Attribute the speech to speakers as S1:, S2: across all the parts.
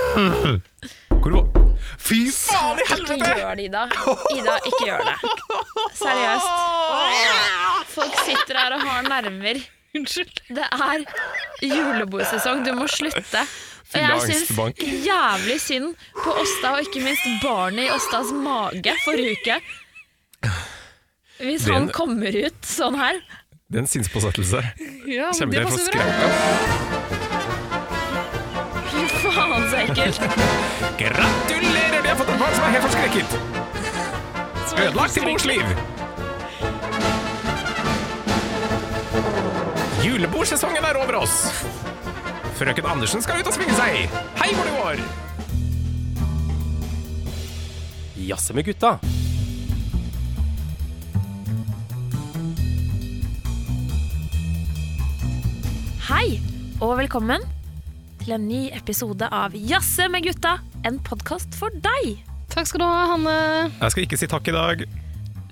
S1: Hvor var Fy faen i
S2: Ikke
S1: helvete!
S2: gjør det, Ida. Ida, ikke gjør det. Seriøst. Folk sitter her og har nerver.
S3: Unnskyld.
S2: Det er julebordsesong. Du må slutte. Og jeg
S1: Fylla
S2: syns jævlig synd på Åsta, og ikke minst barnet i Åstas mage forrige uke. Hvis
S1: Det er
S2: han
S1: en-
S2: kommer ut sånn her
S1: Det er en sinnspåsettelse.
S3: Ja, men
S1: Kjempedel
S3: det
S1: for
S3: passer bra.
S1: skrekka.
S2: Fy faen, så ekkelt.
S1: Gratulerer, de har fått et barn som er helt forskrekket! Ødelagt i mors liv! Julebordsesongen er over oss! Frøken Andersen skal ut og svinge seg! Hei hvor det går! Jazze med gutta.
S2: Hei, og velkommen til en ny episode av Jazze med gutta, en podkast for deg.
S3: Takk skal du ha, Hanne.
S1: Jeg skal ikke si takk i dag.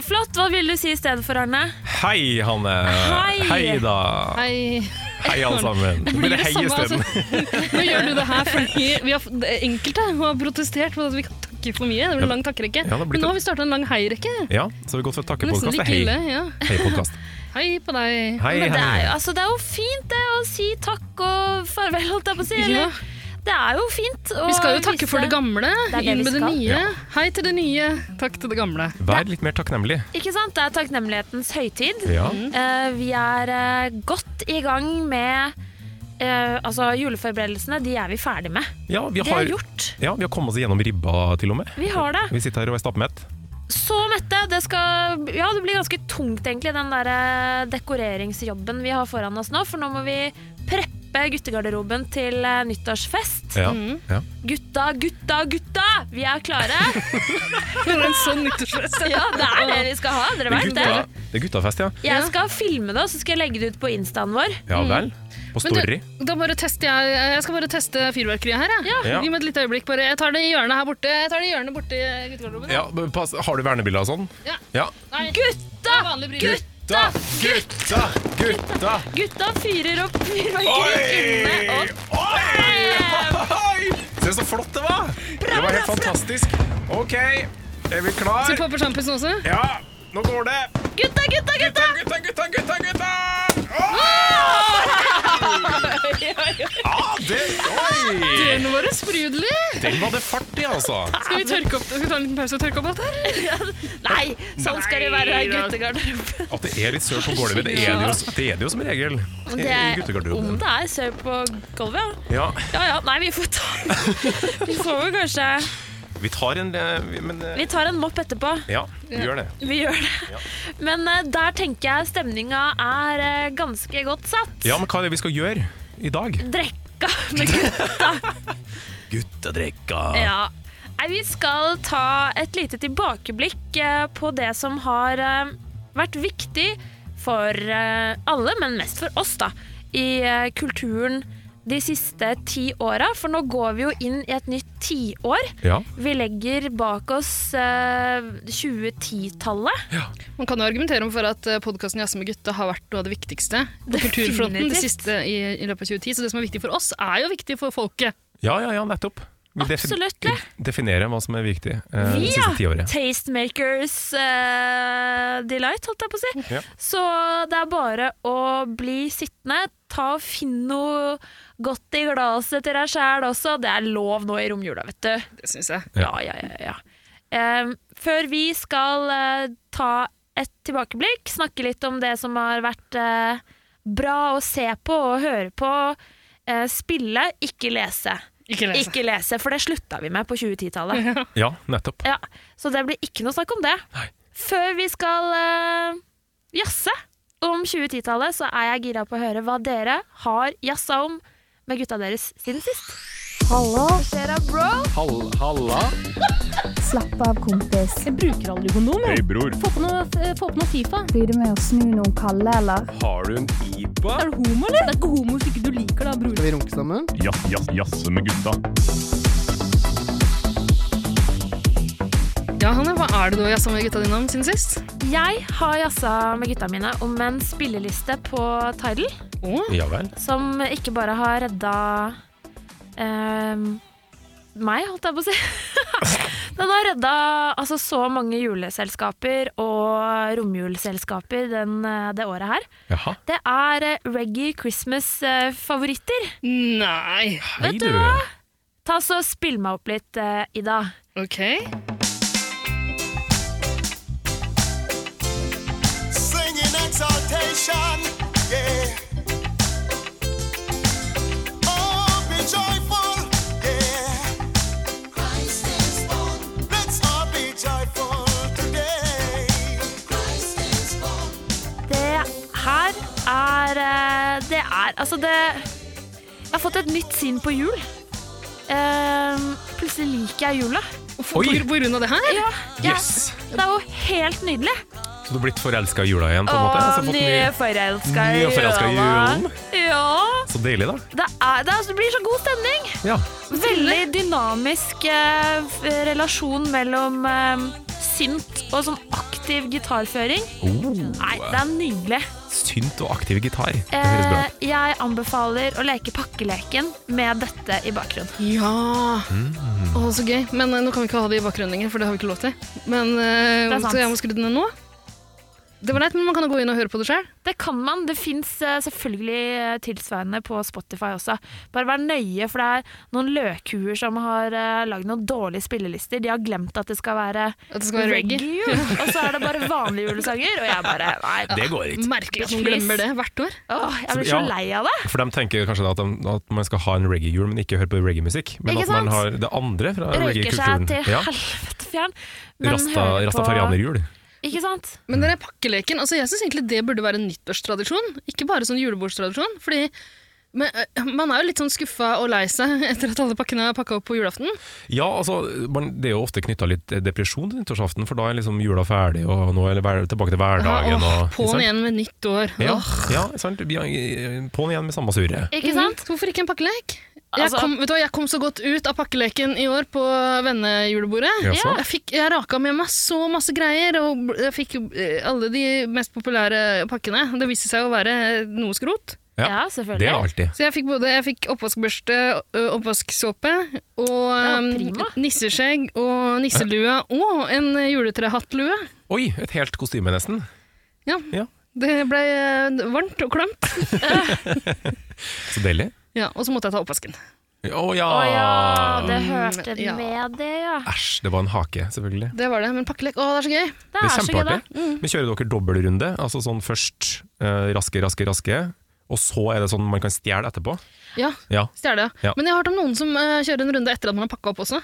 S2: Flott. Hva vil du si i stedet for, Arne?
S1: Hei, Hanne.
S2: Hei.
S1: da.
S3: Hei.
S1: Hei, alle sammen. Det
S3: Blir
S1: blir hei
S3: samme,
S1: isteden.
S3: altså? Nå gjør du det her fordi vi har, det er enkelte har protestert på at vi kan takke for mye. Det blir en lang takkerekke.
S1: Ja, det har blitt
S3: Men
S1: et-
S3: nå har vi starta en lang heirekke.
S1: Ja, så har vi gått fra
S3: Nesten
S1: takkepodkast
S3: litt
S1: til hei.
S3: ille. Ja.
S1: Hei-podkast.
S3: Hei på deg.
S1: Hei,
S2: Men det er, jo,
S1: Hanne.
S2: altså, det er jo fint det å si takk og farvel, holdt jeg på å si.
S3: Ja.
S2: Eller? Det er jo fint. å
S3: Vi skal jo takke
S2: vise-
S3: for det gamle,
S2: Det er det
S3: inn
S2: vi
S3: med det
S2: skal.
S3: nye.
S1: Ja.
S3: Hei til det nye, takk til det gamle.
S1: Vær litt mer takknemlig. Mm.
S2: Ikke sant? Det er takknemlighetens høytid.
S1: Ja.
S2: Eh, vi er eh, godt i gang med eh, altså, juleforberedelsene. De er vi ferdig med.
S1: Ja, vi
S2: Det er
S1: har,
S2: gjort.
S1: ja, vi har kommet oss gjennom ribba, til og med.
S2: Vi har det.
S1: Vi sitter her og er stappmett.
S2: Så mette. Det skal Ja, det blir ganske tungt, egentlig, den der eh, dekoreringsjobben vi har foran oss nå. For nå må vi preppe guttegarderoben til eh, nyttårsfest.
S1: Ja. Ja.
S2: Gutta, gutta, gutta! Vi er klare!
S3: For en sånn nyttårsfest.
S2: Ja, det er det vi skal ha.
S1: Det, er
S2: Dere vet det.
S1: gutta, det er guttafest, ja.
S2: Jeg skal filme det, og så skal jeg legge det ut på instaen vår.
S1: Ja vel. På
S3: Men
S1: Story.
S3: Du, da bare tester jeg, jeg skal bare teste fyrverkeriet her. Jeg.
S1: Ja.
S3: Gi meg et lite øyeblikk. Bare. Jeg tar det i hjørnet her borte. Jeg tar det i hjørnet borte i guttegarderoben.
S1: Ja, men pass, har du vernebilder og sånn?
S3: Ja.
S1: Ja.
S3: Nei, det
S2: Gutta!
S3: er vanlig briller.
S1: Gutta, gutta, gutta!
S2: Gutta fyrer opp
S1: Oi!
S2: fyrverkeri inne. Og
S1: Oi! Oi! Se så flott det var! Det var helt fantastisk. OK, er vi
S3: Så
S1: klar?
S3: popper sjampisen også.
S1: Ja, nå går det.
S2: gutta, gutta, gutta!
S1: Gutta, gutta, gutta, gutta! gutta! Åh! Ah, det, oi!
S3: Ørene våre sprudler.
S1: Den var det fart i, altså.
S3: Skal vi tørke opp Skal vi ta en liten pause og tørke opp alt her?
S2: Nei, sånn skal det være i guttegarderoben.
S1: At det er litt sør på gulvet, det er det jo, det er det jo som regel. I i
S2: Det er om
S1: guttegarderoben.
S2: det er sau på gulvet, ja.
S1: Ja,
S2: Ja ja, nei, vi får ta Vi får jo kanskje
S1: vi tar en eh, vi- Men eh,
S2: Vi tar en mopp etterpå.
S1: ja, vi gjør det.
S2: Vi gjør det. Men eh, der tenker jeg stemninga er eh, ganske godt satt.
S1: Ja, men hva er det vi skal gjøre i dag?
S2: Drekka med gutta.
S1: Guttadrekka.
S2: Ja. Nei, vi skal ta et lite tilbakeblikk eh, på det som har eh, vært viktig for eh, alle, men mest for oss, da, i eh, kulturen de siste ti åra. For nå går vi jo inn i et nytt tiår.
S1: Ja.
S2: Vi legger bak oss eh, 2010-tallet.
S3: Man kan jo argumentere om for at podkasten Jazze med gutta har vært noe av det viktigste på
S2: Definitivt.
S3: kulturfronten det siste i, i løpet av 2010. Så det som er viktig for oss, er jo viktig for folket.
S1: ja, ja, ja, nettopp. Vi defi-
S2: Absolutt det.
S1: definerer hva som er viktig eh,
S2: Vi
S1: det
S2: ja,
S1: siste tiåret.
S2: Tastemakers eh, delight, holdt jeg på å si.
S1: Ja.
S2: Så det er bare å bli sittende. Ta og Finn noe godt i glasset til deg sjæl også. Det er lov nå i romjula, vet du.
S3: Det syns jeg.
S2: Ja, ja, ja. ja. Em, før vi skal eh, ta et tilbakeblikk, snakke litt om det som har vært eh, bra å se på og høre på. eh, spille, ikke lese.
S3: Ikke lese.
S2: Ikke lese, for det slutta vi med på 2010-tallet.
S1: Ja, nettopp.
S2: Ja, så det blir ikke noe snakk om det.
S1: Nei.
S2: Før vi skal eh, jazze om 2010-tallet, så er jeg gira på å høre hva dere har jazza om med gutta deres siden sist. Hallo. Hva skjer da, bro?
S1: halla.
S4: Slapp av, kompis.
S1: Hei, bror.
S4: Blir du med å snu noen kalde, eller?
S1: Har du en IPA?
S5: Skal vi runke sammen?
S6: Jazze med gutta.
S3: Ja, Hanne, hva er det du har jazza med gutta dine om siden sist?
S2: Jeg har jazza med gutta mine om en spilleliste på Tidal
S3: Å,
S1: Ja vel.
S2: som ikke bare har redda eh, meg, holdt jeg på å si. Den har redda altså, så mange juleselskaper og romjulselskaper den, eh, det året her.
S1: Jaha.
S2: Det er eh, Reggae eh, Christmas-favoritter.
S3: Nei.
S1: Hei,
S2: Vet du hva? Ta så Spill meg opp litt, eh, Ida.
S3: Ok.
S7: singing exaltation. Yeah. Oh, be joyful. Yeah. Christ is born. Let's all be joyful today. Christ is born.
S2: Det her er eh, Det er Altså, det Jeg har fått et nytt syn på jul. Eh, plutselig liker jeg jula.
S3: På,
S1: Oi.
S3: på grunn av det her?
S2: Ja, ja.
S1: Yes.
S2: Det er jo helt nydelig.
S1: Så du har blitt forelska i jula igjen? på en måte? Altså, fått ny-
S2: nyforelska
S1: nyforelska i julen.
S2: Ja.
S1: Så deilig, da.
S2: Det, er, altså, det, er, det blir så god stemning.
S1: Ja.
S2: Veldig dynamisk eh, f- relasjon mellom eh, synt og sånn aktiv gitarføring.
S1: Oh,
S2: Nei, det er nydelig.
S1: Synt og aktiv gitar. Det høres bra
S2: Eh,
S1: ut.
S2: jeg anbefaler å leke pakkeleken med dette i bakgrunnen.
S3: Ja!
S1: Mm.
S3: Å, så gøy. Men eh, nå kan vi ikke ha det i bakgrunnen lenger, for det har vi ikke lov til. Men, eh,
S2: Det er sant.
S3: så jeg må skru den ned nå. Det var leit, men man kan jo gå inn og høre på det sjøl.
S2: Det kan man. Det fins selvfølgelig eh, tilsvarende på Spotify også. Bare vær nøye, for det er noen løkhuer som har eh, lagd noen dårlige spillelister. De har glemt at det skal være
S3: At det skal være reggae.
S2: reggae, og så er det bare vanlige julesanger. Og jeg bare Nei.
S1: Det går ikke.
S3: Merkelig at noen
S2: Please.
S3: glemmer det hvert år.
S2: Åh, jeg blir så
S1: Ja.
S2: lei av det.
S1: For de tenker kanskje da at, de, at man skal ha en reggae-jul, men ikke høre på reggae-musikk. Men
S2: Ikke
S1: at man
S2: sant?
S1: har det andre fra
S2: Røyker seg
S1: reggae-kulturen.
S2: til
S1: Ja.
S2: helvete fjern. men
S1: Rasta,
S2: hører på-
S1: Rastafarianerjul.
S2: Ikke sant?
S3: Men den der pakkeleken, altså jeg syns egentlig det burde være en nyttårstradisjon, ikke bare sånn julebordstradisjon. Fordi men, øh, man er jo litt sånn skuffa og lei seg etter at alle pakkene er pakka opp på julaften.
S1: Ja, altså, man, det er jo ofte knytta litt depresjon til nyttårsaften, for da er liksom jula ferdig, og nå er det hver- tilbake til hverdagen.
S3: Ja,
S1: Og,
S3: åh, på'n
S1: ikke sant?
S3: igjen med nytt år.
S1: Ja,
S3: Åh.
S1: ja sant? Vi er- På'n igjen med samme surre.
S2: Ikke sant?
S3: Mhm. Hvorfor ikke en pakkelek? Jeg
S2: Altså-
S3: kom, vet du hva, jeg kom så godt ut av pakkeleken i år på vennejulebordet.
S1: Jaså?
S3: Jeg, fikk, jeg raka med meg så masse greier, og jeg fikk eh, alle de mest populære pakkene. Det viste seg å være noe skrot.
S1: Ja.
S2: Ja,
S1: Det er
S2: selvfølgelig.
S1: alltid.
S3: Så jeg fikk både jeg fikk oppvaskbørste, ø, oppvasksåpe og
S2: Ja, prima.
S3: em, nisseskjegg og nisselue og en juletrehattlue.
S1: Oi, et helt kostyme, nesten.
S3: Ja.
S1: Ja.
S3: Det ble ø, varmt og klamt.
S1: Så deilig.
S3: Ja, og så måtte jeg ta oppvasken.
S1: Å
S2: Å ja,
S1: ja!
S2: det hørte
S3: Ja.
S2: med det, ja.
S1: Æsj, det var en hake, selvfølgelig.
S3: Det var det. Men pakkelek, å, det er så gøy.
S2: Det
S1: Det
S2: er
S1: er
S2: så gøy, det.
S1: kjempeartig. Men kjører dere dobbeltrunde? Altså sånn først eh, raske, raske, raske, og så er det sånn man kan stjele etterpå?
S3: Ja,
S1: Ja.
S3: stjele.
S1: Ja.
S3: Men jeg har hørt om noen som ø, kjører en runde etter at man har pakka opp også.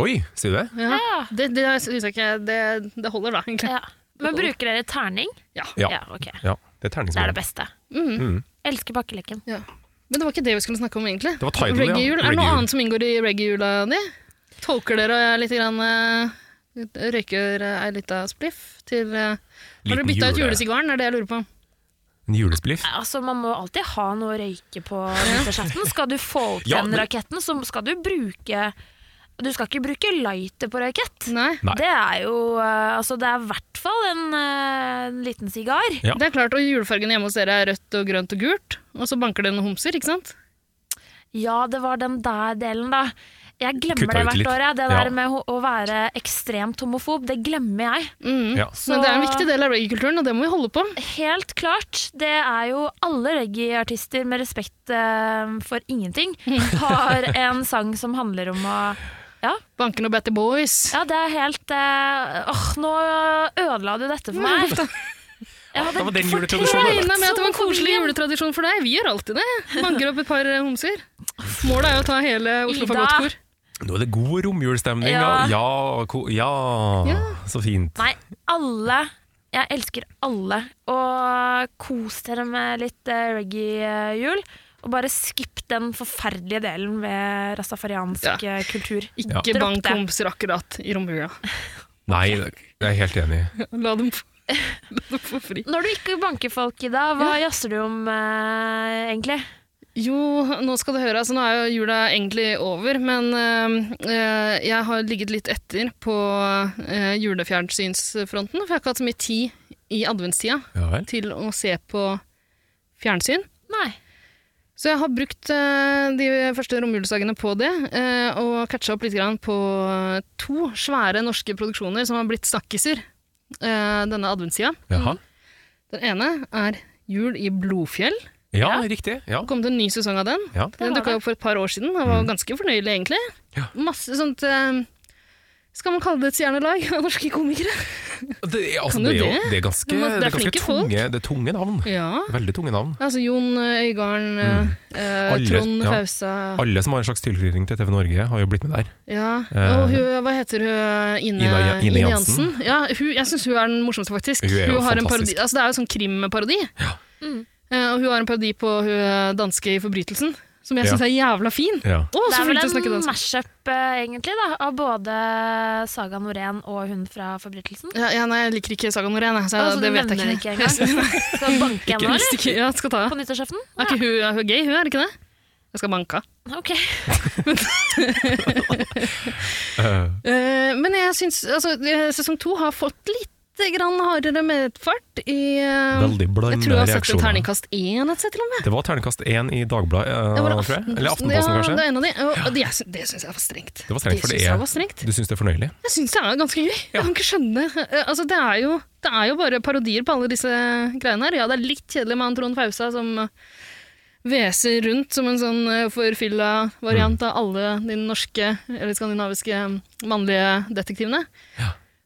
S1: Oi, sier du det?
S3: Ja. Det, det synes jeg ikke det, det holder, da, egentlig.
S2: Ja. Men bruker dere terning?
S1: Ja.
S2: Ja, ok.
S1: ja. Det er
S2: Det er det
S1: terningsmodell.
S2: beste.
S1: Mm.
S2: Elsker pakkeleken.
S3: Ja. Men det var ikke det vi skulle snakke om, egentlig.
S1: Det var title, ja.
S3: Reggae-jul. Er det noe
S1: Reggae-jul.
S3: annet som inngår i reggae-jula di? Tolker dere litt grann, eh, Røyker eh, ei lita spliff til eh, Har
S1: Liten
S3: dere bytta ut
S1: jule-
S3: julesigaren, er det jeg lurer på?
S1: En julespliff?
S2: Altså, Man må alltid ha noe å røyke på nyttårsaften. Skal du få opp
S1: Ja,
S2: den
S1: men-
S2: raketten, så skal du bruke Du skal ikke bruke lighter på rakett.
S3: Nei.
S1: Nei.
S2: Det er jo eh, Altså, det er i hvert fall en, eh, en liten sigar.
S1: Ja.
S3: Det er klart, og Julefargene hjemme hos dere er rødt og grønt og gult, og så banker det noen homser, ikke sant?
S2: Ja, det var den der delen, da. Jeg glemmer
S1: Kutta
S2: det
S1: ut
S2: hvert
S1: litt.
S2: år. jeg. Det
S1: Ja.
S2: der med ho- å være ekstremt homofob, det glemmer jeg.
S3: Mm.
S1: Ja.
S2: Så-
S3: Men det er en viktig del av reggae-kulturen, og det må vi holde på.
S2: Helt klart. Det er jo alle reggae-artister med respekt eh, for ingenting har en sang som handler om å ja,
S3: Banken og Batty Boys.
S2: ja, det er helt eh, Åh, nå ødela du dette for meg. Jeg hadde
S1: Det var den
S2: fortrengt
S1: juletradisjonen, da.
S3: Regna med at det var en koselig
S2: homofobien.
S3: juletradisjon for deg. Vi gjør alltid det. Banker opp et par eh, homser. Målet er jo å ta hele Oslo
S2: Ida.
S3: Fagottkor.
S1: Nå er det god romjulstemning,
S2: Ja.
S1: da. Ja, ko ja. så fint.
S2: Nei, alle Jeg elsker alle. Og kos dere med litt eh, reggae-jul. Og bare skipp den forferdelige delen med rastafariansk eh, kultur.
S3: Ikke
S2: Dropp
S3: bank
S2: det.
S3: homser akkurat i romjula.
S1: Nei, jeg er helt enig.
S3: La dem få, la dem få fri.
S2: Når du ikke banker folk i dag, hva jazzer du om eh, egentlig?
S3: Jo, nå skal du høre. Altså, nå er jo jula egentlig over, men eh, eh, jeg har ligget litt etter på eh, julefjernsynsfronten, for jeg har ikke hatt så mye tid i adventstida
S1: Ja vel.
S3: til å se på fjernsyn.
S2: Nei.
S3: Så jeg har brukt eh, de første romjulsdagene på det, eh, og catcha opp litt grann på eh, to svære norske produksjoner som har blitt snakkiser eh, denne adventstida.
S1: Jaha.
S3: Den ene er Jul i Blodfjell.
S1: Ja, riktig. Ja.
S3: Det kom til en ny sesong av den.
S1: Ja.
S3: Den dukka opp for et par år siden og var ganske fornøyelig, egentlig.
S1: Mm. Ja.
S3: Masse sånt eh, Skal man kalle det et stjernelag av norske komikere?
S1: Det, er- altså,
S3: Kan
S1: det, er
S3: du
S1: jo,
S3: det?
S1: det er ganske,
S3: Men altså, det er
S1: det er ganske
S3: flinke folk.
S1: tunge, det er tunge navn.
S3: Ja.
S1: Veldig tunge navn.
S3: Altså Jon eh, Øygarden, eh, eh,
S1: Mm. Alle-
S3: Trond
S1: ja.
S3: Fausa
S1: Alle som har en slags tilknytning til TV Norge, har jo blitt med der.
S3: ja.
S1: Eh,
S3: Og hun, hva heter hun? Ine,
S1: Ine- Ine
S3: Jansen. Ja, hun, jeg syns hun er den morsomste, faktisk.
S1: Hun er jo
S3: har en
S1: fantastisk.
S3: parodi, altså, det er jo sånn krimparodi.
S1: Ja.
S2: Mm.
S3: Eh, og hun har en parodi på hun eh, danske i Forbrytelsen, som jeg
S1: Ja.
S3: syns er jævla fin.
S1: Ja.
S3: Å,
S2: Det
S3: så
S2: er vel
S3: flink til å snakke
S2: en
S3: dansk.
S2: mashup eh, egentlig da, av både Saga Norén og hun fra Forbrytelsen.
S3: Ja, ja, nei, jeg liker ikke Saga Norén, jeg, så
S2: Altså,
S3: det
S2: du
S3: vet
S2: nevner
S3: jeg
S2: ikke
S3: ikke.
S2: engang. Skal du banke henne,
S3: Hvis
S2: eller?
S3: ikke- Ja, skal ta.
S2: På nyttårsaften?
S3: Er ikke hun, er hun gay, hun, er det ikke det? Jeg skal banke.
S2: Ok.
S1: Eh,
S3: Eh, men jeg syns altså, eh, sesong to har fått litt grann hardere medfart i eh,
S1: Veldig
S3: Jeg tror jeg
S1: blanda
S3: har sett en
S1: reaksjoner.
S3: terningkast én et sett, til og med.
S1: Det var terningkast én i Dagbladet, eh,
S3: Det var
S1: tror jeg. Eller Aftenposten,
S3: ja, Det
S1: kanskje.
S3: er en av de. Og, og det, jeg sy- det syns jeg var strengt.
S1: Det var strengt, for det
S3: syns jeg
S1: er-
S3: var strengt.
S1: Du syns det er fornøyelig?
S3: Jeg syns det er ganske gøy. Jeg kan ikke skjønne eh, Altså, det er jo det er jo bare parodier på alle disse greiene her. Ja, det er litt kjedelig med han Trond Fausa som eh, hveser rundt som en sånn eh, forfylla variant av alle de norske eller skandinaviske eh, mannlige detektivene.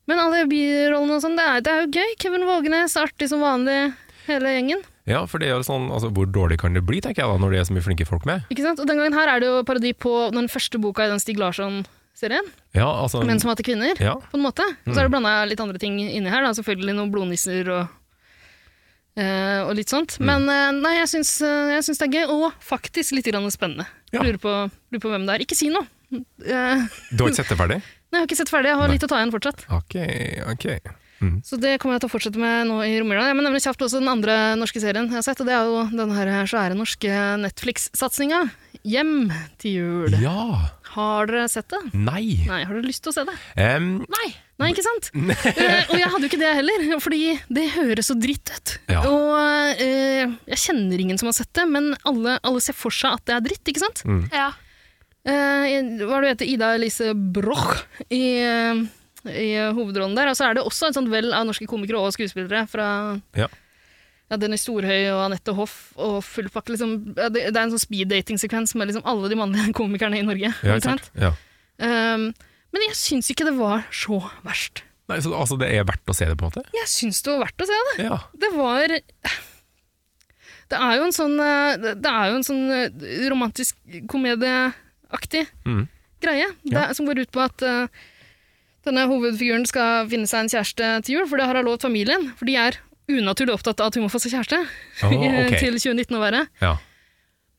S3: Men alle birollene og sånn, det er, det er jo gøy. Kevin Vågenes, artig som vanlig, hele gjengen.
S1: Ja, for det er jo sånn, altså, hvor dårlig kan det bli, tenker jeg da, når det er så mye flinke folk med?
S3: Ikke sant? Og den gangen her er det jo parodi på den første boka i den Stig Larsson-serien,
S1: Ja, altså...
S3: 'Menn som hater kvinner'.
S1: Ja,
S3: på en måte. Og så er det
S1: Mm.
S3: blanda litt andre ting inni her, da. selvfølgelig noen blodnisser og, eh, og litt sånt.
S1: Mm.
S3: Men eh, nei, jeg syns, eh, jeg syns det er gøy, og faktisk litt grann spennende.
S1: Ja.
S3: Lurer, på, lurer på hvem det er. Ikke si noe! Eh,
S1: du har ikke sett det ferdig?
S3: nei, jeg har ikke sett ferdig, jeg har
S1: Nei.
S3: litt å ta igjen fortsatt.
S1: Ok, ok. Mm.
S3: Så det kommer jeg til å fortsette med nå i romjula. Jeg må nevne kjapt også den andre norske serien jeg har sett, og det er jo den her svære norske Netflix-satsinga. Hjem til jul.
S1: Ja,
S3: Har dere sett det?
S1: nei.
S3: Nei, har dere lyst til å se det?
S1: Em,
S2: Nei.
S3: Nei, ikke sant? Eh, og jeg hadde jo ikke det heller, fordi det høres så dritt ut.
S1: Ja.
S3: Og eh, jeg kjenner ingen som har sett det, men alle, alle ser for seg at det er dritt, ikke
S1: Mm.
S3: sant?
S2: Ja.
S3: Eh, hva er det hun heter? Ida Elise Broch i, eh, i hovedrollen der. Og så er det også et sånt vel av norske komikere og skuespillere fra
S1: Ja.
S3: ja, Dennis Storhøy og Anette Hoff og full pakke. Liksom, ja, det, det er en sånn speed-dating-sekvens med liksom alle de mannlige komikerne i Norge.
S1: ja, ikke
S3: omtrent.
S1: sant? Ja.
S3: Um, men jeg syns ikke det var så verst.
S1: Nei, så, altså, det er verdt å se det på en måte?
S3: Jeg syns det var verdt å se det.
S1: Ja.
S3: Det var Det er jo en sånn eh, Det er jo en sånn eh, romantisk komedieaktig
S1: Mm.
S3: greie det,
S1: Ja.
S3: som går ut på at eh, denne hovedfiguren skal finne seg en kjæreste til jul, for det har hun lovt familien. For de er unaturlig opptatt av at hun må få seg kjæreste
S1: Å, ok.
S3: til 2019 å være.
S1: Ja.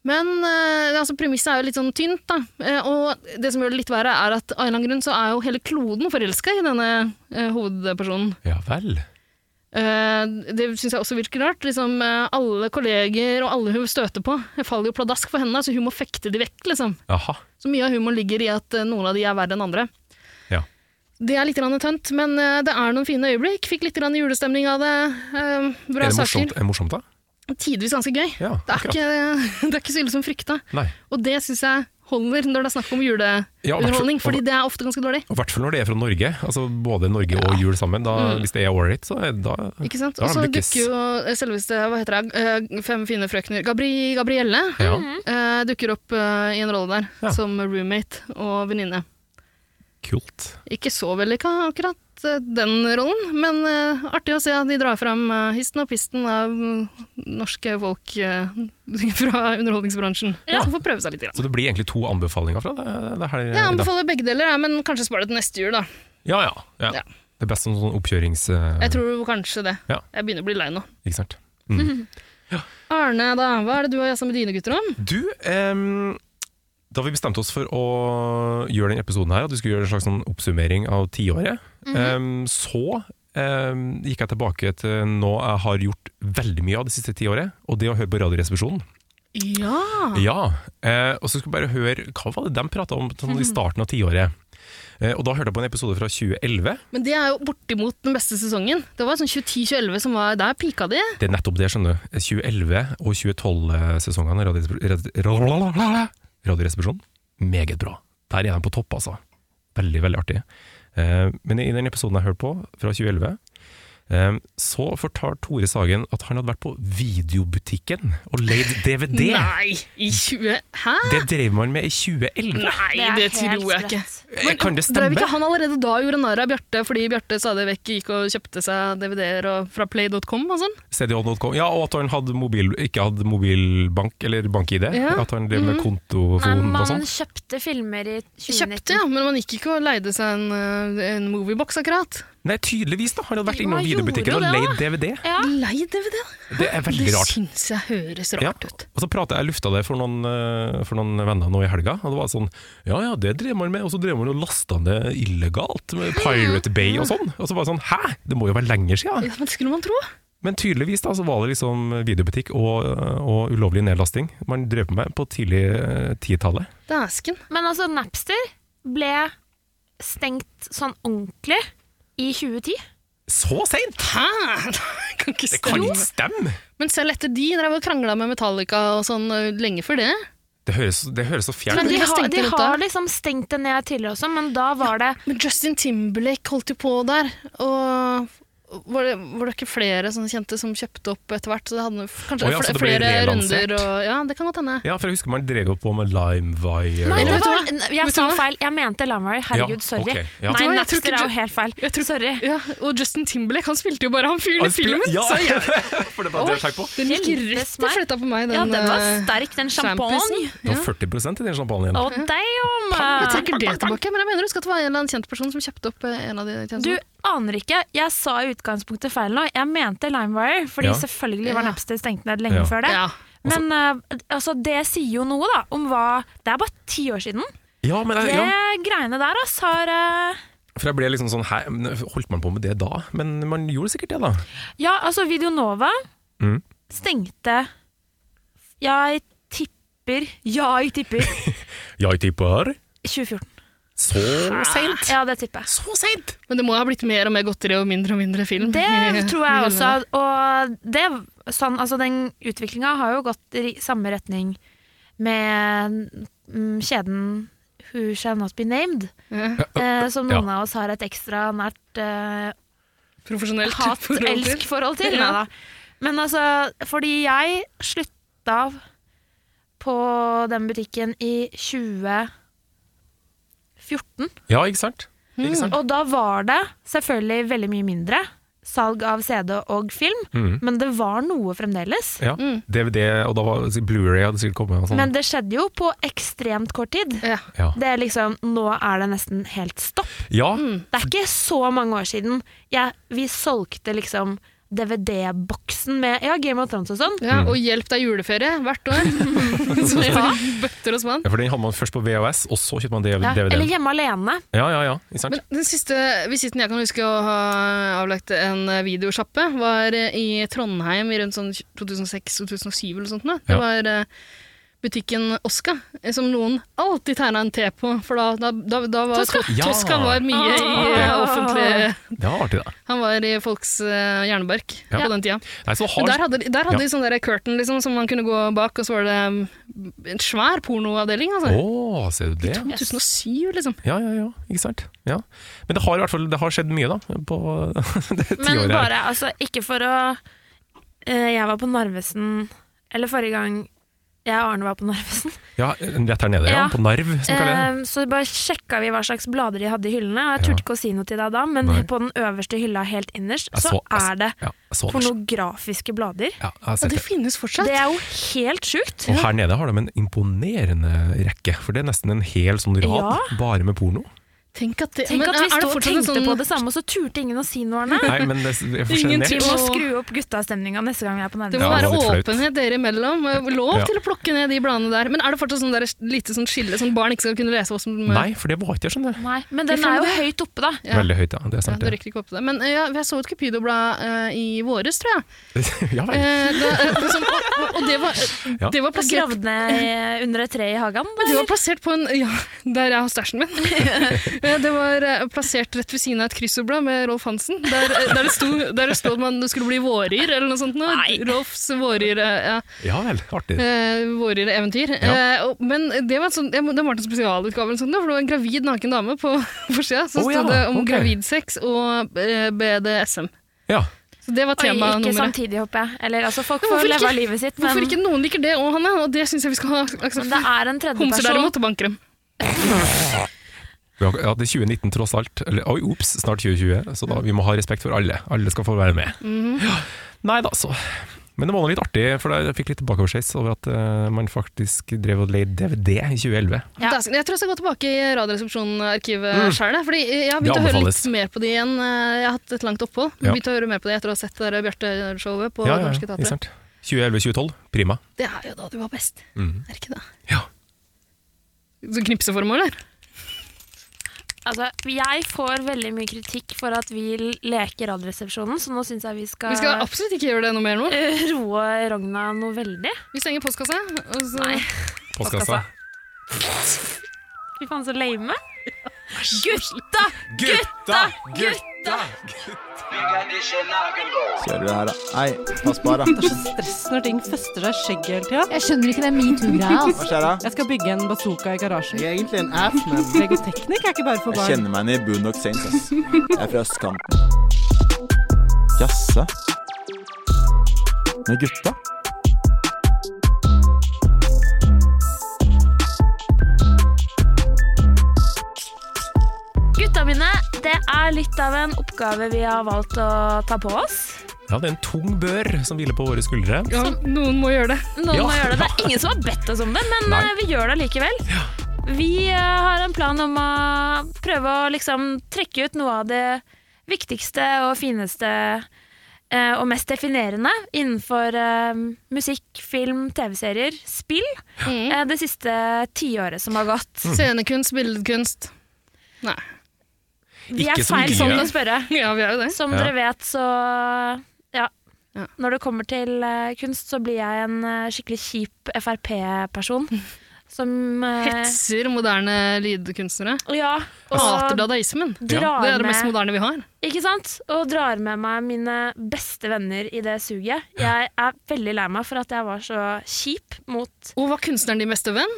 S3: Men eh, altså, premisset er jo litt sånn tynt, da. Eh, og det som gjør det litt verre, er at av en eller annen grunn så er jo hele kloden forelska i denne eh, hovedpersonen.
S1: ja vel.
S3: Eh, det syns jeg også virker rart. Liksom, eh, alle kolleger og alle hun støter på, eh, faller jo pladask for henne, så hun må fekte de vekk. Liksom.
S1: Jaha.
S3: Så mye av humoren ligger i at eh, noen av de er verre enn andre.
S1: Ja.
S3: Det er litt grann tønt, men eh, det er noen fine øyeblikk. Fikk litt grann julestemning av det. eh,
S1: Er det
S3: Bra
S1: morsomt,
S3: saker.
S1: er det morsomt da?
S3: Tidvis ganske gøy.
S1: Ja,
S3: Det er, ikke, det er ikke så ille som frykta.
S1: Nei.
S3: Og det syns jeg holder når det er snakk om
S1: Ja, og hvert fall-
S3: juleunderholdning,
S1: og-
S3: fordi det er ofte ganske dårlig.
S1: Og I hvert fall når det er fra Norge, altså både Norge og jul sammen. Da, Hvis det er ålreit, så er da,
S3: Mm. Ikke sant?
S1: da
S3: Og
S1: har
S3: så
S1: de lykkes.
S3: dukker jo eh, selveste hva heter det, eh, Fem fine frøkner Gabri, Gabrielle
S1: Ja.
S3: eh, dukker opp eh, i en rolle der
S1: Ja.
S3: som roommate og venninne.
S1: Kult.
S3: Ikke så vellykka akkurat eh, den rollen, men eh, artig å se at de drar fram eh, histen og pisten av mm, norske folk eh, fra underholdningsbransjen.
S2: Ja.
S3: Som får prøve seg litt. Grann.
S1: Så det blir egentlig to anbefalinger fra det, det her i
S3: Jeg
S1: dag.
S3: anbefaler begge deler, ja, men kanskje spar det til neste jul. da.
S1: Ja, ja. ja.
S3: Ja.
S1: Det er best som sånn oppkjørings... eh,
S3: Jeg tror kanskje det.
S1: Ja.
S3: Jeg begynner å bli lei nå.
S1: Ikke sant?
S3: Arne, da, hva er det du har jazza med dine gutter om?
S1: Du, ehm, da vi bestemte oss for å gjøre denne episoden her, at vi skulle gjøre en slags sånn oppsummering av tiåret, ehm, så ehm, gikk jeg tilbake til noe jeg har gjort veldig mye av det siste tiåret, og det å høre på Radioresepsjonen.
S3: Ja.
S1: Ja, eh, og så skal vi bare høre Hva var det de pratet om sånn, i starten av tiåret? Eh, og da hørte jeg på en episode fra 2011
S3: Men det er jo bortimot den beste sesongen. Det var sånn 2010-2011 som var der pika de.
S1: Det er nettopp det, skjønner du 2011 og 2012-sesongene Radioresepsjonen Meget bra Der er de på topp, altså Veldig, veldig artig eh, Men i den episoden jeg hørte på, fra 2011 eh, så fortalte Tore Sagen at han hadde vært på videobutikken og leid DVD.
S3: Nei! I 20... Hæ?
S1: Det drev man med i 2011.
S3: Nei, det, tror jeg ikke.
S1: Eh, Kan det
S3: Drev
S1: stemme?
S3: ikke han allerede da og gjorde narr av Bjarte fordi Bjarte stadig vekk gikk og kjøpte seg DVD-er og- fra play.com og sånn?
S1: CDON.com. Ja, og at han hadde mobil, ikke hadde mobilbank eller bank-ID.
S3: Ja. Mhm.
S1: At han drev med
S2: Nei,
S1: kontofon og
S2: man
S1: sånn.
S2: kjøpte filmer i 2019.
S3: Kjøpte, ja, men man gikk ikke og leide seg en, eh, en moviebox, akkurat.
S1: Nei, tydeligvis, da. Han hadde vært
S2: Jo,
S1: innom
S2: han
S1: videobutikken og
S2: gjorde
S1: leid
S2: det,
S1: DVD.
S2: Ja.
S3: Leid DVD?
S1: Det er veldig
S3: Det
S1: rart.
S3: syns jeg høres
S1: Ja.
S3: rart ut.
S1: Og så pratet jeg lufta det for noen, eh, for noen venner nå i helga, og det var sånn Ja ja, det drev man med, og så drev man og lasta det illegalt med Pirate Bay og sånn. Og så var det sånn Hæ, det må jo være lenger sia!
S3: Ja, men det skulle man tro.
S1: Men tydeligvis da, så var det liksom videobutikk og, og ulovlig nedlasting man drev på med på tidlig eh, 10-tallet.
S3: Dæsken.
S2: Men altså, Napster ble stengt sånn ordentlig i 2010.
S1: Så seint!
S3: Hæ? Det kan ikke
S1: Det kan
S3: stemme.
S1: ikke stemme!
S3: Men selv etter de drev og krangla med Metallica og sånn eh, lenge før det.
S1: Det høres, det høres så
S3: Men
S1: fjernt
S2: Men
S1: ut.
S2: de
S3: de har
S2: har,
S3: stengt
S2: de
S3: det ut
S2: har
S3: da.
S2: liksom stengt det ned tidligere også, men da var det
S3: Men Justin Timberlake holdt jo på der, og var det, var det ikke flere sånne kjente som kjøpte opp etter hvert? Så det hadde
S1: Å
S3: kanskje
S1: ja,
S3: fl-
S1: så det ble
S3: flere
S1: relansert?
S3: runder og Ja, det kan godt hende.
S1: Ja, for jeg husker man drev jo på med LimeWire.
S2: Nei,
S1: og-
S2: det
S3: vet du
S2: var,
S3: hva?
S2: jeg
S3: Vet du
S2: sa
S3: hva?
S2: feil. Jeg mente Lamar. Herregud,
S1: Ja, ok,
S2: sorry.
S1: ja.
S2: Nei,
S3: Vet du hva, jeg tror
S2: Napster
S3: ikke
S2: er
S3: du-
S2: jo helt feil.
S3: Jeg tror-
S2: Sorry.
S3: Ja, og Justin Timberlake, han spilte jo bare han fyren
S1: Han
S3: i
S1: spiller-
S3: filmen!
S1: Ja,
S3: Så jeg,
S1: for det var det jeg tenkte på.
S3: den gikk
S2: Hjelpes
S3: rett
S2: meg.
S3: og slett på meg, den,
S2: Ja, den var
S3: eh,
S2: sterk, den
S3: champisen.
S2: champagne.
S1: Det var 40 i den champagnen.
S2: Å,
S3: Jeg
S2: damn!
S3: trekker det tilbake, men jeg mener husk at det var en eller annen kjent person som kjøpte opp eh, en av de
S2: Du
S3: tjenestene.
S2: aner ikke. Jeg sa i utgangspunktet feil nå. Jeg mente LimeWire, fordi
S1: Ja.
S2: selvfølgelig var
S3: Ja.
S2: Napster stengt ned lenge
S1: Ja.
S2: før det.
S3: Ja.
S2: Men eh, altså, det sier jo noe, da, om hva Det er bare ti år siden.
S1: Ja, men
S2: Det
S1: jeg, ja.
S2: greiene der, ass, har eh,
S1: For jeg ble liksom sånn hæ, men Holdt man på med det da? Men man gjorde sikkert det, da.
S2: Ja, altså, Videonova
S1: Mm.
S2: stengte Jeg tipper Jeg tipper
S1: Jeg tipper
S2: 2014.
S1: så seint!
S2: Ja, det tipper jeg.
S1: Så seint!
S3: Men det må ha blitt mer og mer godteri og mindre og mindre film.
S2: Det
S3: i-
S2: tror jeg
S3: i
S2: også. Og det, sånn, altså den utviklinga har jo gått i samme retning med mm, kjeden Who Shall Not Be Named,
S3: Ja,
S2: eh, som
S1: Ja.
S2: noen av oss har et ekstra nært eh,
S3: profesjonelt forhold til.
S2: hat-elsk-forhold til.
S3: Ja.
S2: Neida. Men altså, fordi jeg slutta på den butikken i 2014.
S1: Ja, ikke sant? Ikke sant?
S2: Og da var det selvfølgelig veldig mye mindre salg av CD og film,
S1: Mm.
S2: men det var noe fremdeles.
S1: Ja. DVD, og da var Blu-ray hadde sikkert kommet. Og sånn.
S2: Men det skjedde jo på ekstremt kort tid.
S3: Ja.
S1: ja.
S2: Det er liksom, Nå er det nesten helt stopp.
S1: ja,
S2: Det er ikke så mange år siden jeg, vi solgte liksom DVD-boksen med ja, Game of Thrones og sånn.
S1: Mm.
S3: Ja, og hjelp deg juleferie hvert år. så ja. bøtter og spann.
S1: Ja, for den hadde man først på VHS, og så kjøpte man
S2: Ja,
S1: DVD.
S2: eller Hjemme alene.
S1: Ja, ja, ja, ikke sant?
S3: Men den siste visitten jeg kan huske å ha avlagt en videosjappe, var eh, i Trondheim i rundt sånn 2006-2007 eller sånt. nå. Det
S1: Ja.
S3: var eh, butikken Oska, eh, som noen alltid tegna en T på, for da, da, da, da var
S2: Tosca.
S1: Ja.
S3: Tosca var mye i eh,
S2: Ah.
S3: offentlig
S1: Det var artig, det.
S3: Han var i folks eh, jernbark
S1: Ja.
S3: på den tida.
S1: Nei, så
S3: Men
S1: har,
S3: der hadde, de- der hadde
S1: Ja.
S3: de sånn der curtain liksom, som man kunne gå bak, og så var det mm, en svær pornoavdeling. Altså.
S1: Å, ser du det?
S3: 2007, liksom.
S1: Ja, ja, ja, ikke sant? Ja. Men det har i hvert fall det har skjedd mye, da, på det
S2: Men
S1: tiåret her.
S2: bare, altså, ikke for å eh, Jeg var på Narvesen, eller forrige gang jeg og Arne var på Narvesen.
S1: Ja, rett her nede, ja.
S2: Ja.
S1: På Narv, som kaller Sånn det.
S2: Eh, så bare sjekka vi hva slags blader de hadde i hyllene. og Jeg
S1: Ja.
S2: turte ikke å si noe til deg da, men
S1: Nei.
S2: på den øverste hylla helt innerst,
S1: Jeg
S2: så,
S1: så- jeg
S2: er det
S1: Ja, jeg så det.
S2: pornografiske blader.
S1: Ja, jeg har
S3: Og
S1: sett
S3: det
S1: det.
S3: finnes fortsatt.
S2: Det er jo helt sjukt.
S1: Og her nede har de en imponerende rekke, for det er nesten en hel sånn rad
S2: Ja.
S1: bare med porno.
S3: Tenk at, det,
S2: Tenk
S3: men
S2: at vi
S3: er det
S2: stod og
S3: fortsatt sånn- en
S2: tenkte på det samme, og så turte ingen å si noe, Arne.
S1: Nei, men det, det er for
S3: Ingenting.
S1: sjenert.
S2: Vi må
S3: Og-
S2: skru opp guttastemninga neste gang vi er på Nærmest.
S3: Det
S1: Ja, det
S3: må
S1: var
S3: være
S1: litt flaut.
S3: åpenhet dere imellom. eh, Lov
S1: Ja.
S3: til å plukke ned de bladene der. Men er det fortsatt sånn der, lite sånn skille, sånn barn ikke skal kunne lese hva som
S1: Nei, for det var ikke jeg, skjønner du.
S2: Nei, men den er jo høyt oppe, da.
S3: Ja.
S1: Veldig høyt, ja. Det er
S3: Ja,
S1: sant.
S3: du
S1: det.
S3: rekker ikke opp til det. Men eh, ja, jeg så et Cupido-blad eh, i våres, tror jeg.
S1: ja vel.
S3: Eh, det, eh, det som, og, og- og det var, eh,
S1: Ja.
S3: det var plassert
S2: Gravd ned i- under et tre i hagen. da,
S3: men det var
S2: eller?
S3: plassert på en Ja, der jeg har stæsjen min. Eh, Det var eh, plassert rett ved siden av et kryssordblad med Rolf Hansen. Der, eh, der det sto der det sto at man skulle bli våryr, eller noe sånt. Noe.
S2: Nei.
S3: Rolfs våryr... eh, Ja.
S1: Ja vel, artig.
S3: Eh, våre eventyr.
S1: Ja.
S3: Eh, og- men det var, et sånt, jeg må- det var en spesialutgave, eller sånt, da, for det var en gravid naken dame på forsida. Så
S1: Å,
S3: stod
S1: ja,
S3: det om
S1: ok.
S3: gravidsex og eh, BDSM.
S1: Ja.
S3: Så det var
S2: Oi, ikke
S3: temanummeret.
S2: samtidig, håper jeg. Eller altså, folk
S3: Men
S2: får
S3: hvorfor
S2: leve
S3: ikke?
S2: av livet sitt, men,
S3: Hvorfor ikke noen liker det òg, Hanne? Og det syns jeg vi skal ha aksept
S2: men det
S3: for.
S2: er en
S3: Homser
S2: tredjeperson.
S3: derimot banker dem.
S1: Vi har- ja, det er 2019 tross alt. Eller, oi, ops, snart 2020. Så da, vi må ha respekt for alle. Alle skal få være med. Ja. Nei da, så. Men det var nå litt artig, for jeg fikk litt bakoversveis over at eh, man faktisk drev og leide DVD i 2011.
S2: Ja.
S3: Da- Jeg tror jeg skal gå tilbake i Radioresepsjonen-arkivet mm. sjøl. Fordi jeg har
S1: Det
S3: begynt å høre
S1: anbefales.
S3: litt mer på det igjen. Eh, Jeg har hatt et langt opphold.
S1: Ja.
S3: Begynte å høre mer på det etter å ha sett det der Bjarte-showet på
S1: Ja, ja,
S3: Norske
S1: ikke
S3: Teatret.
S1: sant? 2011-2012, prima.
S3: Det er jo da du var best.
S1: Mhm.
S3: Er det ikke det?
S1: Ja.
S3: Så knipseformål, eller?
S2: Altså, jeg får veldig mye kritikk for at vi leker Radioresepsjonen, så nå syns jeg vi skal,
S3: Vi skal absolutt ikke gjøre det noe mer nå.
S2: eh, roe Rogna noe veldig.
S3: Vi stenger postkassa. Og så...
S2: Nei.
S1: Postkassa.
S2: Fy faen, så lame. Gutta!
S8: Gutta!
S2: Gutta!
S9: Kjører vi her, da. Nei, pass på her, da.
S10: Det er så stress når ting fester seg i skjegget hele tida.
S4: Jeg skjønner ikke den metoo-greia.
S9: Hva
S4: Altså.
S9: skjer da?
S10: Jeg skal bygge en bazooka i garasjen.
S9: Jeg er egentlig en ass, men
S10: Legoteknikk er ikke bare for
S9: Jeg
S10: barn.
S9: kjenner meg igjen i Boondock Saints, ass. Jeg er fra østkanten. Jaså? Med gutta?
S2: Gutta mine, det er litt av en oppgave vi har valgt å ta på oss.
S1: Ja, det er en tung bør som hviler på våre skuldre.
S3: Ja, noen må gjøre det.
S2: Noen
S1: Ja.
S2: må gjøre det. Det er ingen som har bedt oss om det, men
S1: Nei.
S2: eh, vi gjør det likevel. Vi eh, har en plan om å prøve å liksom trekke ut noe av det viktigste og fineste eh, og mest definerende innenfor eh, musikk, film, TV-serier, spill
S3: Mm.
S2: eh, det siste tiåret som har
S1: Mm,
S2: gått.
S3: Scenekunst, billedkunst. Nei.
S2: Vi er
S1: Ikke så
S2: feil
S1: mye.
S2: sånn å spørre.
S3: Ja, vi er jo det.
S2: Som
S1: Ja.
S2: dere vet, så ja.
S3: Ja.
S2: Når det kommer til eh, kunst, så blir jeg en eh, skikkelig kjip Frp-person. Som eh,
S3: Hetser moderne lydkunstnere.
S2: Ja.
S3: Og hater
S2: Og
S3: dadaismen. Det
S2: drar
S3: er det mest
S2: med
S3: moderne vi har.
S2: Ikke sant? Og drar med meg mine beste venner i det suget. Jeg er veldig lei meg for at jeg var så kjip mot
S3: Og var kunstneren din beste venn?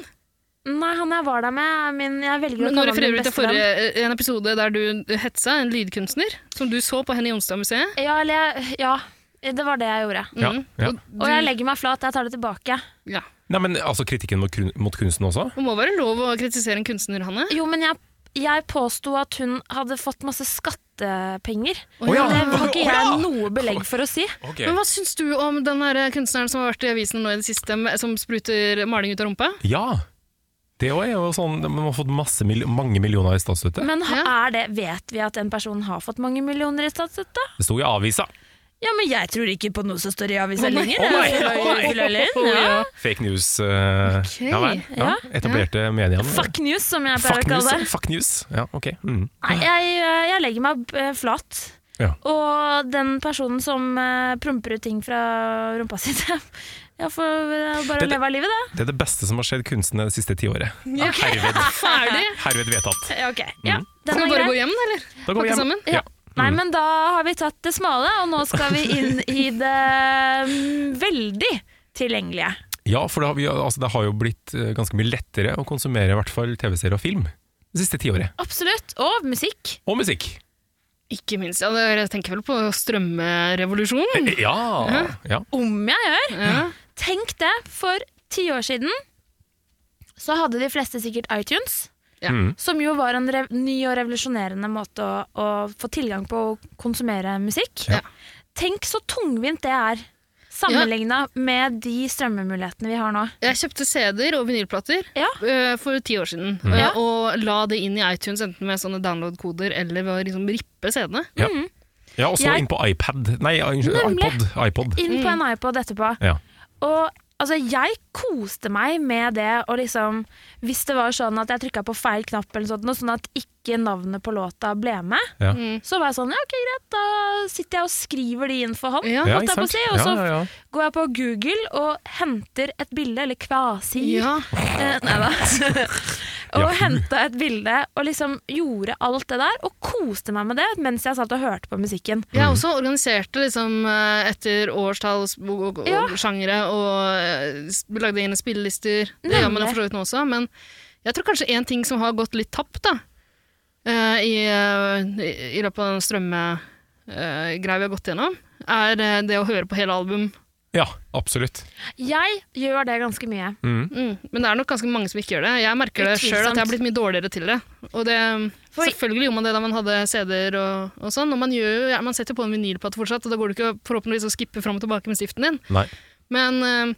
S2: Nei, han jeg var der med, er min Jeg velger å
S3: Nå
S2: kalle han
S3: refererer
S2: min
S3: du til
S2: beste venn.
S3: forrige, eh, en episode der du hetsa en lydkunstner, som du så på Henny Jonstad-museet.
S2: Ja, eller jeg Ja. Det var det jeg gjorde.
S1: Ja, ja.
S2: Og jeg legger meg flat. Jeg tar det tilbake.
S3: Mm. Ja.
S1: Nei, men altså kritikken mot, kun- mot kunsten også?
S3: Det må være lov å kritisere en kunstner, Hanne.
S2: Jo, men jeg, jeg påsto at hun hadde fått masse skattepenger.
S1: Å ja.
S2: Det har ikke
S1: Å ja.
S2: jeg noe belegg for å si.
S1: Ok.
S3: Men hva syns du om den her eh, kunstneren som har vært i avisen nå i det siste, som spruter maling ut av rumpa?
S1: Ja. Det også er jo sånn, man har fått masse, mil- mange millioner i statsstøtte.
S2: Men ha-
S3: Ja.
S2: er det, vet vi at en person har fått mange millioner i statsstøtte?
S1: Det sto i avisa.
S2: Ja, men jeg tror ikke på noe som står i avisa lenger. altså,
S1: Å nei,
S2: Jeg er
S1: å nei.
S2: full av løgn,
S3: Å,
S2: ja.
S3: ja.
S1: Fake news. eh, ja, vel, ja. Etablerte mediene.
S2: Fuck news, som jeg pleier
S1: Fuck
S2: å
S1: news.
S2: kalle
S1: ja,
S2: det.
S1: Fuck news. Ja, ok. Mm.
S2: Nei, jeg, jeg legger meg eh, flat.
S1: Ja.
S2: Og den personen som eh, promper ut ting fra rumpa si Jeg får eh, bare
S1: Det-
S2: leve av livet, det.
S1: Det er det beste som har skjedd kunsten det siste tiåret. Herved,
S3: Ferdig!
S1: herved vedtatt.
S2: Ja, ok. Ja, den
S3: Skal
S2: er
S3: vi bare
S2: grei.
S3: gå hjem, eller?
S1: Da går vi
S3: Pakke
S1: hjem.
S3: sammen?
S1: Ja.
S2: Nei, men da har vi tatt det smale, og nå skal vi inn i det mm, veldig tilgjengelige.
S1: ja, for det har, vi, altså, det har jo blitt eh, ganske mye lettere å konsumere i hvert fall TV-serier og film det siste tiåret.
S2: Absolutt. Og musikk.
S1: Og musikk.
S3: Ikke minst. Ja, det- jeg tenker vel på strømmerevolusjonen.
S1: Ja! ja.
S2: Om jeg gjør.
S1: Eh,
S3: Ja.
S2: Tenk det, for ti år siden så hadde de fleste sikkert iTunes.
S3: Ja.
S1: Mm.
S2: Som jo var en rev ny og revolusjonerende måte å, å få tilgang på å konsumere musikk.
S1: Ja.
S2: Tenk så tungvint det er sammenligna med de strømmemulighetene vi har nå.
S3: Jeg kjøpte CD-er og vinylplater
S2: Ja.
S3: eh, for ti år siden,
S1: Mm.
S3: eh, og la det inn i iTunes enten med sånne download-koder eller ved å liksom rippe CD-ene.
S1: Ja. ja, og så
S2: Jeg-
S1: inn på iPad. Nei, unnskyld, iPod.
S2: Nemlig.
S1: iPod.
S2: Inn på en iPod etterpå.
S1: Ja.
S2: Og altså, jeg koste meg med det, og liksom Hvis det var sånn at jeg trykka på feil knapp, eller sånt, noe sånn at ikke navnet på låta ble med,
S1: Ja.
S2: så var jeg sånn ja, ok, greit, da sitter jeg og skriver de inn for hånd,
S3: Ja.
S1: Ja,
S2: holdt jeg
S1: ikke
S2: på å si.
S1: sant?
S2: Og så
S1: Ja, ja, ja.
S2: går jeg på Google og henter et bilde, eller kvasir,
S3: Ja.
S2: Eh, Nei da.
S1: Ja.
S2: og henta et bilde og liksom gjorde alt det der, og koste meg med det mens jeg satt og hørte på musikken.
S3: Jeg også organiserte liksom eh, etter årstall s- og, og,
S2: Ja.
S3: og sjangere, og eh, s- lagde egne spillelister. Det gjør man jo
S2: Nemlig.
S3: for så vidt nå også, men jeg tror kanskje en ting som har gått litt tapt da, eh, i, eh, i, i løpet av den strømmegreia vi har gått gjennom, er eh, det å høre på hele album.
S1: ja, absolutt.
S2: Jeg gjør det ganske mye.
S3: Mm. Men det er nok ganske mange som ikke gjør det. Jeg merker det sjøl at jeg
S2: Utvilsomt.
S3: har blitt mye dårligere til det. Og det mm,
S2: For-
S3: selvfølgelig gjorde man det da man hadde CD-er og, og sånn. Og man, gjør, jo- ja, man setter på en vinylplate fortsatt, og da går det ikke å- forhåpentligvis å skippe fram og tilbake med stiften din.
S1: Nei.
S3: Men eh,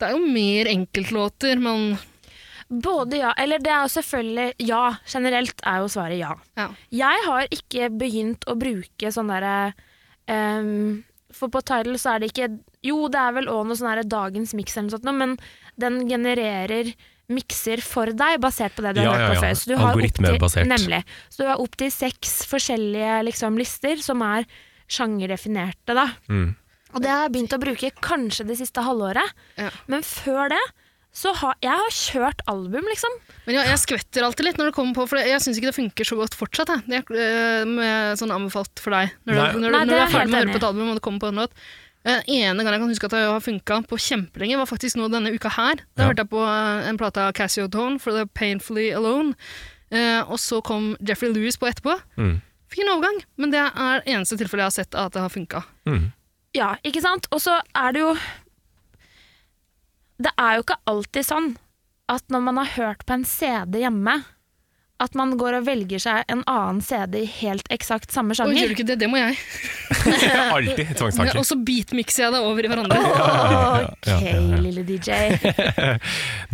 S3: det er jo mer enkeltlåter man
S2: Både ja, eller det er jo selvfølgelig ja. Generelt er jo svaret ja.
S3: Ja.
S2: Jeg har ikke begynt å bruke sånn derre ehm, For på Tidal så er det ikke Jo, det er vel òg noe sånn derre dagens miks eller noe sånt, noe, men den genererer mikser for deg, basert på det du
S1: Ja,
S2: har hørt
S1: ja,
S2: på
S1: ja.
S2: før. Så du har opp
S1: Algoritmebasert.
S2: til, nemlig. Så du har opp til seks forskjellige liksom, lister som er sjangerdefinerte, da.
S1: Mm.
S2: Og det har jeg begynt å bruke kanskje det siste halvåret.
S3: Ja.
S2: Men før det så har jeg har kjørt album, liksom.
S3: Men ja, jeg skvetter alltid litt når det kommer på, for jeg syns ikke det funker så godt fortsatt. Jeg. Det er, eh, med sånn anbefalt for deg. Når,
S1: Nei.
S3: du, når, du-
S2: Nei, det
S3: når du
S2: er
S3: er ferdig
S2: helt
S3: med å
S2: enig.
S3: høre på et album, og det kommer på en låt. Eh, ene gang jeg kan huske at jeg har funka på kjempelenge, var faktisk nå denne uka her. Da
S1: Ja.
S3: hørte jeg på eh, en plate av Cassie O'Done, For The Painfully Alone. Eh, og så kom Jeffrey Lewis på etterpå.
S1: Mm.
S3: Fin overgang, men det er eneste tilfellet jeg har sett at det har funka.
S1: Mm.
S2: Ja, ikke sant? Og så er det jo Det er jo ikke alltid sånn at når man har hørt på en CD hjemme, at man går og velger seg en annen CD i helt eksakt samme
S3: Og gjør
S2: sjanger.
S3: du ikke det? Det må jeg.
S1: Alltid tvangstanker.
S3: Og så beatmikser jeg det over i hverandre.
S2: Ok,
S1: ja, ja, ja.
S2: lille DJ.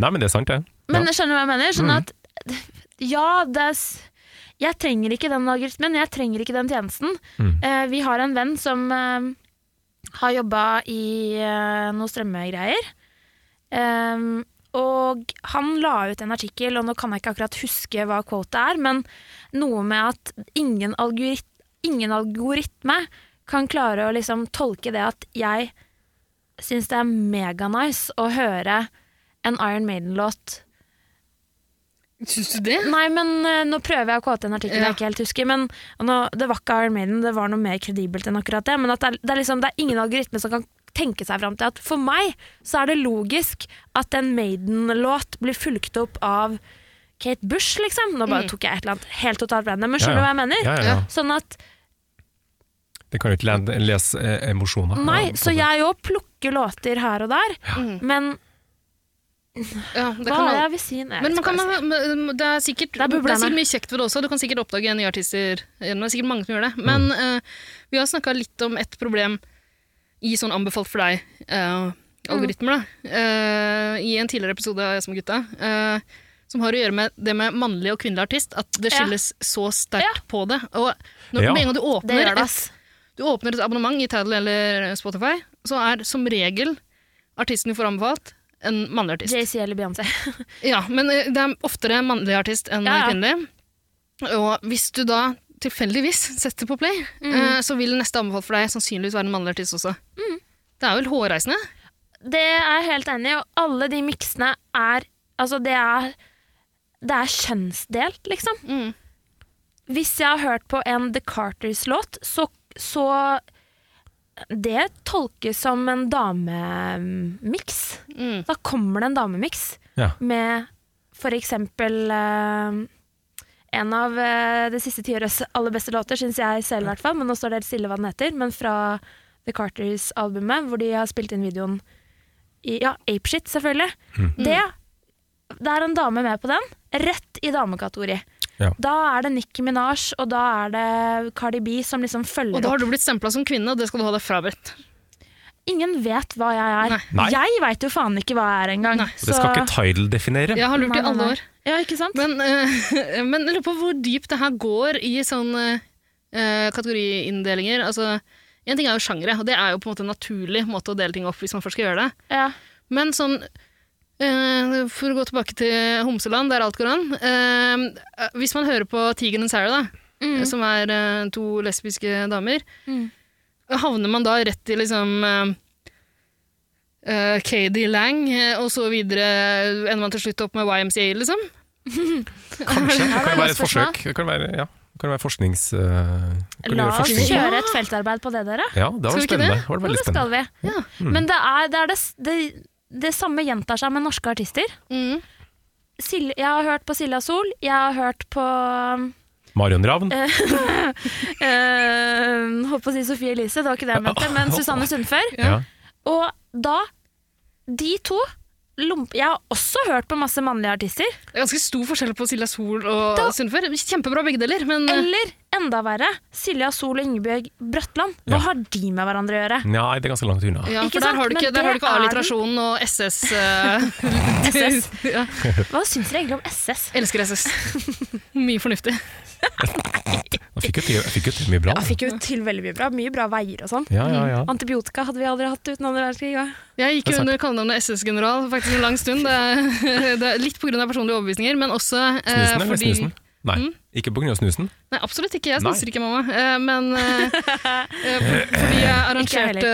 S1: Nei, men det er sant, det.
S2: Men jeg skjønner hva jeg mener. Sånn at ja, det er s- jeg trenger ikke den algoritmen, jeg trenger ikke den tjenesten.
S1: Mm.
S2: Eh, vi har en venn som eh, har jobba i eh, noen strømmegreier. Ehm, og han la ut en artikkel, og nå kan jeg ikke akkurat huske hva quotet er, men noe med at ingen, algorit ingen algoritme kan klare å liksom tolke det at jeg syns det er meganice å høre en Iron Maiden-låt
S3: Syns du det?
S2: Nei, men eh, nå prøver jeg å kåte en artikkel
S3: Ja.
S2: jeg ikke helt husker. Men og nå, det var ikke Iron Maiden, det var noe mer kredibelt enn akkurat det. Men at det, er, det, er liksom, det er ingen algoritme som kan tenke seg fram til at for meg så er det logisk at en Maiden-låt blir fulgt opp av Kate Bush, liksom. Nå
S3: Mm.
S2: bare tok jeg et eller annet helt totalt random, men skjønner du hva jeg mener?
S1: Ja, ja, ja.
S2: Sånn at
S1: Det kan jo ikke le- lese eh, emosjoner.
S2: Nei, så jeg òg plukker låter her og der, men
S3: Ja, Mm. det
S2: hva er det
S3: kan man-
S2: jeg vil si? Nei, jeg
S3: Men man
S2: vet ikke
S3: kan,
S2: hva jeg
S3: men- men det er sikkert,
S2: Det er
S3: det er
S2: bublerne.
S3: sikkert mye kjekt ved det også. Du kan sikkert oppdage nye artister. Det er sikkert mange som gjør det. Men
S2: Mm.
S3: eh, vi har snakka litt om et problem i sånn anbefalt for eh,
S2: Mm.
S3: deg-algoritmer. Eh, I en tidligere episode av Jeg som gutta. eh, som har å gjøre med det med mannlig og kvinnelig artist. At det
S2: Ja.
S3: skilles så sterkt
S2: Ja.
S3: på det. Og når,
S1: Ja.
S3: med en gang du
S2: skal si. det
S3: åpner,
S2: gjør det,
S3: et,
S2: ass.
S3: du åpner et abonnement i Tidal eller Spotify, så er som regel artisten du får anbefalt, en mannlig artist.
S2: JC eller Beyoncé.
S3: Ja, men eh, det er oftere mannlig artist enn
S2: Ja, ja.
S3: kvinnelig. Og hvis du da tilfeldigvis setter på play,
S2: Mm.
S3: eh, så vil neste anbefalt for deg sannsynligvis være en mannlig artist også.
S2: Mm.
S3: Det er vel hårreisende?
S2: Det er jeg helt enig i, og alle de miksene er Altså, det er Det er kjønnsdelt, liksom.
S3: Mm.
S2: Hvis jeg har hørt på en The Carters-låt, så, så Det tolkes som en damemiks.
S3: Mm.
S2: Da kommer det en damemiks
S1: Ja.
S2: med for eksempel eh, en av eh, det siste tiårets aller beste låter, syns jeg selv i hvert fall, men nå står det helt stille hva den heter, men fra The Carters-albumet, hvor de har spilt inn videoen i ja, Apeshit, selvfølgelig.
S1: Mm.
S3: Mm.
S2: Det, det er en dame med på den, rett i damekategori.
S1: Ja.
S2: Da er det Nicki Minaj, og da er det Cardi B som liksom
S3: Og
S2: følger
S3: da
S2: opp.
S3: har du blitt stempla som kvinne, og det skal du ha deg frabedt.
S2: Ingen vet hva jeg er.
S1: Nei.
S2: Jeg veit jo faen ikke hva jeg er engang.
S3: Nei.
S1: Og det skal ikke Tidal definere.
S3: Jeg har lurt
S2: Nei,
S3: i
S2: nei,
S3: alle
S2: nei.
S3: år.
S2: Ja, ikke sant?
S3: Men, eh, men jeg lurer på hvor dypt det her går i sånn eh, kategoriinndelinger. Altså, en ting er jo sjangre, og det er jo på en måte en naturlig måte å dele ting opp hvis man først skal gjøre det.
S2: ja.
S3: Men sånn eh, For å gå tilbake til Homseland, der alt går an. eh, hvis man hører på Tigeren og Sarah, da, som er eh, to lesbiske damer,
S2: Mm.
S3: havner man da rett i liksom eh, eh, Katie Lang, eh, og så videre ender man til slutt opp med YMCA, liksom?
S1: Kanskje. Det kan jo være et
S2: spørsmål.
S1: forsøk. Det kan være, ja. det kan være forsknings... eh, kan
S2: La
S1: gjøre
S2: oss
S1: forskning.
S2: kjøre et feltarbeid på det, dere.
S1: Ja, det
S3: Skal
S1: var
S3: vi ikke
S1: spennende.
S3: det?
S1: Det var
S2: Jo,
S1: veldig
S2: det skal
S1: spennende. Mm.
S2: vi.
S3: Ja.
S2: Men det er, det, er det, s- det, det samme gjentar seg med norske artister.
S3: Mm.
S2: Sil- jeg har hørt på Silja Sol, jeg har hørt på
S1: Marion Ravn.
S2: Eh. øh, Holdt på å si Sofie Elise, det var ikke det jeg mente, men Susanne Sundfør.
S1: Ja.
S2: Og da De to lomp, Jeg har også hørt på masse mannlige artister.
S3: Det er ganske stor forskjell på Silja Sol og Sundfør. Kjempebra begge deler, men
S2: Eller enda verre, Silja Sol og Ingebjørg Brøtland.
S1: Ja.
S2: Hva har de med hverandre å gjøre?
S1: Nei, det er ganske langt unna.
S3: ja,
S2: Ikke sant?
S3: for der har du
S2: Men
S3: ikke, der har du
S2: det er
S3: ikke
S2: den.
S3: A-literasjon og SS. eh,
S2: SS.
S3: ja.
S2: Hva syns dere egentlig om SS?
S3: Elsker SS. Mye fornuftig.
S1: Jeg fikk jo til, jeg fikk jo til mye bra.
S2: Jeg
S1: da.
S2: fikk jo til veldig mye bra. Mye bra veier og sånn.
S1: Ja, ja, ja.
S2: Antibiotika hadde vi aldri hatt uten andre verdenskrig. ja.
S3: Jeg gikk
S1: Det er
S3: jo
S1: sant.
S3: under kallenavnet SS-general faktisk en lang stund. Det er, det er litt pga. personlige overbevisninger, men også eh,
S1: Snusen eller
S3: fordi
S1: snusen? Nei,
S2: Mm.
S1: ikke på grunn av snusen.
S3: Nei, absolutt ikke. Jeg
S1: Nei.
S3: snuser ikke, mamma. Eh, men eh, eh, fordi jeg arrangerte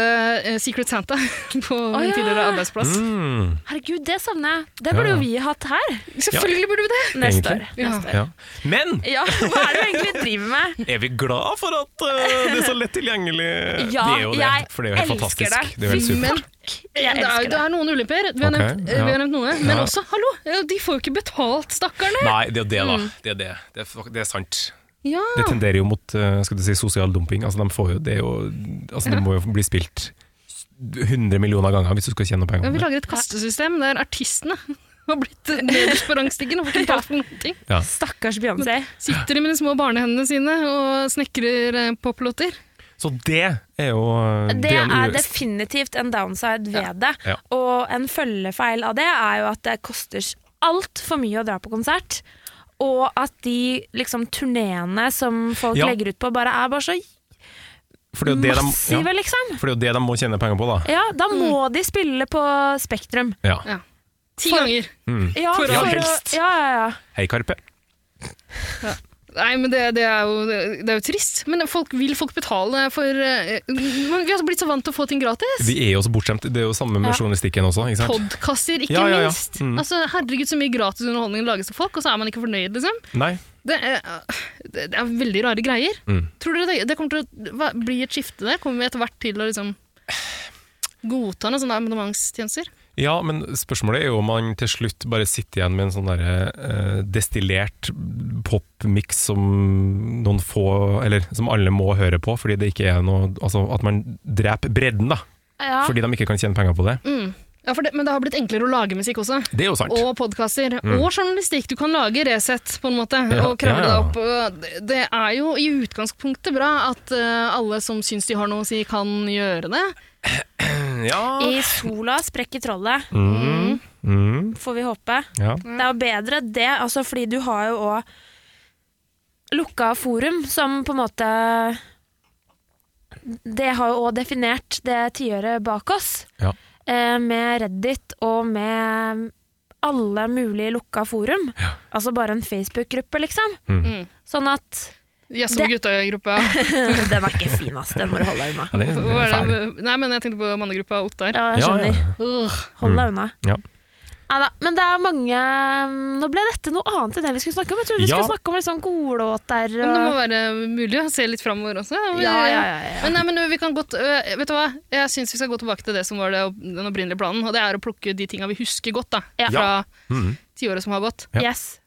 S3: eh, Secret Santa på min
S2: ja.
S3: tidligere arbeidsplass.
S1: Mm.
S2: Herregud, det savner jeg. Det
S1: Ja,
S2: burde
S1: ja.
S2: jo vi hatt her
S3: Selvfølgelig burde vi det!
S2: neste
S1: Egentlig.
S2: år.
S3: Ja.
S1: Ja. Men
S2: Ja, hva er det vi egentlig driver med?
S1: er vi glad for at eh, det er så lett tilgjengelig? det
S2: Ja,
S1: er jo det,
S2: jeg
S1: for det er jo helt
S2: elsker
S1: fantastisk.
S2: det.
S1: Det er jo helt
S2: Fy
S1: supert.
S3: Men
S2: Jeg
S3: det, er,
S2: elsker
S3: det
S2: det.
S3: er noen ulemper. Vi har,
S1: Ok,
S3: nevnt, eh,
S1: ja.
S3: vi har nevnt noe. Men
S1: Ja.
S3: også, hallo, eh, de får jo ikke betalt, stakkarene!
S1: Nei, det er jo det, da.
S2: Mm.
S1: Det er, det. Det er, fak- det er sant.
S3: Ja.
S1: Det tenderer jo mot eh, skal du si, sosial dumping. Altså, de får jo, det, er jo, altså, det må jo bli spilt 100 millioner ganger hvis du skal tjene
S3: Ja,
S1: penger.
S3: Vi
S1: på det.
S3: lager et kastesystem der artistene har blitt nederst på rangstigen og får ikke betalt for noen ting.
S2: Stakkars Beyoncé.
S3: Sitter de med de små barnehendene sine og snekrer eh, poplåter.
S1: Så det er jo eh,
S2: Det
S1: en
S2: er
S1: u-
S2: definitivt en downside ved det.
S1: Ja.
S2: Og en følgefeil av det er jo at det koster altfor mye å dra på konsert. Og at de liksom turneene som folk
S1: Ja.
S2: legger ut på, bare er bare så
S1: for det er jo det de-
S2: massive,
S1: ja,
S2: liksom.
S1: for det er jo det de må tjene penger på, da.
S2: Ja, da må de spille på Spektrum.
S1: Ja.
S3: Ti
S2: For-
S3: ganger!
S2: Ja,
S3: For
S1: all
S2: å-
S1: helst.
S2: Ja, ja, ja.
S1: Hei, Karpe.
S3: Nei, men det, det, er jo, det er jo trist. Men folk, vil folk betale for eh, men Vi har blitt så vant til å få ting gratis.
S1: Vi er jo så bortskjemt. Det er jo samme med
S2: Ja.
S1: journalistikken også. Ikke sant?
S3: Podkaster, ikke
S1: Ja, ja, ja.
S3: minst.
S1: Mm.
S3: Altså, herregud, så mye gratis underholdning lages til folk, og så er man ikke fornøyd, liksom.
S1: Nei.
S3: Det er, det er veldig rare greier.
S1: Mm.
S3: Tror dere det, det kommer til å hva- bli et skifte der? Kommer vi etter hvert til å liksom godta noen sånne abonnementstjenester?
S1: Ja, men spørsmålet er jo om man til slutt bare sitter igjen med en sånn derre eh, destillert popmiks som noen få Eller som alle må høre på, fordi det ikke er noe Altså at man dreper bredden, da.
S2: ja.
S1: Fordi de ikke kan tjene penger på det.
S3: Mm. Ja, for det, Men det har blitt enklere å lage musikk også.
S1: Det er jo sant.
S3: Og podkaster. Og journalistikk. Du kan lage Resett, på en måte,
S1: Mm. Ja,
S3: og kravle
S1: ja, ja.
S3: deg opp. Og det- Det er jo i utgangspunktet bra at eh, alle som syns de har noe å si, kan gjøre det.
S1: Ja.
S2: I sola sprekker trollet,
S1: Mm. Mm.
S2: får vi håpe.
S1: ja.
S2: Det er jo bedre det, altså, fordi du har jo òg lukka forum, som på en måte Det har jo òg definert det tiåret bak oss,
S1: Ja.
S2: eh, med Reddit og med alle mulige lukka forum. Altså bare en Facebook-gruppe, liksom.
S1: Mm.
S2: Sånn at
S3: Jazz med
S2: Det-
S3: gutta-gruppa.
S2: Den er ikke fin, ass. Den må du holde deg unna.
S1: ja det, det er fæl.
S3: Nei, men jeg tenkte på mannegruppa Ottar.
S2: Ja,
S1: Ja,
S2: jeg
S1: ja.
S2: skjønner.
S3: Ugh.
S2: Hold deg unna.
S1: Mm. Ja.
S2: Neida, men det er mange mm, Nå ble dette noe annet enn det vi skulle snakke om. Jeg trodde vi
S1: Ja.
S2: skulle snakke om liksom godlåter
S3: Men det må
S2: og
S3: være mulig å se litt framover også.
S2: ja, ja, ja, ja.
S3: Men, nei, men vi kan godt, øh, vet du hva? Jeg syns vi skal gå tilbake til det som var det, opp- den opprinnelige planen, og det er å plukke de tinga vi husker godt da,
S2: Ja.
S3: fra
S1: Mm.
S3: tiåret som har gått.
S1: Ja.
S2: Yes.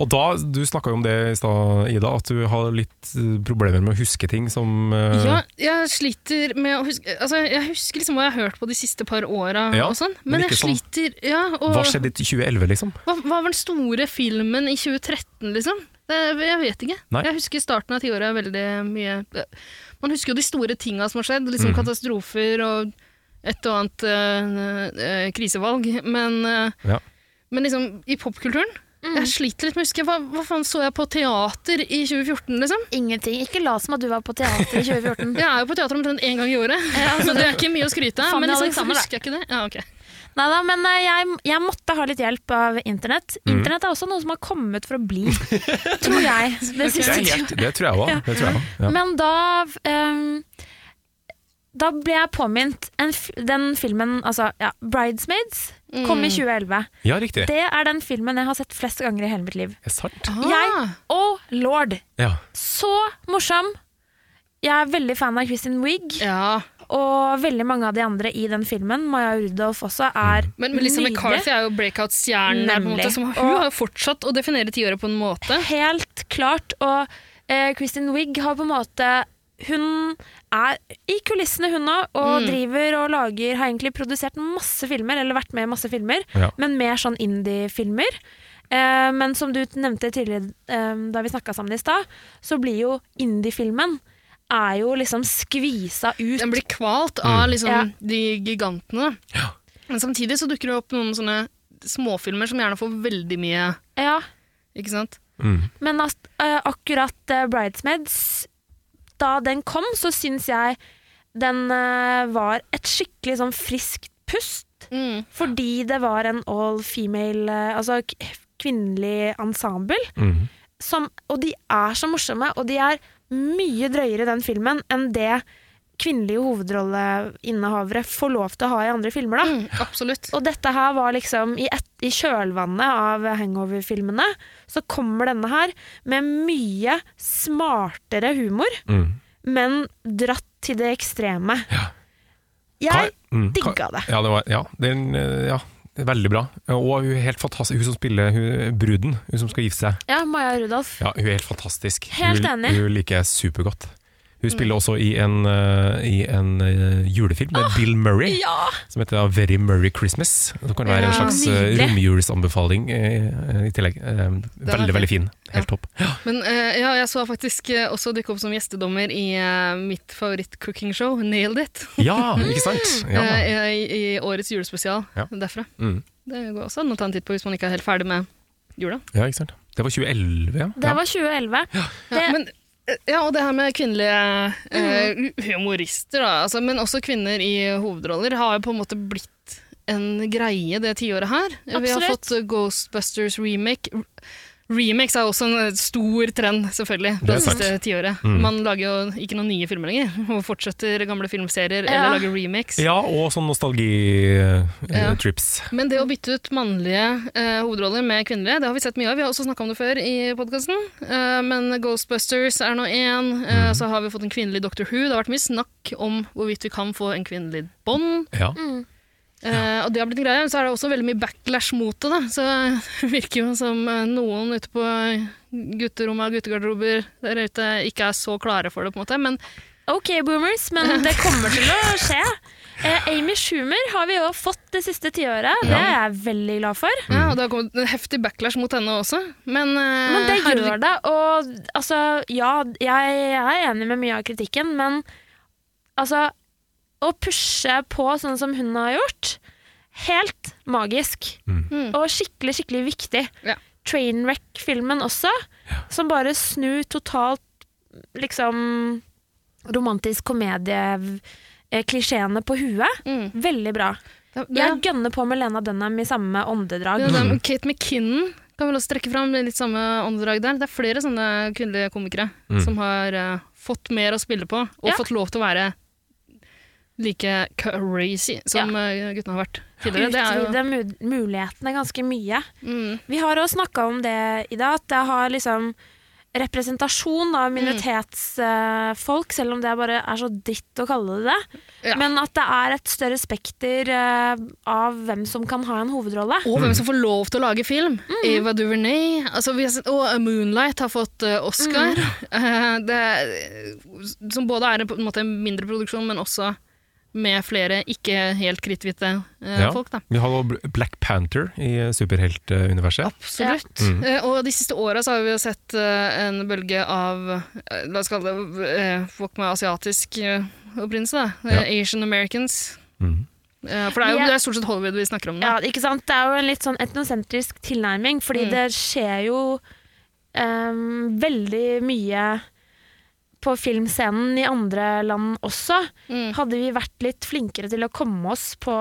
S1: Og da, Du snakka jo om det i stad, Ida, at du har litt eh, problemer med å huske ting som eh,
S3: Ja, jeg sliter med å huske altså, Jeg husker liksom hva jeg har hørt på de siste par åra,
S1: Ja,
S3: og sånn,
S1: men
S3: men
S1: ikke
S3: jeg
S1: sånn-
S3: sliter ja, og,
S1: Hva skjedde i 2011, liksom?
S3: hva, hva var den store filmen i 2013, liksom? Det, jeg vet ikke.
S1: Nei.
S3: Jeg husker starten av tiåret
S1: Mhm.
S3: veldig mye. Man husker jo de store tinga som har skjedd, liksom katastrofer og eh, et og annet eh, eh, krisevalg, men, eh,
S1: Ja.
S3: men liksom i popkulturen Jeg sliter litt med å huske hva, hva faen så jeg på teater i 2014, liksom?
S2: Ingenting. Ikke la som at du var på teater i 2014.
S3: Jeg er jo på teater omtrent én gang i året, så det er ikke mye å skryte av.
S2: altså, Fanny
S3: Men liksom,
S2: Alexander, da.
S3: husker jeg ikke det? Ja, ok.
S2: Neida, men eh, jeg, jeg måtte ha litt hjelp av internett.
S1: Mm.
S2: Internett er også noe som har kommet for å bli, tror jeg. Det
S1: Det,
S2: siste
S1: er helt, det tror jeg òg. Det tror jeg også, Ja.
S2: Men da ehm, Da ble jeg påminnet en, f- den filmen altså, ja, 'Bridesmaids' kom i 2011.
S1: ja, riktig.
S2: Det er den filmen jeg har sett flest ganger i hele mitt liv.
S1: Det er sant.
S2: Jeg, oh lord,
S1: Ja.
S2: så morsom! Jeg er veldig fan av Kristin Wiig,
S3: Ja,
S2: og veldig mange av de andre i den filmen. Maja Rudolph også er
S3: Men Melissa
S2: nydelig.
S3: McCarthy er jo breakout-stjernen der, på en måte.
S2: Nemlig.
S3: Som, hun
S2: Og-
S3: har fortsatt å definere tiåret på en måte.
S2: Helt klart. Og eh, Kristin Wiig har på en måte Hun er i kulissene, hun òg,
S3: Mm.
S2: og driver og lager Har egentlig produsert masse filmer, eller vært med i masse filmer,
S1: Ja.
S2: men mer sånn indie-filmer. Eh, men som du nevnte tidligere eh, da vi snakka sammen i stad, så blir jo indie-filmen er jo liksom skvisa ut.
S3: Den blir kvalt
S1: Mm.
S3: av liksom,
S2: Ja.
S3: de gigantene. Men samtidig så dukker det opp noen sånne småfilmer som gjerne får veldig mye,
S2: Ja.
S3: ikke sant?
S1: Mm,
S2: Men at, eh, akkurat eh, Bridesmaids, da den kom, så syns jeg den eh, var et skikkelig sånn friskt pust.
S3: Mm.
S2: Fordi det var en all female, eh, altså k kvinnelig ensemble.
S1: Mhm.
S2: Som, og de er så morsomme, og de er mye drøyere i den filmen enn det kvinnelige hovedrolleinnehavere får lov til å ha i andre filmer. da.
S3: Mm, absolutt.
S2: Og dette her var liksom i, et, i kjølvannet av hangover-filmene, så kommer denne her med mye smartere humor,
S1: Mm.
S2: men dratt til det ekstreme. Jeg
S1: Hva- mm,
S2: digga det.
S1: Ja, det var, ja, det er en, eh, ja, det er veldig bra. Og hun er helt fantastisk, hun som spiller hun, bruden, hun som skal gifte seg.
S2: Ja, Maja Rudolf.
S1: Ja, hun er helt Mm. fantastisk.
S2: Helt
S1: hun,
S2: enig.
S1: Hun liker jeg supergodt. Hun spiller også i en, eh, i en eh, julefilm med Bill Murray,
S2: Ja!
S1: som heter A Very Murray Christmas. Det kan være en
S3: Ja,
S1: slags eh,
S2: nydelig.
S1: romjulsanbefaling eh, i tillegg. Eh, Veldig, veldig fin. Helt topp.
S3: Men eh, ja, jeg så faktisk eh, også dukke opp som gjestedommer i eh, mitt favoritt-cooking-show, Nailed It,
S1: Ja, ikke sant? Ja.
S3: eh, i, i årets julespesial
S1: Ja.
S3: derfra.
S1: Mm.
S3: Det går også an å ta en titt på hvis man ikke er helt ferdig med jula.
S1: ja, ikke sant? Det var 2011, ja.
S2: Det var 2011.
S3: Ja,
S2: Det-
S3: men, eh, ja, og det her med kvinnelige eh, humorister, da, altså, men også kvinner i hovedroller, har jo på en måte blitt en greie det tiåret her. Vi har
S2: Absolutt.
S3: fått eh, Ghostbusters remake. R- Remakes er også en eh, stor trend, selvfølgelig,
S1: Det er
S3: det, siste
S1: sant. Mm.
S3: tiåret. Man lager jo ikke noen nye filmer lenger, og fortsetter gamle
S2: Ja.
S3: filmserier eller lager remakes.
S1: Ja, og sånn nostalgitrips.
S3: Ja.
S1: trips
S3: Men det å bytte ut mannlige eh, hovedroller med kvinnelige, det har vi sett mye av. Vi har også snakka om det før i podkasten. men Ghostbusters er nå én. eh, Så har vi fått en kvinnelig Doctor Who. Det har vært mye snakk om hvorvidt vi kan få en kvinnelig Bond.
S1: Ja.
S2: Mm.
S3: Eh, og det har blitt en greie. Men så er det også veldig mye backlash mot det. Da. Så det virker jo som eh, noen ute på gutterom og guttegarderober der ute ikke er så klare for det, på en måte. Men
S2: Ok, boomers, men det kommer til å skje. Eh, Amy Schumer har vi jo fått det siste tiåret. Det er jeg veldig glad for.
S3: ja, og det har kommet en heftig backlash mot henne også. Men, eh,
S2: Men det
S3: herregud,
S2: gjør det, og altså, ja, jeg, jeg er enig med mye av kritikken, men altså, å pushe på sånn som hun har gjort, helt magisk, og skikkelig, skikkelig viktig.
S3: Mm. Ja.
S2: Trainwreck-filmen også, som bare snur totalt, liksom, romantisk komedie eh, klisjeene på huet.
S3: Mm.
S2: Veldig bra.
S3: det- det-
S2: Jeg gønner på med Lena Dunham i samme åndedrag. Mm.
S3: Det er dem- Kate McKinnon kan vel også trekke fram litt samme åndedrag der. Det er flere sånne kvinnelige komikere
S1: Mm.
S3: som har eh, fått mer å spille på, og
S2: Ja.
S3: fått lov til å være like crazy som eh, guttene har vært tidligere. Det er jo,
S2: Utvide mu- mulighetene ganske mye.
S3: mm,
S2: Vi har også snakka om det i dag, at det har liksom representasjon
S3: Mm.
S2: av minoritetsfolk, selv om det bare er så dritt å kalle det det.
S3: Ja.
S2: Men at det er et større spekter eh, av hvem som kan ha en hovedrolle.
S3: og hvem som får lov til å lage film. Eva Duvernay altså vi har sett, og Moonlight har fått eh, Oscar. Eh, det, er- som både er en, på en måte en mindre produksjon, men også med flere ikke helt kritthvite eh,
S1: Ja.
S3: folk. da.
S1: Vi har også Black Panther i superheltuniverset.
S3: Absolutt. Eh, og de siste åra så har vi jo sett eh, en bølge av eh, La oss kalle det eh, folk med asiatisk eh, opprinnelse, da. Eh, Asian Americans.
S1: Mhm.
S3: Eh, For det er jo
S2: Vi er-
S3: det er stort sett Hollywood vi snakker om nå.
S2: Ja, Mm. ikke sant? Det er jo en litt sånn etnosentrisk tilnærming, fordi det skjer jo ehm, veldig mye på filmscenen i andre land også.
S3: Mm.
S2: Hadde vi vært litt flinkere til å komme oss på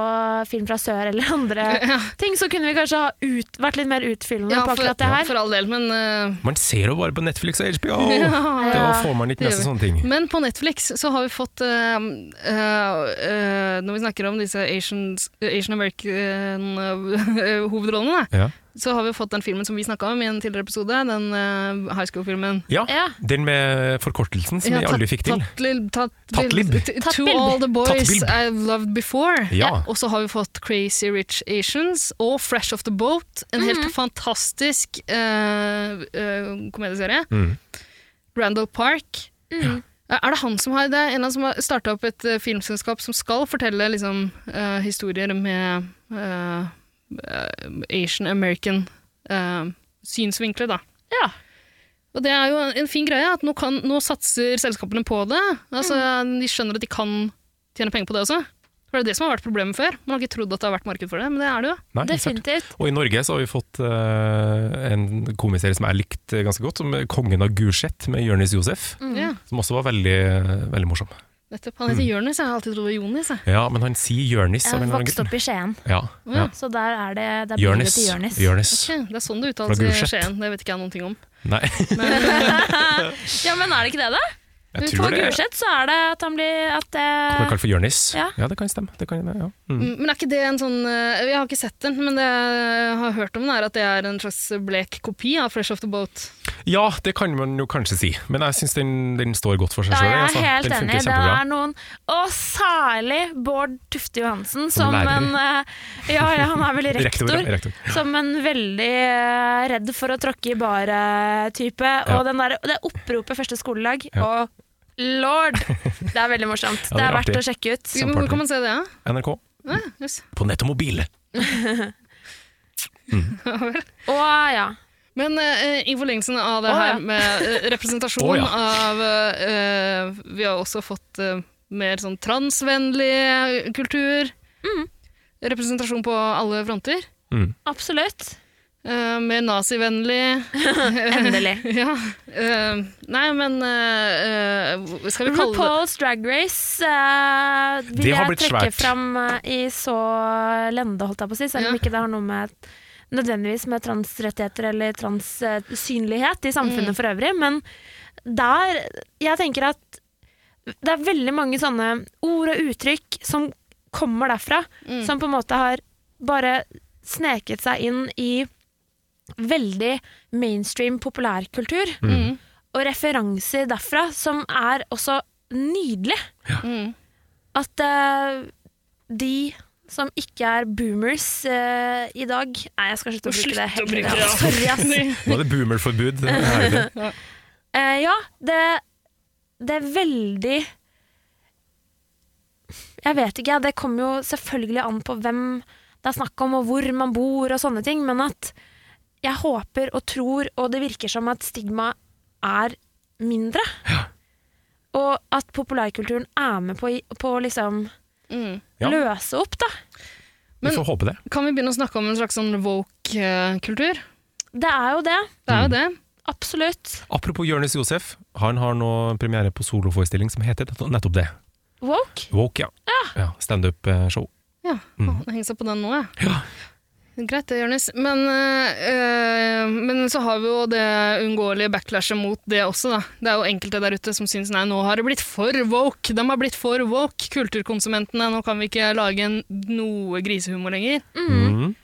S2: film fra sør eller andre
S3: Ja.
S2: ting, så kunne vi kanskje ha ut, vært litt mer utfyllende
S3: Ja,
S2: på
S3: for,
S2: akkurat det her.
S3: for all del, men eh,
S1: Man ser jo bare på Netflix og HBO!
S3: Ja. Mm.
S1: Da får man ikke
S3: det
S1: med
S3: gjør
S1: seg sånne ting.
S3: Men på Netflix så har vi fått eh, eh, eh, Når vi snakker om disse Asians, Asian American-hovedrollene,
S1: Ja.
S3: så har vi fått den filmen som vi snakka om i en tidligere episode. Den eh, high school-filmen.
S1: ja.
S2: Ja.
S1: Den med forkortelsen som vi aldri fikk til.
S3: Tatlib.
S1: Tatlib.
S3: To
S2: Tatlib.
S3: all the boys
S1: Tatlib.
S3: I've loved before.
S1: Ja.
S3: Og så har vi fått Crazy Rich Asians og Fresh Off the Boat. En helt fantastisk eh, eh, komedieserie.
S1: Mm.
S3: Randall Park. Er det han som har, det er en eller annen som har starta opp et eh, filmselskap som skal fortelle liksom, eh, historier med eh, eh, Asian American eh, synsvinkler, da.
S2: Ja.
S3: Og det er jo en- en fin greie, at nå, kan, nå satser selskapene på det. Altså, De skjønner at de kan tjene penger på det også. For det er det som har vært problemet før. Man har ikke trodd at det har vært marked for det, men det er det jo.
S1: Nei, ikke sant.
S2: Definitivt.
S1: Og i Norge så har vi fått eh, en komiserie som jeg likte ganske godt, som 'Kongen av Gulset' med Jonis Josef,
S2: Mm.
S3: Ja,
S1: som også var veldig, eh, veldig morsom.
S3: nettopp. Han heter
S1: Mm.
S3: Jonis, jeg har alltid trodd det var Jonis. jeg.
S1: Ja, men han sier Jørnis. av
S2: Jeg
S1: en eller annen
S2: vokste
S1: grunn.
S2: opp i Skien,
S1: Ja, ja.
S2: så der er det, det er bildet
S1: Jørnis.
S2: til Jørnis.
S1: Jørnis.
S3: Ok, det er sånn det
S1: Fra
S3: uttales i
S1: Gulset.
S3: Skien, det vet ikke jeg noen ting om.
S1: Nei,
S2: Ja, men er det ikke det, da?
S1: jeg
S2: På
S1: tror det
S2: Gulset så er det at han blir at eh, det,
S1: kommer kalt for Jørnis.
S2: Ja.
S1: Ja, det kan stemme. Det kan, ja. mm.
S3: Mm, Men er ikke det en sånn eh, Jeg har ikke sett den, men det jeg har hørt om den, er at det er en slags blek kopi av Fresh Off the Boat.
S1: Ja, det kan man jo kanskje si, men jeg syns den, den står godt for seg
S2: Da
S1: sjøl.
S2: er jeg
S1: Altså.
S2: helt
S1: Den
S2: enig.
S1: funker
S2: Det
S1: kjempebra.
S2: er noen Og særlig Bård Tufte Johansen som,
S1: Som lærer.
S2: en eh, Ja, ja, han er vel rektor.
S1: Rektor, ja, rektor.
S2: Som en veldig eh, redd for å tråkke i bare-type.
S1: Ja.
S2: Og den der, det oppropet første skoledag. Og lord! Det er veldig morsomt.
S1: Ja,
S2: det,
S1: det
S2: er
S1: er
S2: verdt
S1: artig.
S2: å sjekke ut.
S3: Men Hvor
S1: Kjempeartig.
S3: kan man se det? Ja?
S1: NRK,
S3: Ah, yes.
S1: på nett og mobil!
S2: Og ja.
S3: Men eh, i forlengelsen av det
S2: Å, ja.
S3: her med eh, representasjon
S1: Å, ja.
S3: av eh, eh, Vi har også fått eh, mer sånn transvennlig kultur.
S2: Mm.
S3: Representasjon på alle fronter.
S1: Mm.
S2: Absolutt.
S3: Eh, mer nazivennlig.
S2: Endelig.
S3: ja. eh, nei, men eh, eh, hva Skal vi kalle det
S2: RuPaul's Drag Race eh, vil
S1: Det har
S2: jeg
S1: blitt
S2: trekke
S1: svært.
S2: fram eh, i så lende, holdt jeg på å si, selv om
S3: Ja.
S2: ikke det har noe med nødvendigvis med transrettigheter eller transsynlighet i samfunnet for øvrig, men der Jeg tenker at det er veldig mange sånne ord og uttrykk som kommer derfra, som på en måte har bare sneket seg inn i veldig mainstream populærkultur
S3: Mm.
S2: og referanser derfra, som er også nydelig.
S3: Mm.
S2: At eh, de som ikke er boomers eh, i dag Nei, jeg skal slutte å bruke det.
S3: Slutt å
S2: hele
S3: bruke
S2: tiden.
S3: det!
S2: Sorry, ass.
S1: Nå er det boomerforbud. Det er det.
S2: Eh, ja, det, det er veldig Jeg vet ikke, det kommer jo selvfølgelig an på hvem det er snakk om, og hvor man bor og sånne ting, men at jeg håper og tror, og det virker som at stigma er mindre. Og at populærkulturen er med på, i- på å liksom
S3: Mm.
S1: Ja.
S2: løse opp, da.
S1: Vi
S3: Men-
S1: får håpe det.
S3: Kan vi begynne å snakke om en slags sånn woke-kultur?
S2: Det er jo det.
S3: Det er jo det.
S2: Absolutt.
S1: Apropos Jonis Josef, han har nå premiere på soloforestilling som heter nettopp det.
S2: Woke.
S1: Woke, ja. ja eh, Standup-show.
S3: Ja, mm. han henger seg på den nå, ja.
S1: Ja.
S3: Greit det, Jonis. Men, eh, eh, men så har vi jo det uunngåelige backlashet mot det også, da. Det er jo enkelte der ute som syns nei, nå har det blitt for woke. De har blitt for woke, kulturkonsumentene. Nå kan vi ikke lage en, noe grisehumor lenger.
S1: Mm.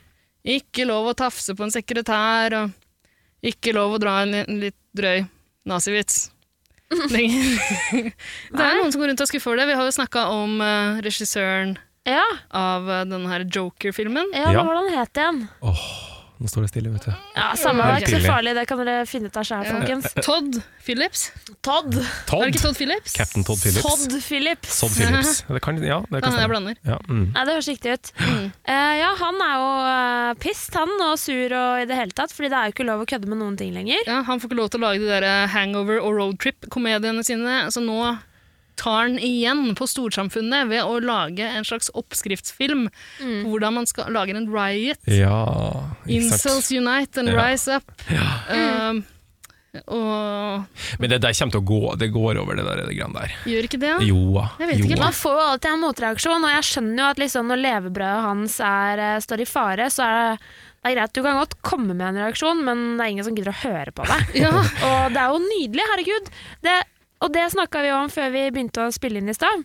S3: Ikke lov å tafse på en sekretær, og ikke lov å dra en, li- en litt drøy nazivits. Lenger. det er noen som går rundt og er skuffa over det. Vi har jo snakka om eh, regissøren
S2: Ja,
S3: av eh, den her Joker-filmen.
S2: ja,
S1: Ja.
S2: hva var det han het igjen?
S1: Nå står det stille, vet du.
S2: Ja, Samme, det er ikke
S1: Helt
S2: så
S1: tidlig. Eh,
S2: farlig, det kan dere finne ut av sjøl, folkens.
S3: Todd Phillips.
S2: Todd.
S3: Er det
S1: Todd!
S3: ikke Todd Phillips?
S1: Captain Todd Phillips.
S2: Todd Phillips.
S1: Todd Phillips. Sånn, Det kan, ja, det
S3: Ja,
S1: kan
S3: jeg
S1: stemme.
S3: blander.
S1: Ja, mm.
S2: Nei, det høres riktig ut. Eh, ja, han er jo uh, pissed, han, og sur og i det hele tatt, fordi det er jo ikke lov å kødde med noen ting lenger.
S3: eh, Ja, han får ikke lov til å lage de der hangover- og roadtrip-komediene sine, så nå tar den igjen på storsamfunnet ved å lage en slags oppskriftsfilm på hvordan man skal lage en riot.
S1: Ja, ikke sant.
S3: Incels unite and
S1: Ja.
S3: rise up. Um, og
S1: Men det der kommer til å gå. Det går over, det der det greiene der.
S3: gjør ikke det?
S1: Joa.
S3: Jeg vet ikke,
S1: joa.
S2: Man får jo alltid en motreaksjon, og jeg skjønner jo at liksom når levebrødet hans er, eh, står i fare, så er det, det er greit. Du kan godt komme med en reaksjon, men det er ingen som gidder å høre på deg.
S3: Ja.
S2: Og det er jo nydelig, herregud. Det, og det snakka vi om før vi begynte å spille inn i stad.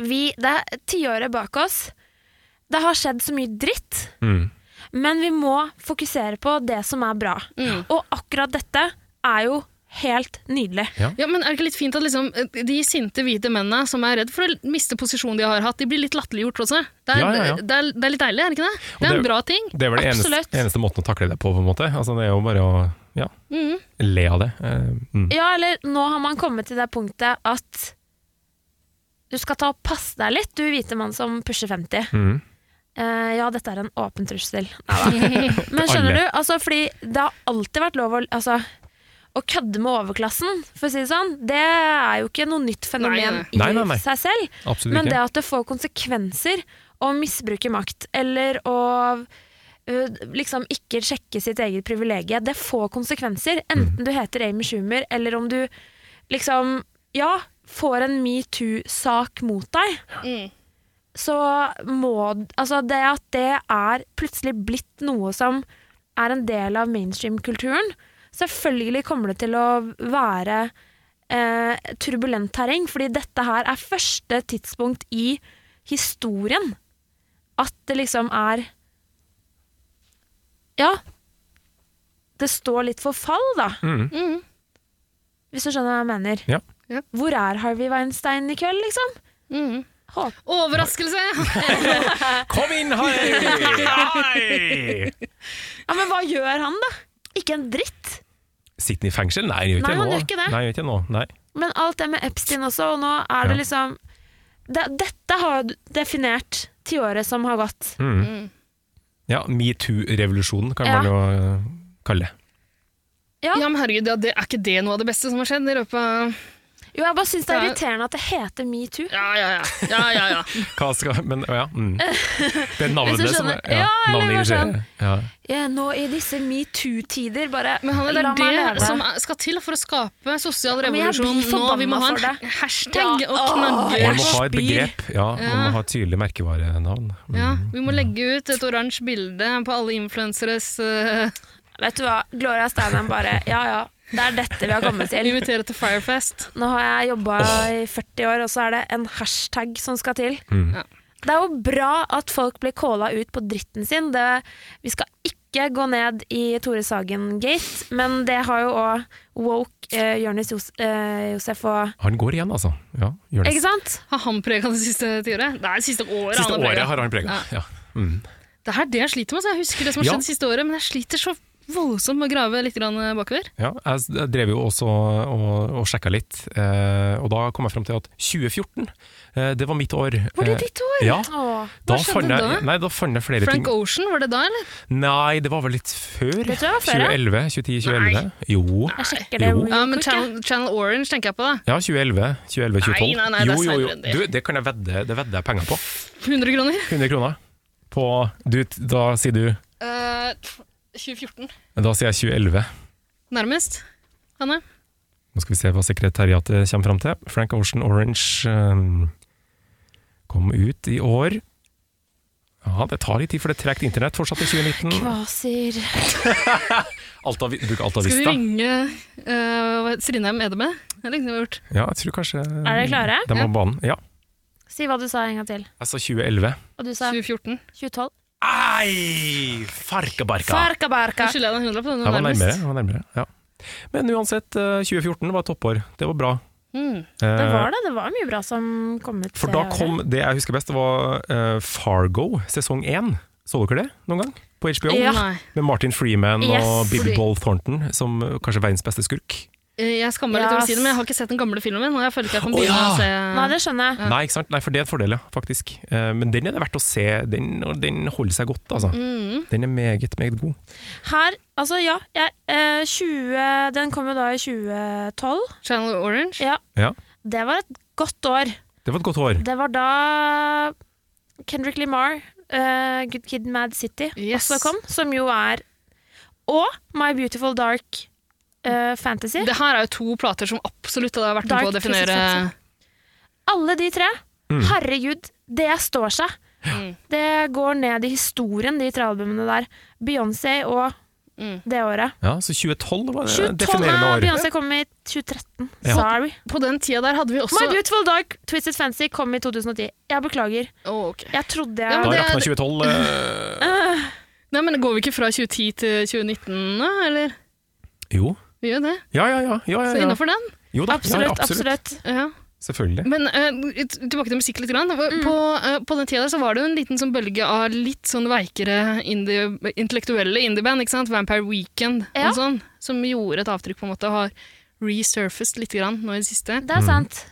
S2: Vi, det er tiåret bak oss. Det har skjedd så mye dritt,
S1: Mm.
S2: men vi må fokusere på det som er bra.
S3: Mm.
S2: Og akkurat dette er jo helt nydelig.
S3: Ja, men er det ikke litt fint at liksom, de sinte hvite mennene som er redd for å miste posisjonen de har hatt, de blir litt latterliggjort også? Det er,
S1: Ja, ja, ja.
S3: Det, er, det er litt deilig, er det ikke det? Det
S1: Og
S3: er
S1: det-
S3: en bra ting.
S1: Det er vel det eneste,
S2: Absolutt.
S1: eneste måten å takle det på, på en måte. Altså, det er jo bare å ja,
S3: Mhm.
S1: le av det. Eh, mm.
S2: Ja, eller nå har man kommet til det punktet at du skal ta og passe deg litt, du hvite mann som pusher 50.
S1: Mm.
S2: Eh, ja, dette er en åpen trussel. Neida. Men skjønner du, altså, fordi det har alltid vært lov å altså, å kødde med overklassen, for å si det sånn, det er jo ikke noe nytt fenomen
S3: Nei,
S2: i
S1: Nei, nei, nei.
S2: seg selv.
S1: Absolutt
S2: Men det
S1: ikke.
S2: at det får konsekvenser å misbruke makt, eller å ø, liksom ikke sjekke sitt eget privilegie, det får konsekvenser.
S1: Mm.
S2: Enten du heter Amy Schumer, eller om du liksom, ja, får en metoo-sak mot deg.
S3: Mm.
S2: Så må Altså, det at det er plutselig blitt noe som er en del av mainstream-kulturen Selvfølgelig kommer det til å være eh, turbulent terreng, fordi dette her er første tidspunkt i historien at det liksom er Ja. Det står litt for fall, da,
S1: Mm.
S3: Mm.
S2: hvis du skjønner hva jeg mener.
S1: Ja.
S3: Ja.
S2: Hvor er Harvey Weinstein i kveld, liksom?
S3: Mm.
S2: Håper
S3: Overraskelse!
S1: Kom inn, hei! Hei!
S2: Ja, Men hva gjør han, da? Ikke en dritt.
S1: Sitter han i fengsel? Nei, han gjør ikke
S2: Nei,
S1: det nå.
S2: han gjør ikke det.
S1: Nei, han gjør ikke det nå. Nei.
S2: Men alt det med Epstein også, og nå er det
S1: Ja.
S2: liksom det, Dette har definert tiåret som har gått.
S1: Mm. Ja, metoo-revolusjonen kan
S2: Ja.
S1: man jo eh, kalle det.
S2: Ja.
S3: Ja, men herregud, ja, det, er ikke det noe av det beste som har skjedd i løpet av
S2: Jo, jeg bare syns det er
S3: Ja.
S2: irriterende at det heter metoo.
S3: Ja, ja, ja. ja, ja, ja.
S1: Hva skal, men, ja, mm. Det er navnet
S2: Hvis du
S1: som er
S2: skjønner. Ja, eller
S1: navnet
S2: bare sånn.
S1: irriterer. Ja.
S2: Ja, nå i disse metoo-tider, bare
S3: Men Hanne, det
S2: la
S3: er
S2: meg
S3: det
S2: leve.
S3: som er- skal til for å skape sosial
S2: Ja, men jeg blir
S3: revolusjon nå. Vi må
S2: forbanna
S3: ha en
S2: for det.
S3: ha- hashtag
S2: Ja.
S3: og
S1: Man
S3: knagge.
S1: må ha et begrep, ja, man må
S3: Ja.
S1: ha et tydelig merkevarenavn. Mm.
S3: Ja, vi må legge ut et oransje bilde på alle influenseres eh,
S2: Vet du hva, Gloria Steinem bare Ja ja, det er dette vi har kommet til.
S3: Invitere til Firefest.
S2: Nå har jeg jobba i 40 år, og så er det en hashtag som skal til.
S1: Mm.
S3: Ja.
S2: Det er jo bra at folk blir calla ut på dritten sin. Det, vi skal ikke gå ned i Tore Sagen-gate, men det har jo òg woke eh, Jonis Jos eh, Josef og
S1: Han går igjen, altså. Ja, gjør det.
S2: Ikke sant?
S3: Har han prega det siste tiåret? Det er det siste året.
S1: Siste
S3: han har
S1: året
S3: preget.
S1: har han prega. Ja. Mm.
S3: Det er det jeg sliter med. Så jeg husker det som har
S1: Ja.
S3: skjedd siste året, men jeg sliter så voldsomt med å grave litt grann bakover.
S1: Ja, jeg s- jeg drev jo også og, og sjekka litt, eh, og da kom jeg fram til at 2014, eh, det var mitt år.
S2: Var det
S1: Eh,
S2: ditt år?
S1: ja.
S2: Åh,
S1: Da
S3: skjedde
S1: fant jeg,
S3: da?
S1: nei, da fant jeg flere
S3: Frank
S1: ting.
S3: Ocean, var det da, eller?
S1: Nei, det var vel litt før.
S2: Det tror jeg var før, ja.
S1: 2011, 2010-2011. Jo.
S2: jeg sjekker det.
S1: Jo.
S2: real
S3: Ja, men
S2: quick, jeg.
S3: Channel, Channel Orange tenker jeg på, da.
S1: Ja, 2011, 2011, 2012.
S3: Nei, nei, nei, det er
S1: jo, jo, jo.
S3: senere enn det.
S1: Du, det kan jeg vedde, det vedder jeg penger på.
S3: 100 kroner.
S1: 100 kroner. På, du, da sier du
S3: Eh, 2014.
S1: Da sier jeg 2011.
S3: Nærmest. Hanne?
S1: Nå skal vi se hva sekretariatet kommer fram til. Frank Ocean Orange eh, kom ut i år. Ja, det tar litt tid, for det er tregt internett fortsatt i 2019.
S2: Kvasir.
S1: Alta, bruk
S3: Skal vi
S1: Altavista.
S3: ringe eh, hva- Strindheim Edeme? Det er lenge vi har gjort.
S1: Ja, jeg tror kanskje
S2: Er dere klare?
S1: De
S3: Ja.
S1: har banen. Ja. Altså
S2: Si hva du sa en gang til.
S1: Jeg sa 2011.
S2: Og du sa
S3: 2014.
S2: 2012.
S1: Ei! Farkabarka!
S2: Farkabarka.
S3: Da skylder jeg deg en hundrelapp. da, den
S1: Jeg var
S3: var
S1: nærmere.
S3: nærmest.
S1: Jeg var nærmere ja. Men uansett, eh, 2014 var et toppår. Det var bra. Eh,
S3: Mm.
S2: Det var det. Det var mye bra som kom ut.
S1: For
S2: det
S1: da
S2: året.
S1: kom det jeg husker best, det var eh, Fargo sesong 1. Så dere det noen gang? På HBO?
S2: Ja.
S3: Nei.
S1: Med Martin Freeman og
S2: Yes.
S1: Bibby Ball Thornton som eh, kanskje er verdens beste skurk.
S3: Eh, Jeg skammer meg litt over å si det, men jeg har ikke sett den gamle filmen min. Og jeg føler ikke jeg kan begynne
S1: Å, ja.
S3: å se
S2: Nei, det skjønner jeg.
S1: Nei, ikke sant? Nei, for det er en fordel, ja, faktisk. Eh, men den er det verdt å se. Den, og den holder seg godt, altså.
S3: Mm.
S1: Den er meget, meget god.
S2: Her, altså ja, jeg, eh, 20, den kom jo da i 2012.
S3: Channel Orange.
S2: Ja.
S1: Ja.
S2: Det var et godt år.
S1: Det var et godt år.
S2: Det var da Kendrick Lamar, eh, Good Kid Mad City,
S3: Yes.
S2: også kom, som jo er Og My Beautiful Dark eh, Fantasy.
S3: Det her er jo to plater som absolutt hadde vært med
S2: Dark
S3: på å definere
S2: Twisted Alle de tre.
S1: Mm.
S2: Herregud, det står seg.
S3: Mm.
S2: Det går ned i historien, de tre albumene der. Beyoncé og
S3: Mm.
S2: det året.
S1: Ja, Så 2012 var det
S2: 2012
S1: Eh, definerende
S2: er
S1: år.
S2: Beyoncé kom i 2013.
S1: Ja.
S2: Sorry.
S3: På den tida der hadde vi også
S2: My Beautiful Dark Twisted Fancy kom i 2010. Jeg beklager.
S3: Å, ok.
S2: Jeg trodde jeg
S3: Ja,
S1: Da
S3: men det-
S1: rakna 2012 eh,
S3: Nei, men Går vi ikke fra 2010 til 2019 nå, eller?
S1: Jo.
S3: Vi gjør det.
S1: Ja, ja, ja. ja,
S3: Så
S1: ja, ja.
S3: innafor den.
S1: Jo da,
S2: Absolutt,
S1: ja, absolutt.
S2: absolutt.
S3: Ja.
S1: Selvfølgelig.
S3: Men eh, t- tilbake til musikk litt. Grann.
S2: Mm.
S3: På, eh, på den tida der så var det jo en liten sånn bølge av litt sånn veikere indie, intellektuelle indieband. ikke sant? Vampire Weekend
S2: Ja.
S3: og sånn. Som gjorde et avtrykk, på en måte. og Har resurfaced litt grann nå i det siste.
S2: Det er sant.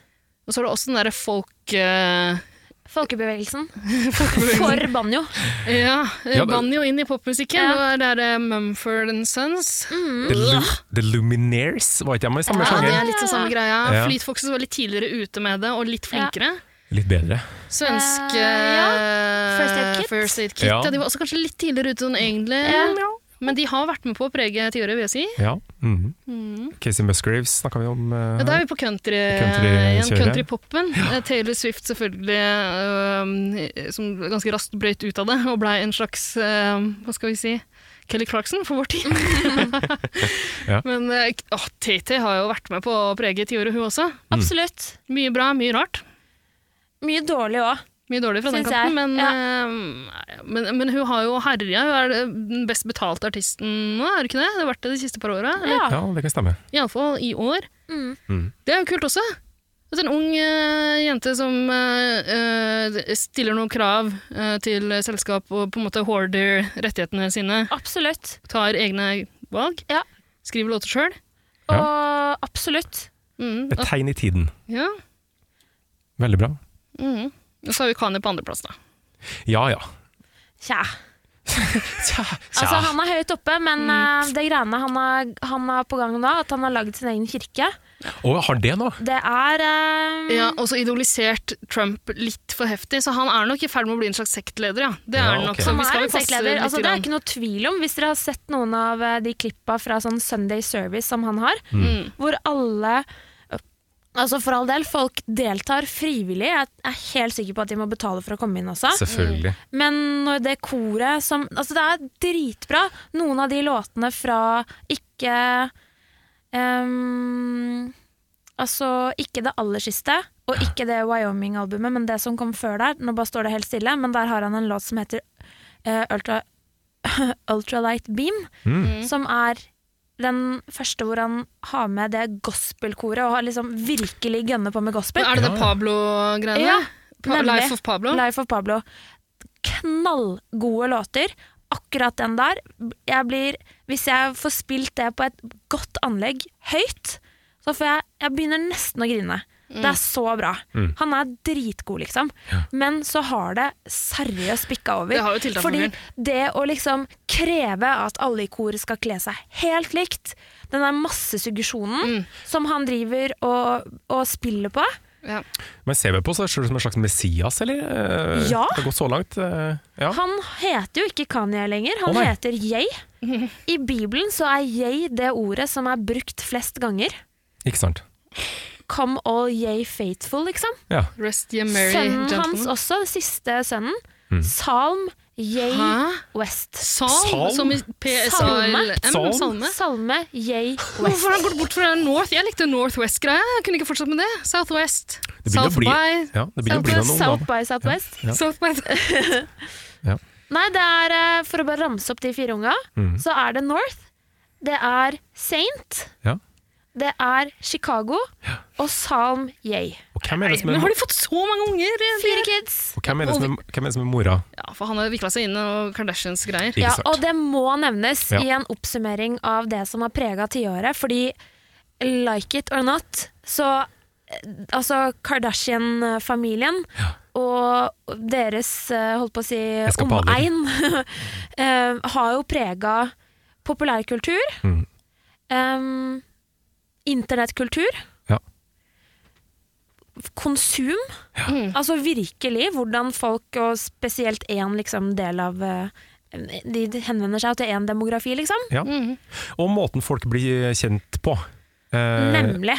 S3: Og så er det også den derre folk... eh,
S2: Folkebevegelsen.
S3: folkebevegelsen.
S2: For banjo.
S3: Ja, eh,
S1: Ja, det-
S3: banjo inn i popmusikken.
S2: Ja.
S3: Og det er eh, Mumford and Sons.
S2: Mm.
S1: The, Lu The Luminaires var ikke hjemme i samme
S3: Ja, det
S1: sjanger.
S3: er litt sånn samme greia.
S1: Ja.
S3: Fleet Foxes var litt tidligere ute med det, og litt
S2: Ja.
S3: flinkere.
S1: Litt bedre.
S3: Svenske
S2: Eh, First Aid Kit.
S3: First Aid Kit. Ja.
S1: Ja.
S3: de var også kanskje litt tidligere ute sånn egentlig. Men de har vært med på å prege tiåret, vil jeg si.
S1: Ja. mhm. Casey Musgraves snakka vi om. eh,
S3: Ja, da er vi på country
S1: Country- eh,
S3: igjen.
S1: kjøret.
S3: Countrypopen. Eh, Taylor Swift selvfølgelig, øhm, som ganske raskt brøyt ut av det, og blei en slags, øhm, hva skal vi si, Kelly Clarkson for vår tid.
S1: Ja.
S3: Men eh, åh, TT har jo vært med på å prege tiåret, hun også.
S2: Absolutt.
S3: Mye bra, mye rart.
S2: Mye dårlig òg.
S3: Mye dårlig fra den
S2: Syns jeg,
S3: kanten, men,
S2: ja.
S3: eh, men, men hun har jo herja. Hun er den best betalte artisten nå, er det ikke det? Det har vært det de siste par åra.
S2: Ja.
S1: Ja, det kan stemme.
S3: Iallfall i år.
S2: Mm.
S1: Mm.
S3: Det er jo kult også. At en ung eh, jente som eh, eh, stiller noen krav eh, til selskap og på en måte hoarder rettighetene sine,
S2: Absolutt.
S3: tar egne valg,
S2: Ja.
S3: skriver låter sjøl.
S1: Ja.
S2: Og absolutt.
S3: Mm,
S1: Et
S3: at-
S1: tegn i tiden.
S3: ja.
S1: Veldig bra.
S3: mm. Og så har vi Kanye på andreplass, da.
S1: Ja ja.
S2: Tja.
S1: Tja, tja.
S2: Altså, han er høyt oppe, men eh, det greiene han har, han har på gang nå, at han har lagd sin egen kirke,
S1: Å, har det nå?
S2: det er eh,
S3: Ja, og så idolisert Trump litt for heftig, så han er nok i ferd med å bli en slags sektleder, ja. Det
S1: Ja,
S3: er han nok,
S1: ok.
S3: så
S2: Han
S3: vi
S2: er
S3: skal
S2: en
S3: jo passe
S2: sektleder.
S3: litt.
S2: Altså, det er
S3: grann.
S2: ikke noe tvil om. Hvis dere har sett noen av eh, de klippa fra sånn Sunday Service som han har,
S3: Mm.
S2: hvor alle eh, Altså For all del, folk deltar frivillig. Jeg er helt sikker på at de må betale for å komme inn
S3: Ah.
S2: også.
S1: Selvfølgelig.
S2: Men når det koret som Altså, det er dritbra. Noen av de låtene fra ikke ehm, Altså, ikke det aller siste, og ikke det Wyoming-albumet, men det som kom før der. Nå bare står det helt stille, men der har han en låt som heter eh, Ultra, Ultralight Beam,
S3: Mm.
S2: som er den første hvor han har med det gospelkoret og har liksom virkelig gønner på med gospel.
S3: Er det det
S1: Ja.
S3: Pablo-greiene?
S2: Ja,
S3: Pa
S2: nemlig.
S3: Life of Pablo?
S2: Life of Pablo. Knallgode låter. Akkurat den der. Jeg blir, hvis jeg får spilt det på et godt anlegg høyt, så får jeg, jeg begynner nesten å grine. Det er
S3: Mm.
S2: så bra. Han er dritgod, liksom. Men så har det seriøst bikka over.
S3: Det har jo tiltatt
S2: Fordi
S3: for
S2: det å liksom kreve at alle i koret skal kle seg helt likt, den der massesuggesjonen
S3: Mm.
S2: som han driver og, og spiller på,
S3: Ja.
S1: Men ser vi på seg sjøl som en slags Messias, eller? Eh,
S2: Ja.
S1: Det har gått så langt. eh, Ja.
S2: Han heter jo ikke Kanye lenger, han
S1: Å, nei.
S2: heter jeg. I Bibelen så er jeg det ordet som er brukt flest ganger.
S1: Ikke sant?
S2: Come all ye faithful, liksom.
S1: Ja.
S3: Rest ye merry
S2: sønnen hans
S3: gentlemen.
S2: også, den siste sønnen.
S1: Mm.
S2: Salm Yay
S3: Hæ?
S2: West.
S3: Salm,
S1: Salm?
S3: som i PSALM.
S1: Salm?
S3: Salme.
S2: Salme Yay
S3: Hvorfor har han
S2: West.
S3: gått bort fra North? Jeg likte Northwest-greia. Jeg kunne ikke fortsatt med det. Southwest.
S1: Det begynner å
S3: South
S1: bli,
S3: by.
S1: ja, det begynner å bli noen
S2: South
S1: navn.
S2: by Southwest.
S1: Ja.
S3: South by.
S2: Nei, det er eh, for å bare ramse opp de fire unga,
S1: Mm.
S2: så er det North, det er Saint,
S1: Ja.
S2: det er Chicago og Salm Yay.
S1: Og hvem er det som
S3: Men
S1: er,
S3: har de fått så mange unger?
S2: Fire kids.
S1: og hvem er, det som er, hvem er, det som er mora?
S3: Ja, for han har vikla seg inn i noe Kardashians-greier.
S1: Ikke
S2: Ja,
S1: sant?
S2: og det må nevnes
S1: Ja.
S2: i en oppsummering av det som har prega tiåret. Fordi like it or not, så eh, Altså Kardashian-familien og deres eh, holdt på å si
S1: Eskapader.
S2: omegn eh, har jo prega populærkultur.
S1: Mm.
S2: em, internettkultur.
S1: Ja.
S2: konsum. Altså virkelig hvordan folk, og spesielt én liksom, del av eh, De henvender seg til én demografi, liksom.
S1: Ja. Og måten folk blir kjent på. Eh,
S2: Nemlig.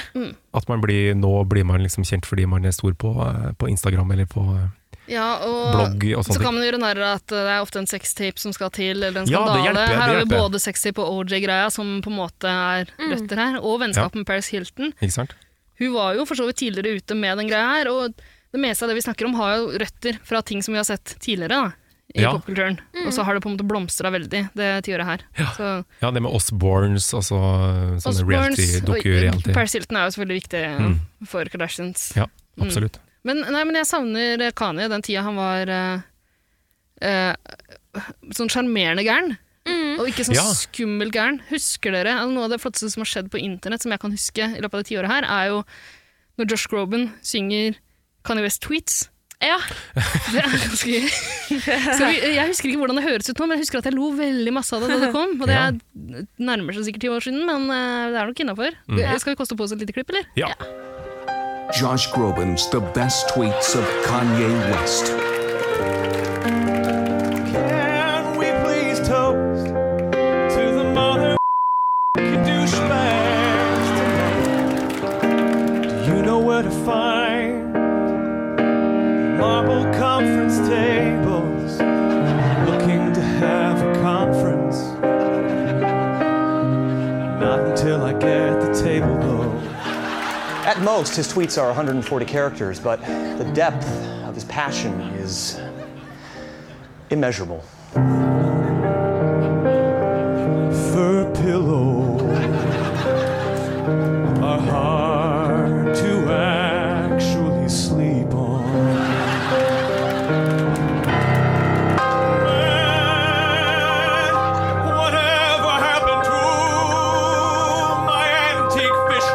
S1: at man blir, nå blir man liksom kjent fordi man er stor på, eh, på Instagram eller på eh,
S3: Ja, og
S1: blogg og
S3: så
S1: sånne
S3: kan
S1: ting.
S3: man gjøre narr av at det er ofte en sextape som skal til, eller en
S1: Ja, det
S3: skandale.
S1: hjelper, det
S3: her har vi
S1: hjelper.
S3: både sextape og OJ-greia, som på en måte er røtter her, og vennskap med Paris Hilton.
S1: Ikke sant?
S3: Hun var jo for så vidt tidligere ute med den greia her, og det meste av det vi snakker om har jo røtter fra ting som vi har sett tidligere da, i
S1: Ja.
S3: popkulturen. Og så har det på en måte blomstra veldig det tiåret her. Så,
S1: Ja, det med Osborns, altså eh, sånne Mm.
S3: Osbournes og
S1: reality-doku-reality.
S3: Paris Hilton er jo selvfølgelig viktig for Kardashians.
S1: Ja, absolutt.
S3: Men, nei, men jeg savner eh, Kanye den tida han var eh, eh, sånn sjarmerende gæren. Og ikke sånn
S1: Ja.
S3: skummel gæren. Husker dere, altså Noe av det flotteste som har skjedd på internett, som jeg kan huske i løpet av det tiåret her, er jo når Josh Groban synger Kanye West Tweets.
S2: Ja.
S3: Det er ganske gøy. Så vi, jeg husker ikke hvordan det høres ut nå, men jeg husker at jeg lo veldig masse av det da det kom. Og det
S1: Ja.
S3: er nærmer seg sikkert ti år siden, men eh, det er nok innafor.
S1: Mm.
S3: Skal vi koste på oss et lite klipp, eller?
S1: Ja.
S11: Josh Groban's The Best Tweets of Kanye West.
S7: Can we please toast to the mother douchebags tonight? Do you know where to find marble conference tables? Looking to have a conference. Not until I get the table though.
S12: At most, his tweets are 140 characters, but the depth of his passion is immeasurable.
S7: fur pillow are hard to actually sleep on. Man, whatever happened to my antique fish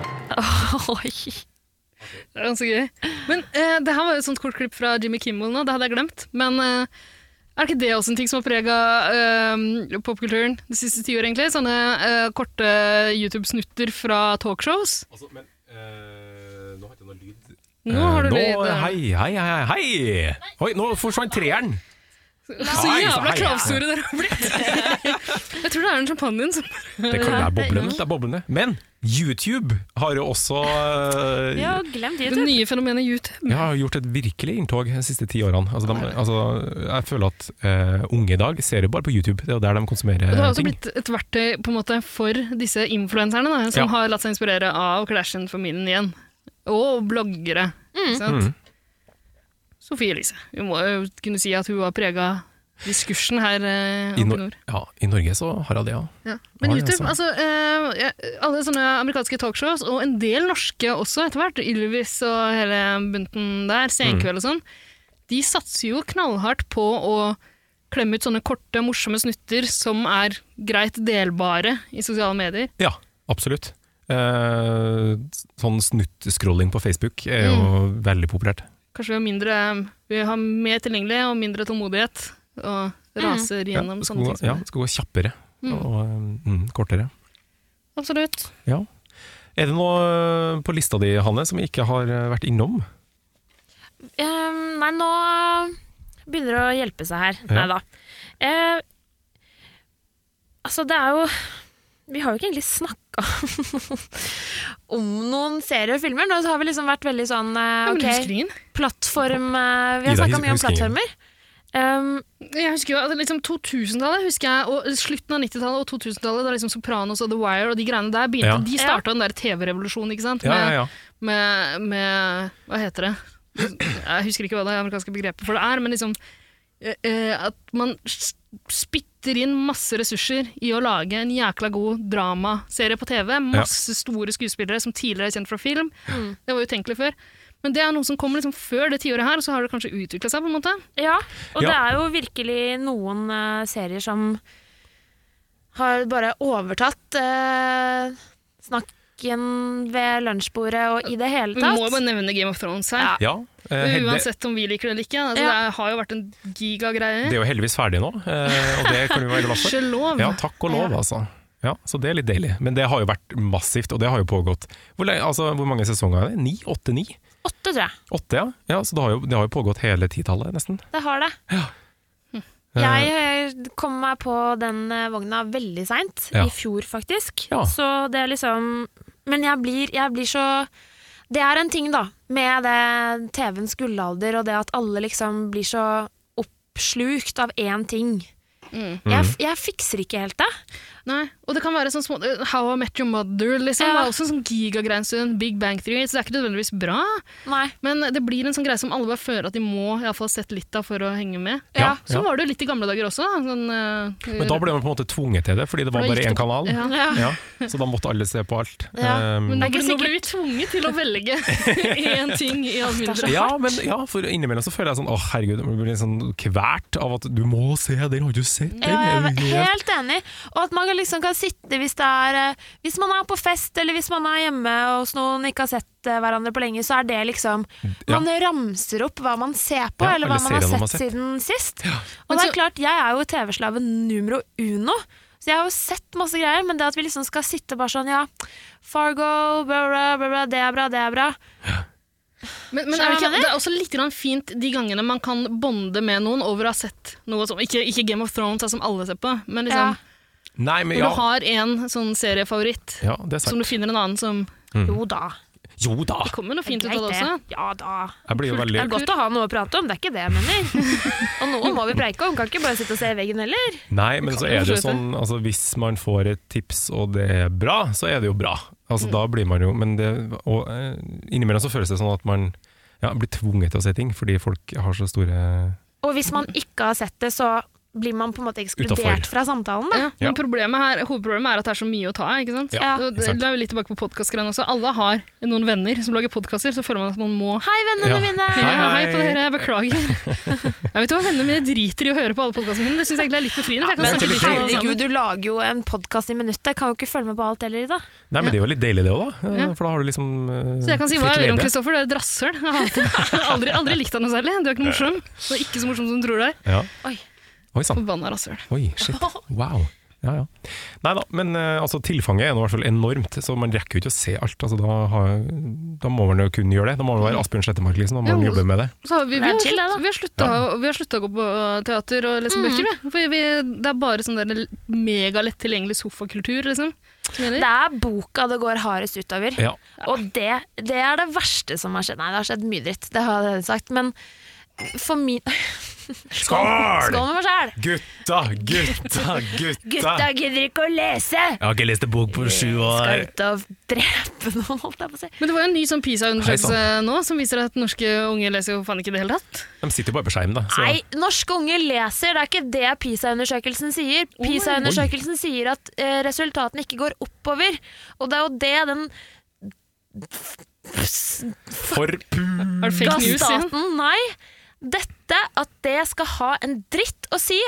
S7: tank?
S2: Oi.
S3: Det er ganske gøy. Men eh, det her var jo et sånt kort klipp fra Jimmy Kimmel nå, det hadde jeg glemt. Men eh, er ikke det også en ting som har prega eh, popkulturen det siste tiåret, egentlig? Sånne eh, korte YouTube-snutter fra talkshows.
S1: Altså, eh, nå har jeg ikke noe lyd. Eh,
S3: Nå har du lyd. eh.
S1: Hei, hei, hei, hei! Oi, nå forsvant treeren!
S3: Så
S1: Hei, så
S3: jævla
S1: hei.
S3: kravstore dere har blitt! jeg tror det er den champagnen som
S1: Det kan være boblende. Det er boblende. Men YouTube har jo også eh,
S2: Ja, glem
S3: Det
S2: YouTube.
S3: nye fenomenet YouTube.
S1: ja, gjort et virkelig inntog de siste ti årene. Altså, de, altså, jeg føler at eh, unge i dag ser jo bare på YouTube. Det er jo der de konsumerer
S3: Og Det har også
S1: ting.
S3: blitt et verktøy på en måte, for disse influenserne, da, som
S1: Ja.
S3: har latt seg inspirere av Kardashian-familien igjen. Og bloggere.
S1: Mm.
S3: Ikke sant? Sofie Elise. Vi må jo kunne si at hun har prega diskursen her.
S1: I,
S3: Eh, oppe i
S1: Nor
S3: nord.
S1: ja, I Norge så har jeg det, ja.
S3: Ja. Men
S1: Oi,
S3: YouTube,
S1: altså.
S3: altså, eh, jeg- alle sånne amerikanske talkshows, og en del norske også etter hvert, Ylvis og hele bunten der,
S1: Mm.
S3: Senkveld og sånn, de satser jo knallhardt på å klemme ut sånne korte, morsomme snutter som er greit delbare i sosiale medier.
S1: Ja, absolutt. Eh, sånn snutt-scrolling på Facebook er jo
S3: Mm.
S1: veldig populært.
S3: Kanskje vi har, mindre, vi har mer tilgjengelig og mindre tålmodighet, og raser gjennom
S1: Mm. ja,
S3: sånne ting.
S1: skal, gå-
S3: Som
S1: ja, skal gå kjappere og eh, mm, kortere.
S3: Absolutt.
S1: Ja. Er det noe eh, på lista di, Hanne, som vi ikke har eh, vært innom?
S2: Ehm, nei, nå begynner det å hjelpe seg her.
S1: Ja.
S2: Nei da. Eh, altså, det er jo Vi har jo ikke egentlig snakka om noen serier og filmer. Nå har vi liksom vært veldig sånn eh,
S3: Ja, men
S2: OK,
S3: huskringen.
S2: plattform eh, Vi har
S1: Ida,
S2: snakka mye om
S1: huskringen.
S2: plattformer. Ehm,
S3: Jeg husker jo at liksom 2000-tallet husker jeg, og slutten av 90-tallet og 2000-tallet, da liksom Sopranos og The Wire og de greiene der begynte,
S1: Ja.
S3: de starta den der TV-revolusjonen, ikke sant?
S1: Ja, ja, ja.
S3: Med, med, hva heter det? Jeg husker ikke hva det amerikanske begrepet for det er, men liksom eh, eh, at man s- spytter inn masse ressurser i å lage en jækla god dramaserie på TV. Masse store skuespillere som tidligere er kjent fra film. Det var utenkelig før. Men det er noe som kommer liksom før det tiåret her, og så har det kanskje utvikla seg. på en måte.
S2: ja, og
S1: Ja.
S2: det er jo virkelig noen eh, serier som har bare overtatt eh, snakken ved lunsjbordet og i det hele
S3: Vi
S2: tatt.
S3: må jo bare nevne Game of Thrones her.
S2: Ja.
S1: Ja. eh,
S3: Men
S1: Hedde,
S3: Uansett om vi liker det eller ikke. Altså,
S2: Ja.
S3: Det har jo vært en gigagreie.
S1: det er jo heldigvis ferdig nå, eh, og det kan vi være glad for.
S3: Gudskjelov!
S1: Ja, takk og lov, altså. Ja, så det er litt deilig. Men det har jo vært massivt, og det har jo pågått Hvor, le- altså, hvor mange sesonger er det? Ni? Åtte-ni?
S2: Åtte, tror jeg.
S1: Åtte, ja. ja. Så det har jo, det har jo pågått hele titallet, nesten.
S2: Det har det.
S1: Eh,
S2: Jeg eh, kom meg på den eh, vogna veldig seint,
S1: Ja.
S2: i fjor faktisk.
S1: Ja.
S2: Så det er liksom Men jeg blir, jeg blir så Det er en ting, da, med det TV-ens gullalder og det at alle liksom blir så oppslukt av én ting.
S1: Mm.
S2: Jeg, f- jeg fikser ikke helt det.
S3: Nei, og det kan være sånn små How I Met Your Mother, liksom.
S2: Ja.
S3: Det er også en sånn gigagreie en stund. Big Bang Theory. Så det er ikke nødvendigvis bra,
S2: Nei.
S3: men det blir en sånn greie som alle bare føler at de må i alle fall ha sett litt av for å henge med.
S1: Ja,
S3: Sånn
S1: ja.
S3: var det jo litt i gamle dager også. da, Sånn, eh,
S1: Men da ble man på en måte tvunget til det, fordi det var
S3: Da
S1: bare
S3: gikk
S1: én
S3: det-
S1: kanal.
S3: Ja.
S1: Ja, så da måtte alle se på alt.
S2: Ja,
S1: Um,
S3: Men
S2: Det er
S3: nå
S2: ikke
S3: ble, nå ble vi tvunget til å velge én ting i all
S2: Det er så
S3: mindre.
S1: ja, men, ja, for innimellom så føler jeg sånn Å herregud, jeg blir litt sånn kvert av at du må se den, har du sett den?
S2: Ja, jeg
S1: Er
S2: er
S1: du helt-
S2: helt enig. Og at man kan liksom kan sitte hvis det er eh, Hvis man er på fest, eller hvis man er hjemme hos noen ikke har sett eh, hverandre på lenge, så er det liksom
S1: Ja.
S2: Man ramser opp hva man ser på,
S1: Ja,
S2: eller hva
S1: eller
S2: man
S1: seriene man
S2: har, sett
S1: har sett.
S2: siden sist. Og
S3: Men
S2: det
S3: så-
S2: er klart, jeg er jo TV-slave numero uno. Så jeg har jo sett masse greier, men det at vi liksom skal sitte bare sånn, ja Fargo, bra, bra, bra, bra, det er bra, det er bra.
S3: Men, men er det, ikke, det er også litt grann fint de gangene man kan bonde med noen over å ha sett noe som Ikke, ikke Game of Thrones, da, som alle ser på, men
S2: Ja.
S3: liksom,
S1: Nei, men
S3: når du
S1: ja.
S3: har en sånn seriefavoritt
S1: ja det er
S3: som du
S1: sant.
S3: finner en annen som
S1: Mm.
S2: Jo da.
S1: Jo da!
S3: Det kommer noe fint ut
S2: Greit,
S3: av det også.
S2: det. Ja da.
S1: Jeg blir jo
S2: Det er
S1: veldig
S2: godt å ha noe å prate om, det er ikke det jeg mener. Og noe må vi preike om, kan ikke bare sitte og se i veggen heller.
S1: Nei, men
S3: kan
S1: så
S3: jo
S1: er det jo
S3: forstå
S1: sånn altså, Hvis man får et tips og det er bra, så er det jo bra.
S3: Mm.
S1: Altså, Da blir man jo Men det, og, eh, innimellom så føles det sånn at man ja, blir tvunget til å se ting, fordi folk har så store
S2: Og hvis man ikke har sett det, så blir man på en måte ekskludert
S1: Utenfor.
S2: fra samtalen. Da.
S3: Ja,
S1: Ja.
S3: men problemet her, hovedproblemet er at det er så mye å ta av. ikke sant?
S1: Ja,
S3: Og
S1: ikke
S3: det,
S1: sant.
S3: det er jo litt tilbake på podcastgreiene også. Alle har noen venner som lager podkaster, så føler man at man må
S2: Hei, vennene
S1: Ja.
S2: mine!
S3: Hei, hei,
S1: Hei.
S3: på dere, jeg beklager. Jeg vet du hva, Vennene mine driter i å høre på alle podkastene mine. Det syns jeg egentlig er litt befriende. for jeg kan
S2: Men
S3: snakke litt om alle
S2: herregud,
S3: sammen.
S2: du lager jo en podkast i minuttet. Kan jo ikke følge med på alt heller i dag.
S1: Nei, men det er jo litt deilig det òg, da. Eh,
S3: Ja.
S1: For da har du liksom eh,
S3: Så jeg kan si
S1: fritt
S3: hva jeg vil om
S1: leide.
S3: Kristoffer, du er et rasshøl. Jeg har alltid- aldri, aldri likt deg noe særlig. Du er ikke noe morsom. Du er ikke så morsom som du tror du er.
S1: Ja.
S2: Oi.
S1: Oi sann.
S3: Forbanna rasshøl.
S1: Oi, shit. Wow. Ja, ja. Nei da, men eh, altså, tilfanget er nå i hvert fall enormt, så man rekker jo ikke å se alt. Altså, da, har, da må man jo kunne gjøre det. Da må man
S3: Mm.
S1: være Asbjørn Slettemark, liksom. Da må
S3: Ja,
S1: man
S3: og-
S1: jobbe med det.
S3: Så har vi, vi,
S2: Det er
S3: har
S2: chill, det, da.
S3: slutt, vi har slutta å- vi har slutta å gå på øh, teater og lese bøker, vi. For vi, det er bare sånn der megalett tilgjengelig sofakultur, liksom. som gjelder.
S2: Det er boka det går hardest utover.
S1: Ja.
S2: Og det, det er det verste som har skjedd. Nei, det har skjedd mye dritt, det har jeg sagt. Men for min
S1: Skål!
S2: Skål med meg sjæl!
S1: Gutta, gutta, gutta!
S2: Gutta gidder ikke å lese!
S1: Jeg har ikke lest en bok på sju
S2: Eh, Skal
S1: år.
S2: ut og drepe noen, holdt jeg på å si.
S3: Men det var jo en ny sånn PISA-undersøkelse
S1: Hei
S3: nå som viser at norske unge leser jo faen ikke i det hele tatt.
S1: De sitter jo bare på skjerm, da. Så.
S2: Nei, norske unge leser, det er ikke det PISA-undersøkelsen sier. PISA-undersøkelsen sier at eh, resultatene ikke går oppover, og det er jo det den
S1: For pu...
S3: Er det fake news igjen?
S2: staten Nei, dette at det skal ha en dritt å si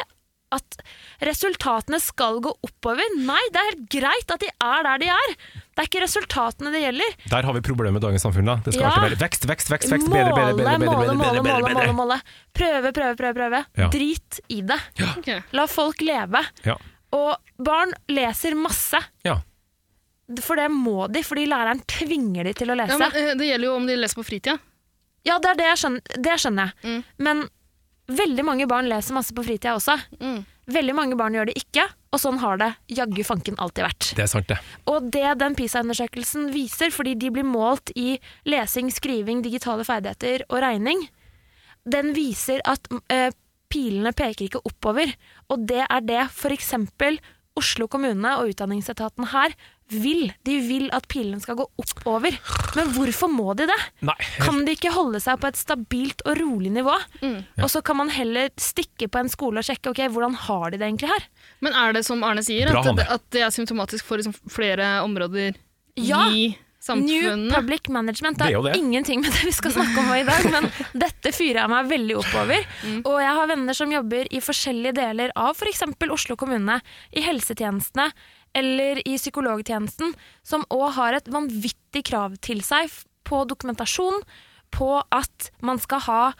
S2: at resultatene skal gå oppover. Nei, det er helt greit at de er der de er. Det er ikke resultatene det gjelder.
S1: Der har vi problemet med dagens samfunn, da. Det skal
S2: Ja.
S1: alltid være vekst, vekst, vekst, vekst.
S2: måle,
S1: Bedre, bedre, bedre, bedre,
S2: måle,
S1: bedre,
S2: måle,
S1: bedre, bedre,
S2: måle, måle,
S1: bedre.
S2: måle. Prøve, prøve, prøve. prøve.
S1: Ja.
S2: Drit i det.
S3: Ok.
S2: La folk leve.
S1: Ja.
S2: Og barn leser masse.
S1: ja.
S2: For det må de, fordi læreren tvinger de til å lese.
S3: Ja,
S2: Ja,
S3: men, eh, det gjelder jo om de leser på fritida.
S2: det er det jeg skjønner. Det skjønner jeg.
S3: Mm.
S2: Men veldig mange barn leser masse på fritida også.
S3: Mm.
S2: Veldig mange barn gjør det ikke, og sånn har det jaggu fanken alltid vært.
S1: Det er sant, det.
S2: Og det den PISA-undersøkelsen viser, fordi de blir målt i lesing, skriving, digitale ferdigheter og regning, den viser at eh, pilene peker ikke oppover. Og det er det f.eks. Oslo kommune og utdanningsetaten her vil. De vil at pilene skal gå oppover. Men hvorfor må de det?
S1: Nei.
S2: Kan de ikke holde seg på et stabilt og rolig nivå? Og så kan man heller stikke på en skole og sjekke ok, hvordan har de det egentlig her.
S3: Men er det som Arne sier,
S1: Bra,
S3: at,
S1: Hanne.
S3: at det er symptomatisk for liksom, flere områder
S2: Ja.
S3: i
S2: New
S3: samfunnet?
S2: Public Management
S1: Det er
S2: det
S1: jo
S2: er
S1: det.
S2: ingenting med det vi skal snakke om i dag, men dette fyrer jeg meg veldig oppover. Og jeg har venner som jobber i forskjellige deler av f.eks. Oslo kommune, i helsetjenestene eller i psykologtjenesten, som òg har et vanvittig krav til seg f- på dokumentasjon på at man skal ha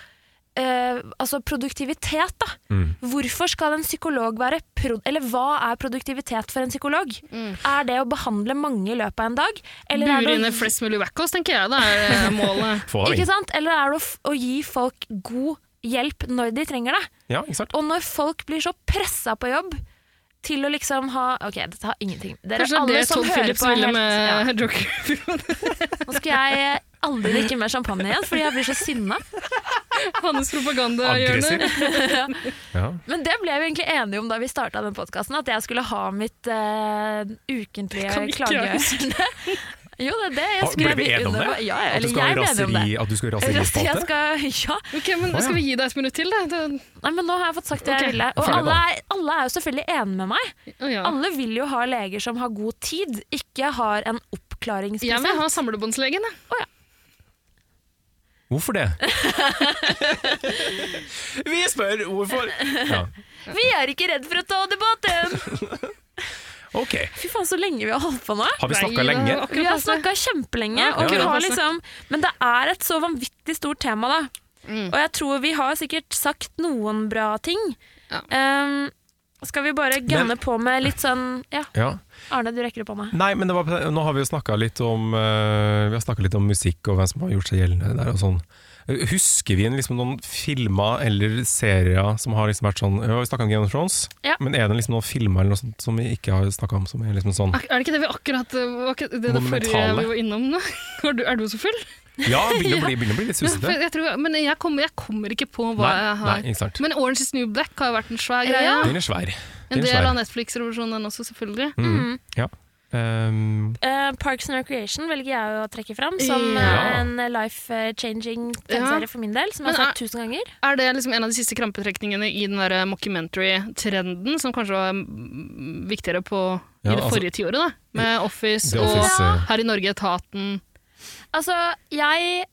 S2: eh, altså produktivitet, da.
S1: Mm.
S2: Hvorfor skal en psykolog være pro Eller hva er produktivitet for en psykolog? Er det å behandle mange i løpet av en dag? Eller er
S3: Mm. Bure
S2: det å
S3: inne
S2: gi-
S3: flest mulig wackos, tenker jeg. Det er eh, målet.
S1: Få av
S2: Ikke
S1: inn.
S2: sant? Eller er det å, f å gi folk god hjelp når de trenger det?
S1: Ja, ikke sant?
S2: Og når folk blir så pressa på jobb til å liksom ha Ok, dette har ingenting Dere
S3: Kanskje det
S2: alle
S3: er det
S2: som
S3: Todd
S2: hører
S3: Phillips
S2: på
S3: ville
S2: helt- ja.
S3: med Joker.
S2: Nå skal jeg aldri drikke mer champagne igjen, fordi jeg blir så sinna.
S3: Hans propagandahjørne.
S1: Aggressiv. Ja.
S2: Men det ble vi egentlig enige om da vi starta den podkasten, at jeg skulle ha mitt eh, ukentlige
S3: kan vi ikke gjøre.
S2: klageørne. Jo, det er det jeg
S1: Ah,
S2: skrev
S1: Ble vi enige om
S2: under
S1: det?
S2: på. Ja,
S1: At du
S2: eller
S1: skal ha
S2: jeg ble enig om det.
S1: raseri- at du skal ha
S2: Raseri- Jeg
S1: raserifate?
S2: skal, ja.
S3: Ok, men Skal vi gi deg et minutt til, da? Det-
S2: Nei, men nå har jeg fått sagt det
S3: Ok,
S2: jeg ville. Og
S1: ferdig
S2: alle er, alle er jo selvfølgelig enige med meg.
S3: Å, ja.
S2: Alle vil jo ha leger som har god tid, ikke har en
S3: Jeg vil
S2: oppklaringsprosent.
S3: ha samlebåndslegen. jeg.
S1: Hvorfor det?
S8: Vi spør hvorfor.
S1: Ja.
S2: Vi er ikke redd for å ta debatten!
S1: Ok,
S2: Fy faen, så lenge vi har holdt på nå.
S1: har vi snakka
S3: Nei, det
S1: lenge?
S3: var akkurat
S2: Vi har
S3: passe.
S2: snakka kjempelenge,
S3: Ja,
S2: og vi
S3: akkurat
S2: har
S3: passe.
S2: liksom, men det er et så vanvittig stort tema, da.
S3: Mm.
S2: Og jeg tror vi har sikkert sagt noen bra ting.
S3: Ja.
S2: Ehm, skal vi bare
S1: Men-
S2: gønne på med litt sånn Ja,
S1: Ja.
S2: Arne, du rekker opp hånda.
S1: Nei, men det var, nå har vi jo snakka litt om eh, Vi har snakket litt om musikk og hvem som har gjort seg gjeldende der og sånn. Husker vi en- liksom noen filmer eller serier som har liksom vært sånn Vi har snakka om Game of Thrones,
S2: Ja.
S1: men er det liksom noen filmer eller noe sånt som vi ikke har snakka om, som er liksom sånn
S3: Ak- Er det ikke det vi akkurat var ikke det, det forrige
S1: Monumentale.
S3: vi var innom nå? Er du, er du så full?
S1: Ja, begynner å bli, begynner å bli litt
S3: Ja, for
S1: susete.
S3: jeg tror, men jeg kommer, jeg kommer ikke på hva
S1: Nei,
S3: jeg
S1: nei,
S3: har.
S1: ikke sant.
S3: Men Orange is New Black har jo vært en svær greie.
S2: Ja.
S1: Den er svær.
S3: En
S1: Den er
S3: del av
S1: svær.
S3: Netflix-revolusjonen også, selvfølgelig.
S1: Mm. Ja. Um,
S2: Eh, Parks and Recreation velger jeg å trekke fram som
S3: Ja.
S2: eh, en life-changing TV-serie for min del, som jeg
S3: Men
S2: har sagt tusen ganger.
S3: Er det liksom en av de siste krampetrekningene i den der mockumentary-trenden, som kanskje var mm, viktigere på
S1: Ja,
S3: i det
S1: altså-
S3: forrige tiåret, da? Med Office
S1: The
S3: og
S1: Office, eh,
S3: her i Norge Etaten.
S2: Altså, jeg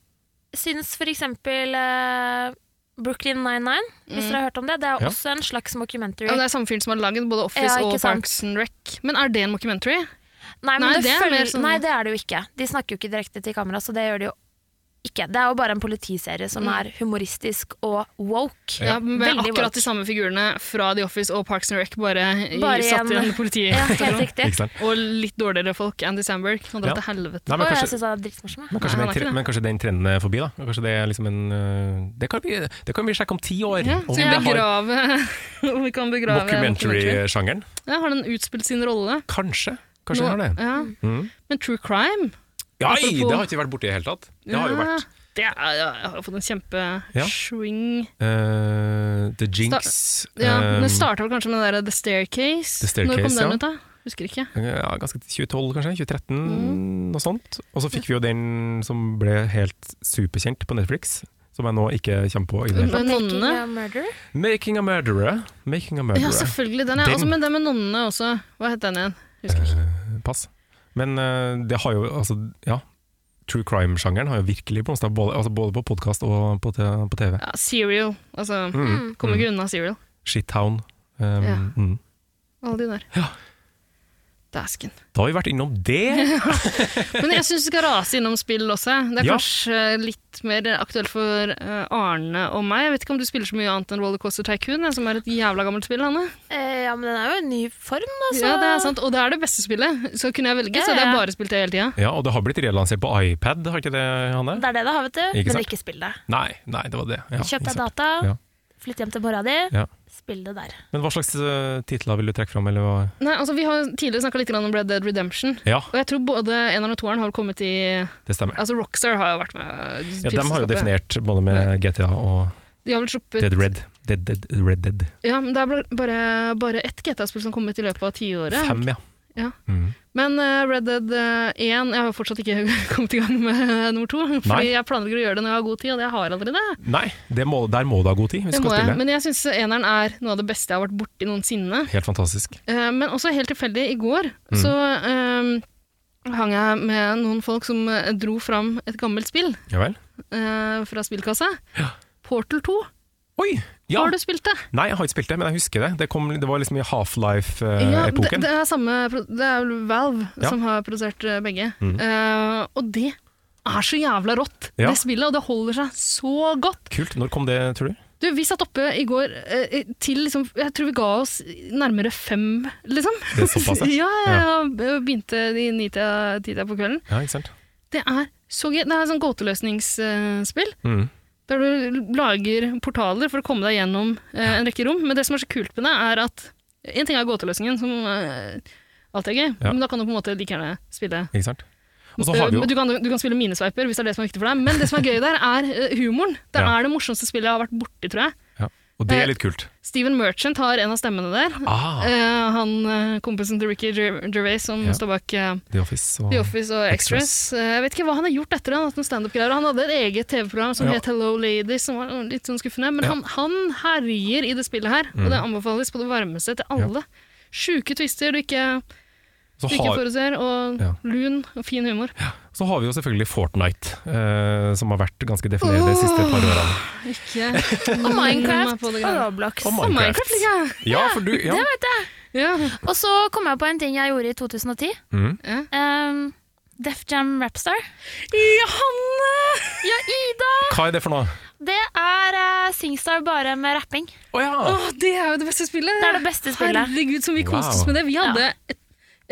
S2: syns for eksempel eh, Brooklyn 99, hvis dere har hørt om det, det er
S1: Ja.
S2: også en slags mockumentary.
S3: Ja, det er samme fyren som har lagd både Office
S2: Ja, ikke
S3: og
S2: sant.
S3: Parks and Rec. Men er det en mockumentary?
S2: Nei, men
S3: Nei,
S2: det,
S3: det er
S2: følger,
S3: mer sånn-
S2: nei, det er det jo ikke. De snakker jo ikke direkte til kamera, så det gjør de jo ikke. Det er jo bare en politiserie som
S3: Mm.
S2: er humoristisk og woke.
S3: Ja, med
S2: Veldig
S3: akkurat
S2: woke.
S3: de samme figurene fra The Office og Parks and Rec, bare, i-
S2: Bare i
S3: satt i
S2: en-
S3: en politi.
S2: Ja, helt riktig.
S1: ikke sant?
S3: Og litt dårligere folk. Andy Sandberg kan dra
S1: Ja.
S3: til helvete.
S1: Nei, men
S2: Og jeg
S1: kanskje,
S2: syns han er dritmorsom. jeg.
S1: Men kanskje,
S3: Nei,
S1: den,
S3: han er ikke
S1: tre-
S3: det.
S1: men kanskje den trenden er forbi, da? Kanskje det er liksom en øh, Det kan vi, det kan vi sjekke om ti år.
S3: Ja,
S1: om
S3: så vi,
S1: det har
S3: begrave, om vi kan begrave
S1: mockumentary-sjangeren.
S3: Ja, har den utspilt sin rolle?
S1: Kanskje. Kanskje
S3: Nå-
S1: den har det.
S3: Ja.
S1: Mm.
S3: Men true crime?
S1: Ja, ei,
S3: Apropos-
S1: det har ikke vært borti i det hele tatt. Det har jo
S3: Ja,
S1: vært
S3: det er, ja, Jeg har fått en
S1: Ja.
S3: kjempe-swing.
S1: øh, The Jinx
S3: Ja, men
S1: øh,
S3: det starta vel kanskje med den der The Staircase.
S1: The Staircase,
S3: Når kom den
S1: ja.
S3: ut, da? Husker ikke.
S1: eh, ja, ganske 2012, kanskje? 2013,
S3: Mm.
S1: noe sånt. Og så fikk vi jo den som ble helt superkjent på Netflix, som jeg nå ikke kommer på. i det hele tatt.
S3: Men
S2: Making
S3: nonnene
S2: a Murderer.
S1: 'Making a Murderer'. Making a
S3: Mm. Ja,
S1: murderer.
S3: selvfølgelig. Den, ja.
S1: Den. Eh.
S3: Også, men den med nonnene også. Hva het den igjen? Husker ikke.
S1: Pass. Men eh, det har jo altså, ja. True crime-sjangeren har jo virkelig blomstra, både, altså både på podkast og på, te- på TV.
S3: Ja, Serial. Altså,
S1: Mm.
S3: kommer ikke unna Serial.
S1: Shittown. Um,
S3: Ja.
S1: mm.
S3: Alle de der.
S1: Ja.
S3: Dæsken.
S1: Da har vi vært innom det!
S3: Men jeg syns vi skal rase innom spill også. Det er
S1: Ja.
S3: kanskje eh, litt mer aktuelt for eh, Arne og meg. Jeg vet ikke om du spiller så mye annet enn Rollercoaster Tycoon, eh, som er et jævla gammelt spill, Hanne.
S2: Eh, ja, men den er jo en ny form, altså.
S3: Ja, det er sant. Og det er det beste spillet. Så kunne jeg velge, så hadde
S2: Ja, ja.
S3: jeg bare spilt det hele tida.
S1: Ja, og det har blitt relansert på iPad, har ikke det, Hanne?
S2: Det er det det har, vet du.
S1: Ikke
S2: men
S1: sant?
S2: ikke spill det.
S1: Nei, nei, det var det. Ja,
S2: Kjøp
S1: ikke
S2: deg
S1: sant.
S2: data,
S1: Ja.
S2: flytt hjem til mora di,
S1: Ja.
S2: spill det der.
S1: Men hva slags eh, titler vil du trekke fram, eller hva?
S3: Nei, altså, vi har tidligere snakka litt grann om Red Dead Redemption.
S1: Ja,
S3: Og jeg tror både eneren og toeren har kommet i
S1: det stemmer.
S3: Altså Rockstar har jo vært med.
S1: Ja, de har jo
S3: tilskapet.
S1: definert både med GTA og
S3: De har vel sluppet
S1: Dead Red. Dead, dead, Red Dead.
S3: Ja, men det er vel bare, bare ett GTA-spill som kom ut i løpet av tiåret.
S1: Fem, ja.
S3: Ja.
S1: Mm.
S3: Men eh, Red Dead eh, 1 Jeg har fortsatt ikke kommet i gang med eh, nummer to. Fordi
S1: Nei.
S3: jeg planlegger å gjøre det når jeg har god tid, og det har jeg allerede.
S1: Nei, det må, der må du ha god tid hvis
S3: Det
S1: du
S3: må
S1: skal
S3: jeg.
S1: spille.
S3: Men jeg syns eneren er noe av det beste jeg har vært borti noensinne.
S1: Helt fantastisk.
S3: Eh, Men også helt tilfeldig, i går
S1: Mm.
S3: så eh, hang jeg med noen folk som eh, dro fram et gammelt spill
S1: Ja vel.
S3: eh, fra spillkassa. Portal 2.
S1: Oi! Ja!
S3: Har du spilt det?
S1: Nei, jeg har ikke spilt det, men jeg husker det. Det, kom, det var liksom i
S3: Ja, det,
S1: Half-Life-epoken.
S3: det, er samme, pro- det er vel Valve
S1: Ja.
S3: som har produsert eh, begge.
S1: Mm.
S3: Eh, og det er så jævla rått,
S1: Ja.
S3: det spillet, og det holder seg så godt.
S1: Kult. Når kom det, tror du?
S3: Du, vi satt oppe i går eh, til liksom Jeg tror vi ga oss nærmere fem, liksom.
S1: Det er såpass, ja.
S3: ja, ja, ja. og Begynte i ni-tida på kvelden.
S1: Ja, ikke sant?
S3: Det er så gøy. Det er sånn gåteløsningsspill. eh,
S1: Mm.
S3: Der du lager portaler for å komme deg gjennom eh, en rekke rom. Men det som er så kult med det, er at En ting er gåteløsningen, som eh, alltid er gøy,
S1: Ja.
S3: men da kan du på en måte like gjerne spille Eh,
S1: Ikke sant? Og så har vi jo
S3: du, kan, du kan spille minesveiper hvis det er det som er viktig for deg, men det som er gøy der, er eh, humoren. Det
S1: Ja.
S3: er det morsomste spillet jeg har vært borti, tror jeg.
S1: ja. Og det er litt kult.
S3: Steven Merchant har en av stemmene der.
S1: Ah.
S3: Eh, han eh, kompisen til Ricky Gerv- Gervais som
S1: Ja.
S3: står bak eh,
S1: The Office og
S3: The Office og Extras. Eh, jeg vet ikke hva han har gjort etter det. Han har hatt noen stand-up-greier. Han hadde et eget TV-program som
S1: Ja.
S3: het Hello Ladies, som var litt sånn skuffende. Men
S1: Ja.
S3: han, han herjer i det spillet her,
S1: Mm.
S3: og det anbefales på det varmeste til alle. Sjuke twister du ikke,
S1: Så
S3: du ikke
S1: har,
S3: forutser, og
S1: Ja.
S3: lun og fin humor.
S1: så har vi jo selvfølgelig Fortnite, eh, som har vært ganske definerende de siste par årene.
S3: Ikke
S2: Og
S3: Meg
S2: Minecraft
S3: på
S2: og
S3: det greiene.
S2: Roblox.
S1: Og
S3: Og
S1: Minecraft.
S3: Minecraft liker jeg!
S1: Ja, for du ja.
S2: Det vet jeg.
S3: Ja.
S2: Og så kom jeg på en ting jeg gjorde i 2010.
S1: Mm.
S2: Um, Def Jam Rapstar.
S3: Johanne!
S2: Ja, Ida!
S1: Hva er det for noe?
S2: Det er eh, Singstar bare med rapping.
S1: Å ja!
S3: Åh, det er jo det beste spillet!
S2: Det er det beste spillet.
S3: Herregud, som vi koste oss
S1: Wow.
S3: med det. Vi hadde et,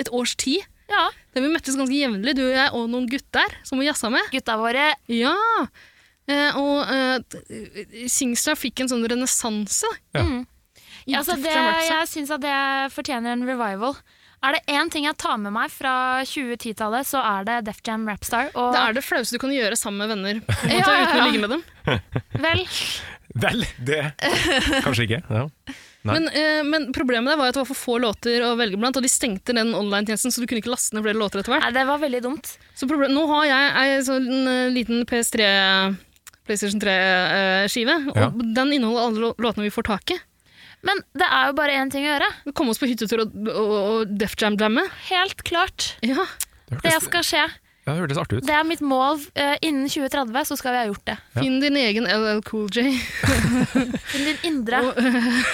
S3: et års tid
S2: Ja,
S3: der vi møttes ganske jevnlig, du og jeg og noen gutter som vi jazza med.
S2: Gutta våre
S3: Ja! Eh, og eh, Singstar fikk en sånn renessanse.
S1: Ja.
S2: Mm.
S3: I
S2: Ja, altså
S3: Def
S2: det,
S3: Jam Rap, så-
S2: jeg syns at det fortjener en revival. Er det én ting jeg tar med meg fra 2010-tallet, så er det Def Jam Rapstar. Og
S3: Det er det flaueste du kan gjøre sammen med venner. På en måte,
S2: Ja, ja,
S3: Uten å
S2: ja.
S3: ligge med dem.
S2: vel
S1: Vel, det Kanskje ikke. Ja. Nei.
S3: Men, eh, men problemet der var at det var for få låter å velge blant, og de stengte den online-tjenesten, så du kunne ikke laste ned flere låter etter hvert.
S2: Nei, det var veldig dumt.
S3: Så problem, nå har jeg ei sånn eh, liten PS3 PlayStation 3-skive, og
S1: Ja.
S3: den inneholder alle lå- låtene vi får tak i.
S2: Men det er jo bare én ting å gjøre.
S3: Vi kom oss på hyttetur og, og, og Def Jam-jamme.
S2: Helt klart.
S3: Ja.
S1: Det
S2: Det
S1: hørtes,
S2: skal skje.
S1: ja, det hørtes artig ut.
S2: Det er mitt mål. eh, innen 2030 så skal vi ha gjort det.
S1: Ja.
S3: Finn din egen LL Cool J.
S2: Men din indre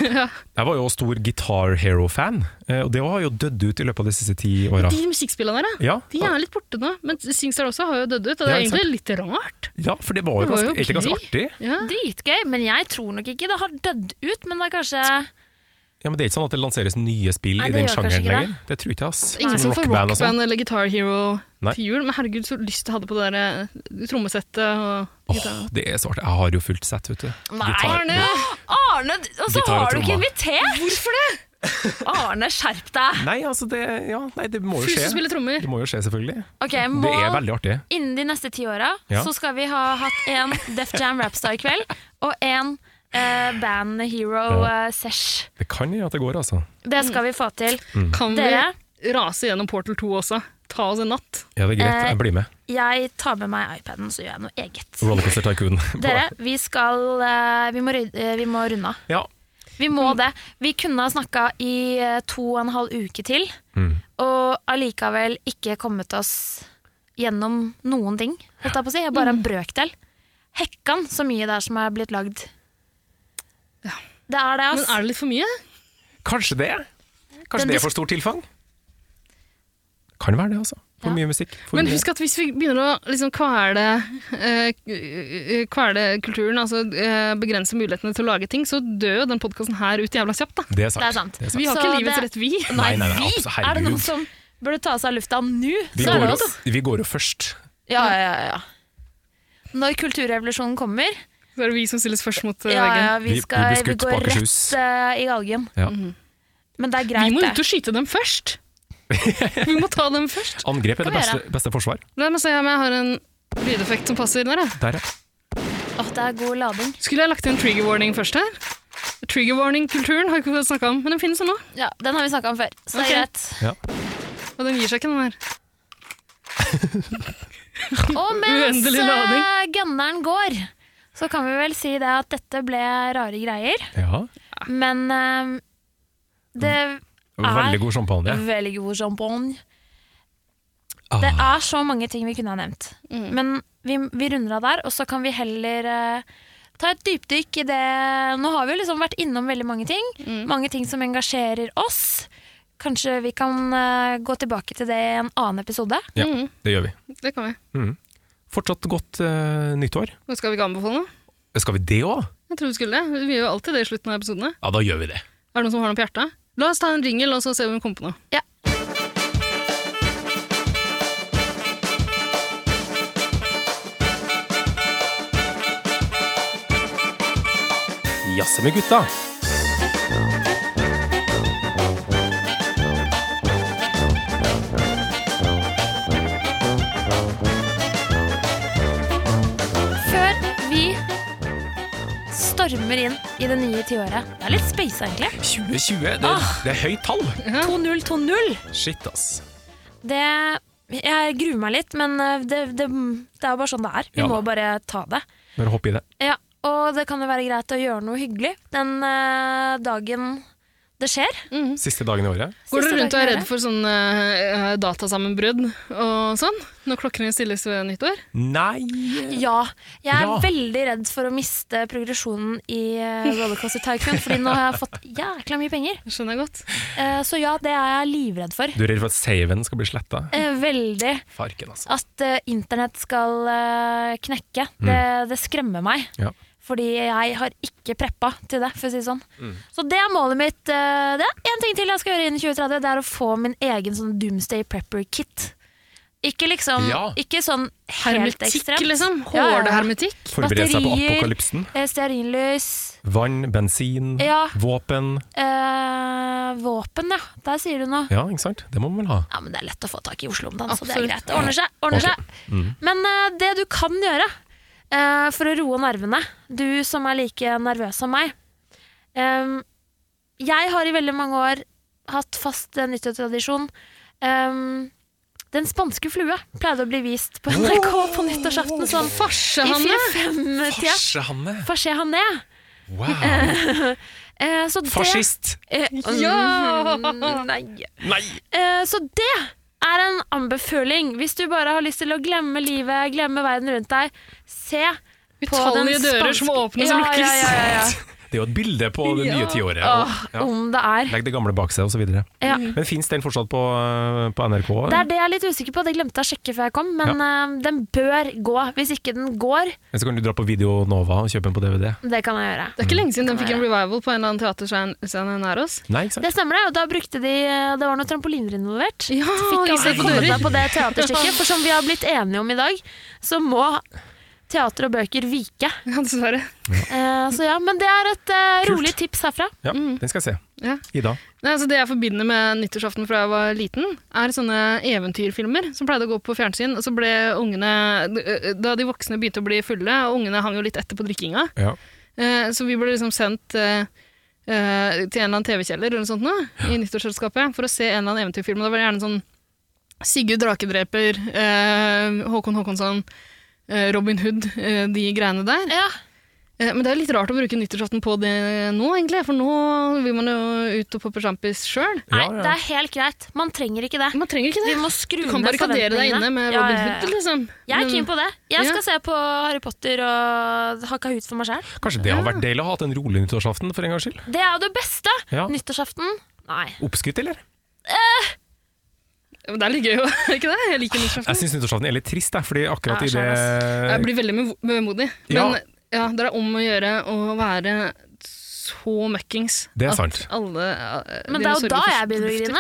S1: Jeg var jo stor Guitar Hero-fan, eh, og det har jo dødd ut i løpet av de siste ti åra.
S3: De musikkspillene der, ja.
S1: Ja,
S3: De er litt borte nå, men Singstar også har jo dødd ut, og det
S1: Ja,
S3: er
S1: ikke
S3: egentlig litt rart.
S1: ja, for det var jo
S3: Det var
S1: ganske,
S3: jo
S1: egentlig ganske
S3: ok.
S1: artig.
S3: Ja.
S2: Dritgøy, men jeg tror nok ikke det har dødd ut. Men det er kanskje
S1: Ja, men Det er ikke sånn at det lanseres nye spill
S2: Nei,
S1: i
S2: det
S1: den
S2: gjør
S1: sjangeren
S2: kanskje ikke
S1: lenger. Det tror jeg ikke, ass.
S3: Ingen som
S1: Sånn
S3: får
S1: rockband og sånn.
S3: Rockband eller Guitar Hero
S1: Nei.
S3: til jul, men herregud, så lyst jeg hadde på det der eh, trommesettet og
S1: Åh,
S3: gitar.
S1: det er så artig. Jeg har jo fullt sett, vet du.
S2: Nei,
S1: Gitar-
S2: Arne! Arne, og så
S1: Gitar og
S2: har du ikke
S1: tromma.
S2: invitert! Hvorfor det? Arne, skjerp deg.
S1: Nei, altså det, ja, nei, det må jo
S3: Først
S1: skje.
S3: spiller trommer.
S1: Det må jo skje, selvfølgelig.
S2: Ok,
S1: Det er
S2: mål
S1: veldig artig.
S2: innen de neste ti åra
S1: Ja.
S2: så skal vi ha hatt en Def Jam Rapstar-kveld og en eh, Band Hero-sesh.
S1: Det kan gjøre at det går, altså.
S2: Det skal vi få til.
S1: Mm.
S3: Kan
S2: Dere?
S3: vi rase gjennom Portal 2 også? Ta oss en natt.
S1: Ja, det er greit.
S2: Eh,
S1: Jeg blir med.
S2: Jeg tar med meg iPaden, så gjør jeg noe eget.
S1: Rollercoaster Tycoon.
S2: Dere, vi skal eh, vi, må, ryd- eh, vi må runde av.
S1: Ja.
S2: Vi må
S3: Mm.
S2: det. Vi kunne ha snakka i eh, to og en halv uke til,
S1: Mm.
S2: og allikevel ikke kommet oss gjennom noen ting, holdt jeg på å si. Bare
S3: Mm.
S2: en brøkdel. Hekkan så mye det er som er blitt lagd. Det er det,
S3: Men
S2: altså.
S3: er det litt for mye?
S1: Kanskje det? Kanskje det
S2: Den dis-
S1: er for stort tilfang? Kan være det, altså. For
S2: Ja.
S1: mye musikk. For
S3: Men
S1: mye-
S3: husk at hvis vi begynner å liksom kvele, eh, k- kvele kulturen, altså eh, begrense mulighetene til å lage ting, så dør jo den podkasten her ut jævla kjapt, da.
S1: det er sant.
S2: Det er sant.
S3: Vi har
S2: Så
S3: ikke livets
S2: det-
S3: rett, vi.
S1: Nei, nei, nei,
S2: vi!
S1: altså,
S2: er
S1: herregud.
S2: det noen som burde ta seg av lufta nå,
S1: Vi,
S2: så er
S1: går
S2: det
S1: jo,
S2: oss.
S1: vi går jo først.
S2: Ja, ja, ja, ja. Når kulturrevolusjonen kommer,
S3: Så er det vi som stiller spørsmål til
S2: ja, ja,
S3: veggen.
S2: vi,
S1: Vi- vi
S2: skal,
S1: blir
S2: vi
S1: skutt på
S2: går rett
S1: Akershus.
S2: eh, i galgen.
S1: Ja.
S2: Men det er
S3: Mm-hmm. Vi
S2: greit,
S3: må
S2: det.
S3: ut og skyte dem først! Vi må ta dem først.
S1: Angrep er det
S2: Kan vi
S1: beste, beste forsvar.
S3: La meg se om jeg har en lydeffekt som passer der, jeg.
S1: Der, ja.
S2: Åh, det er god lading.
S3: Skulle jeg lagt inn trigger warning først her? Trigger warning-kulturen har vi ikke fått snakka om, men den finnes jo nå.
S2: Ja, Den har vi snakka om før, så det
S3: Ok.
S2: er greit.
S3: Og den gir seg ikke, den her.
S2: Og mens
S3: Uendelig lading.
S2: eh, gunneren går, så kan vi vel si det at dette ble rare greier.
S1: ja.
S2: Men eh, det
S1: Veldig god champagne.
S2: er veldig god champagne.
S1: Ah.
S2: Mm, Det er så mange ting vi kunne ha nevnt.
S3: Mm.
S2: Men vi, vi runder av der, og så kan vi heller eh, ta et dypdykk i det Nå har vi jo liksom vært innom veldig mange ting.
S3: Mm.
S2: Mange ting som engasjerer oss. Kanskje vi kan eh, gå tilbake til det i en annen episode.
S1: Ja, det gjør vi.
S3: Det kan vi.
S1: Fortsatt godt eh, nyttår.
S3: Nå skal vi ikke anbefale noe?
S1: Skal vi det òg?
S3: Jeg tror vi skulle det. Vi gjør jo alltid det i slutten av episodene.
S1: Ja, da gjør vi det.
S3: Er det noen som har noe på hjertet? La oss ta en ringel, og så se om vi kommer på noe.
S2: Ja.
S1: Jazze med gutta.
S2: Før vi stormer inn i det nye tiåret. Det er litt space, egentlig.
S1: 2020, det,
S2: Ah.
S1: det er høyt tall.
S2: 2020.
S1: Shit, ass.
S2: Det Jeg gruer meg litt, men eh, det, det, det er jo bare sånn det er. Vi
S1: Ja
S2: må
S1: da.
S2: bare ta det.
S1: Bare hopp i det.
S2: Ja, og det kan jo være greit å gjøre noe hyggelig den eh, dagen det skjer.
S1: Siste dagen i året.
S2: Siste
S3: Går dere rundt og
S2: dagen
S3: er
S2: i
S3: redd
S2: året.
S3: for sånn eh, datasammenbrudd og sånn? Når klokkene stilles ved nyttår?
S1: Nei
S2: Ja. Jeg er
S1: Ja.
S2: veldig redd for å miste progresjonen i eh, Rollercoaster Tycoon, fordi nå har jeg fått jækla mye penger.
S3: Skjønner jeg godt.
S2: Eh, Så ja, det er jeg livredd for.
S1: Du er redd for at saven skal bli sletta?
S2: Eh, Veldig.
S1: Farken, altså.
S2: At eh, internett skal eh, knekke, det, det skremmer meg.
S1: Mm. Ja.
S2: Fordi jeg har ikke preppa til det, for å si det sånn.
S1: Mm.
S2: Så det er målet mitt. eh, Det er én ting til jeg skal gjøre innen 2030, det er å få min egen sånn Doomsday Prepper-kit. Ikke liksom
S1: Ja.
S2: Ikke sånn helt
S3: Hermetikk,
S2: ekstremt.
S3: liksom.
S2: Ja, ja, ja.
S3: Hårde hermetikk.
S1: Forberede seg på
S2: Batterier.
S1: apokalypsen.
S2: Eh, Stearinlys,
S1: Vann, bensin,
S2: Ja.
S1: våpen.
S2: eh, våpen, ja. Der sier du noe.
S1: Ja, ikke sant? Det må man vel ha.
S2: Ja, men Det er lett å få tak i i Oslo om dagen, så det er
S3: Absolutt.
S2: greit. Det ordner seg. ordner
S1: Ok.
S2: seg. Men eh, det du kan gjøre eh, for å roe nervene, du som er like nervøs som meg em, Jeg har i veldig mange år hatt fast eh, nyttårstradisjon. em, den spanske flue pleide å bli vist på NRK på nyttårsaften sånn i
S3: Farsehanne!
S2: fire-fem-tida.
S1: Farsehanne!
S2: Farse han ned.
S1: Wow!
S2: Eh, så det-
S1: Fascist!
S2: Eh,
S3: Ja!
S2: mm, Nei.
S1: Nei!
S2: Eh, Så det er en anbefaling hvis du bare har lyst til å glemme livet, glemme verden rundt deg. Se på den
S3: Utallige dører som åpnes og lukkes.
S2: Ja, ja, ja, ja.
S1: Det er jo et bilde på det nye tiåret.
S2: Åh,
S1: Ja.
S2: Om det er.
S1: Legg det gamle bak seg, osv.
S2: Ja.
S3: Mm.
S1: Men fins den fortsatt på, eh, på NRK?
S2: Det er det jeg er litt usikker på. Det glemte jeg å sjekke før jeg kom, men eh, den bør gå. Hvis ikke den går,
S1: Men Så kan du dra på Video Nova og kjøpe den på DVD.
S2: det kan jeg gjøre.
S3: Det er ikke lenge siden den fikk en revival på en eller annen teaterscene nær oss.
S1: Nei, ikke sant?
S2: Det stemmer, det. Og da brukte de eh, Det var noen trampoliner involvert.
S3: Ja,
S2: Fikk
S3: i
S2: altså
S3: stedet for
S2: komme
S3: dører.
S2: deg på det teaterstykket. For som vi har blitt enige om i dag, så må teater og bøker vike.
S3: Ja, dessverre.
S2: Eh, så ja, men det er et eh,
S1: Kult.
S2: rolig tips herfra.
S1: Ja, den skal jeg se.
S3: Ja.
S1: Ida.
S3: Nei, altså det jeg forbinder med nyttårsaften fra jeg var liten, er sånne eventyrfilmer som pleide å gå på fjernsyn. Og så ble ungene Da de voksne begynte å bli fulle, og ungene hang jo litt etter på drikkinga,
S1: Ja.
S3: eh, så vi ble liksom sendt eh, eh, til en eller annen TV-kjeller eller noe sånt nå, i nyttårsselskapet for å se en eller annen eventyrfilm. Og Det var gjerne sånn Sigurd Drakedreper, eh, Håkon Håkonsson, eh, Robin Hood, eh, de greiene der.
S2: Ja,
S3: Eh, Men det er litt rart å bruke nyttårsaften på det nå, egentlig, for nå vil man jo ut og poppe sjampis sjøl.
S2: Nei,
S1: Ja, ja.
S2: det er helt greit. Man trenger ikke det.
S3: Man trenger ikke
S2: Vi
S3: det.
S2: må skru
S3: Du
S2: ned
S3: kan barrikadere deg inne med
S2: Ja,
S3: Robin
S2: ja, ja.
S3: Hood, liksom.
S2: Jeg er
S3: Men-
S2: keen på det. Jeg
S3: Ja.
S2: skal se på Harry Potter og hakka ut for meg sjæl.
S1: Kanskje det har vært deilig å ha hatt en rolig nyttårsaften for en gangs skyld?
S2: Det er jo det beste!
S1: Ja.
S2: Nyttårsaften. Nei.
S1: Oppskutt, eller?
S3: Men Det er litt gøy, jo. er ikke det? Jeg liker
S1: Jeg
S3: nyttårsaften.
S1: syns nyttårsaften er litt trist, jeg, fordi akkurat
S2: Ja,
S1: i det
S3: Jeg blir veldig mevo- vemodig.
S1: Eh, Ja.
S3: Men ja, det er om å gjøre å være så møkkings
S1: Det er
S3: at
S1: sant.
S3: alle eh,
S2: Men det
S3: dine
S2: er jo
S3: sorger
S2: da
S3: for-
S2: jeg begynner å grine.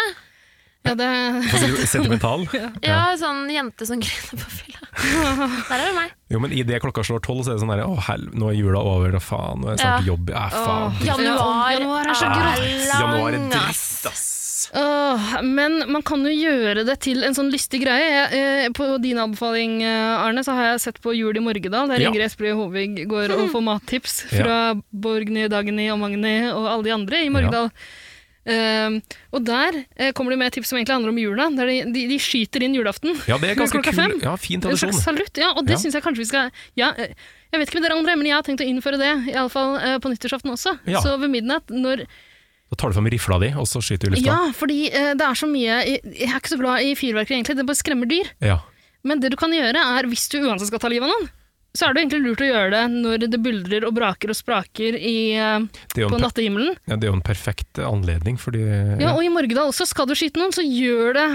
S3: Ja, det,
S1: Så blir du Sentimental.
S2: Ja, sånn jente som griner på fylla. Der er det meg.
S1: Jo, men idet klokka slår tolv, så er det sånn derre Å, hel... nå er jula over, og faen, nå er det snart jobb. Ja, faen.
S3: Ja.
S2: Januar,
S3: Januar er så
S1: Ah, Januar er
S2: lang,
S1: dritt,
S2: ass.
S1: ass.
S3: Åh, men man kan jo gjøre det til en sånn lystig greie. Jeg, eh, på din anbefaling, eh, Arne, så har jeg sett på Jul i Morgedal, der
S1: Ja.
S3: Ingrid Espelid Håvig går
S2: Hmm.
S3: og får mattips
S1: Ja.
S3: fra Borgny, Dagny og Magni og alle de andre i Morgedal. Ehm, og der eh, kommer de med tips som egentlig handler om jula. Der de, de, de skyter inn julaften.
S1: Ja, det er ganske
S3: Klokka
S1: kul.
S3: fem.
S1: Ja, fin
S3: En
S1: tradisjon.
S3: slags salutt, ja. Og det
S1: Ja.
S3: synes syns jeg kanskje vi skal ja, eh, Jeg vet ikke med dere andre, men jeg har tenkt å innføre det, iallfall eh, på nyttårsaften også.
S1: Ja.
S3: Så ved midnatt, når
S1: Da tar du fram rifla di, og så skyter du i lufta.
S3: ja, fordi eh, det er så mye jeg, jeg er ikke så glad i fyrverkeri, egentlig. Det bare skremmer dyr.
S1: Ja.
S3: Men det du kan gjøre, er hvis du uansett skal ta livet av noen, så er det jo egentlig lurt å gjøre det når det buldrer og braker og spraker i, eh,
S1: er jo
S3: på
S1: en per-
S3: nattehimmelen.
S1: Ja, det er jo en perfekt anledning, fordi
S3: Ja, og i Morgedal også. Skal du skyte noen, så gjør det,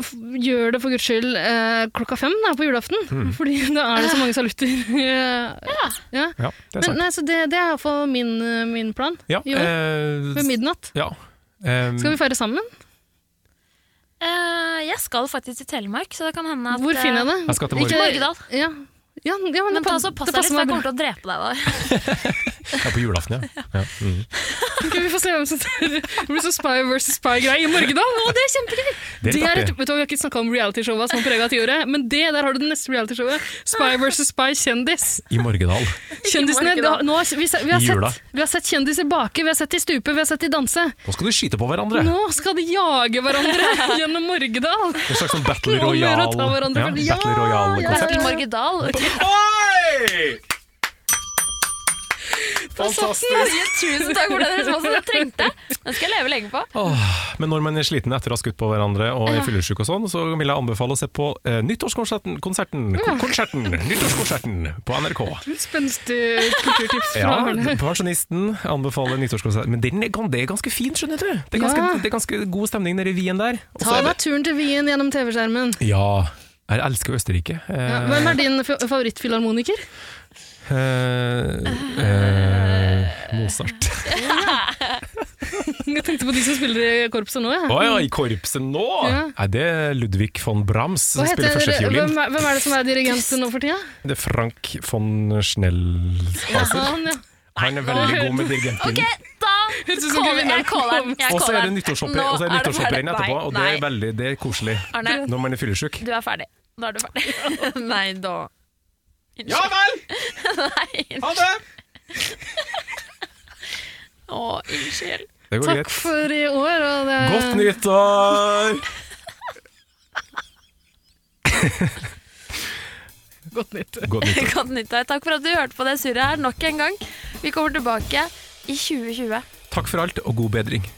S3: f- gjør det for guds skyld eh, klokka fem da, på julaften.
S1: Mm.
S3: Fordi da er det så mange salutter. eh, ja. ja.
S1: Ja, det er
S3: Men,
S1: sant.
S3: nei, så det, det er iallfall min, eh, min plan.
S1: ja,
S3: Jo,
S1: eh,
S3: ved midnatt.
S1: ja. eh,
S3: Skal vi feire sammen?
S2: Eh, jeg skal faktisk til Telemark, så det kan hende at
S3: Hvor
S2: eh,
S3: finner jeg det?
S1: Jeg skal til
S2: Ikke
S1: Morgedal.
S2: Morgedal.
S3: Ja. Ja, ja, men,
S2: Men
S3: det
S2: ta
S3: pa-
S2: så pass deg litt,
S3: det passer
S2: for jeg
S3: meg
S2: kommer til
S3: bra.
S2: å drepe deg da.
S1: Eh, ja, på julaften, ja. ja. Mm.
S3: Ok, vi får se hvem som tar Det blir sånn spy versus spy-greie i Morgedal. Å, det er
S1: Det
S3: kjempegøy!
S1: er litt
S3: et,
S1: artig.
S3: vet du, hva, vi har ikke snakka om realityshowene som har prega tiåret, men det der har du det neste realityshowet. Spy versus spy kjendis.
S1: I Morgedal.
S3: Kjendisene,
S2: Ikke
S3: da,
S2: Morgedal.
S3: nå, har- vi, se- vi, har
S1: I jula.
S3: sett, vi har sett kjendiser bake, vi har sett de stupe, vi har sett de danse.
S1: Nå skal du skyte på hverandre!
S3: Nå skal de jage hverandre gjennom Morgedal!
S1: En slags sånn Battle
S3: Nå må vi
S1: Royale.
S3: ta hverandre for- Ja,
S1: Battle Royale-konsept.
S2: Battle Morgedal.
S8: Oi! Fantastisk.
S2: Norge, tusen takk for den responsen jeg trengte. Den skal jeg leve lenge på.
S1: Åh, Men når man er sliten etter å ha skutt på hverandre og er fyllesyk og sånn, så vil jeg anbefale å se på eh, nyttårskonserten konserten, kon- konserten, nyttårskonserten på NRK.
S3: Spenstig kulturtips fra
S1: Ja,
S3: Arne.
S1: Pensjonisten anbefaler nyttårskonserten. Men den er, gan- det er ganske fint, skjønner du. Det er ganske,
S3: Ja.
S1: det er ganske god stemning nede i Wien der. Og så
S3: Ta
S1: er
S3: deg
S1: det-
S3: turen til Wien gjennom TV-skjermen.
S1: Ja. Jeg elsker Østerrike. Eh,
S3: Ja, hvem er din fa- favorittfilharmoniker?
S1: eh, eh, Mozart.
S3: Jeg tenkte på de som spiller i korpset nå. jeg.
S1: Å ja, i korpset nå!
S3: Ja.
S1: Nei, det er Ludvig von Brahms som
S3: Hva heter
S1: spiller
S3: dere- hvem,
S1: førstefiolin.
S3: er- hvem er det som er dirigent nå for tida?
S1: Det er Frank von Schnellhaser.
S3: Han, ja.
S1: Han er veldig god med dirigentpinnen.
S2: Ok, da
S3: Høres ut som
S2: caller
S3: kvinner.
S2: jeg calleren. Jeg
S1: Og så er det
S2: calleren.
S1: nyttårshopprenn
S2: Nå
S1: og så er det
S2: er det
S1: nyttårshopprenn
S2: ferdig.
S1: etterpå, og det
S2: Nei,
S1: er veldig det er koselig
S2: Arne.
S1: når man er fyllesyk.
S2: Du er ferdig. Nå er du ferdig. Nei da.
S8: Ja vel! Ha det!
S2: Å, unnskyld.
S1: Det går
S3: Takk Eh.
S1: greit.
S3: for i år. Og det...
S1: Godt nyttår!
S3: Godt nytt.
S1: Godt nyttår.
S2: Godt nyttår. Takk for at du hørte på det surret her nok en gang. Vi kommer tilbake i 2020.
S1: Takk for alt, og god bedring.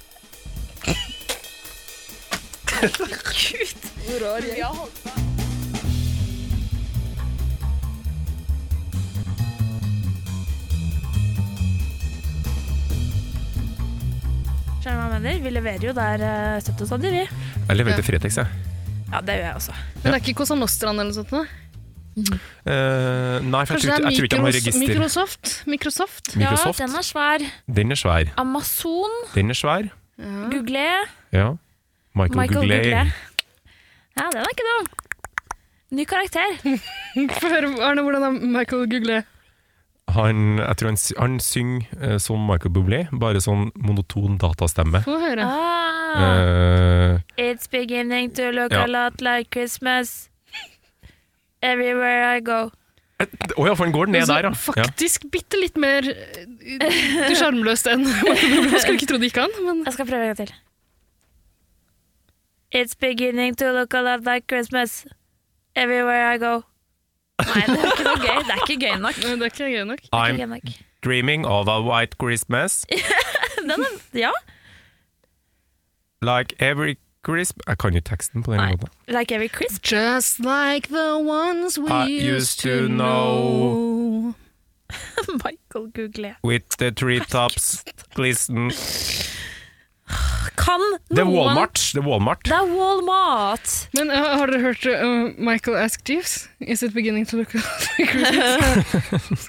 S2: Skjønner du hva jeg mener? Vi leverer jo der eh, støtte og sånn, vi.
S1: Jeg leverer til Fretex, jeg.
S2: Ja, det gjør jeg også.
S3: Men det er ikke Cosa Nostrand eller noe sånt? Da.
S1: Eh, nei, for jeg tror, ikke-
S3: Kanskje det er
S1: jeg tror ikke han har
S3: Micros-
S1: register.
S3: Microsoft? Microsoft?
S1: Microsoft.
S2: Ja, den er svær.
S1: Den er svær.
S2: Amazon,
S1: Den er svær.
S2: Google,
S1: Ja. Michael,
S2: Michael
S1: Google.
S2: Google. Ja, den er ikke dum. Ny karakter.
S3: Få høre, Arne, hvordan er Michael Google?
S1: Han, jeg tror han, sy- han synger eh, som Michael Bublé, bare sånn monoton datastemme.
S3: Få høre.
S2: Ah,
S1: Eh,
S2: it's beginning to look
S1: Ja.
S2: a lot like Christmas. Everywhere I go.
S1: Å ja, for han går ned
S3: Altså,
S1: der, ja. ja.
S3: Faktisk bitte litt mer eh, sjarmløst enn Michael Google. Skulle ikke tro det gikk an, men
S2: Jeg skal prøve en gang til. It's beginning to look a lot like Christmas. Everywhere I go. Nei, det er ikke noe gøy. Det er ikke gøy nok.
S3: Nei, det er ikke gøy nok.
S2: Det er
S1: I'm
S2: ikke gøy nok.
S1: dreaming of a white Christmas
S2: Den er, ja.
S1: like every Christmas Jeg kan jo teksten på den
S2: Nei.
S1: måten.
S2: Like every crisp.
S3: Just like the ones we
S1: I used
S3: used
S1: to
S3: to know.
S2: Michael Google.
S1: With the treetops glisten
S2: Kan noen
S1: Det er Walmart. Det er Walmart.
S2: Det er Walmart.
S3: Men eh, har dere hørt eh, Michael Ask Jeeves? Is it beginning to look like Christmas?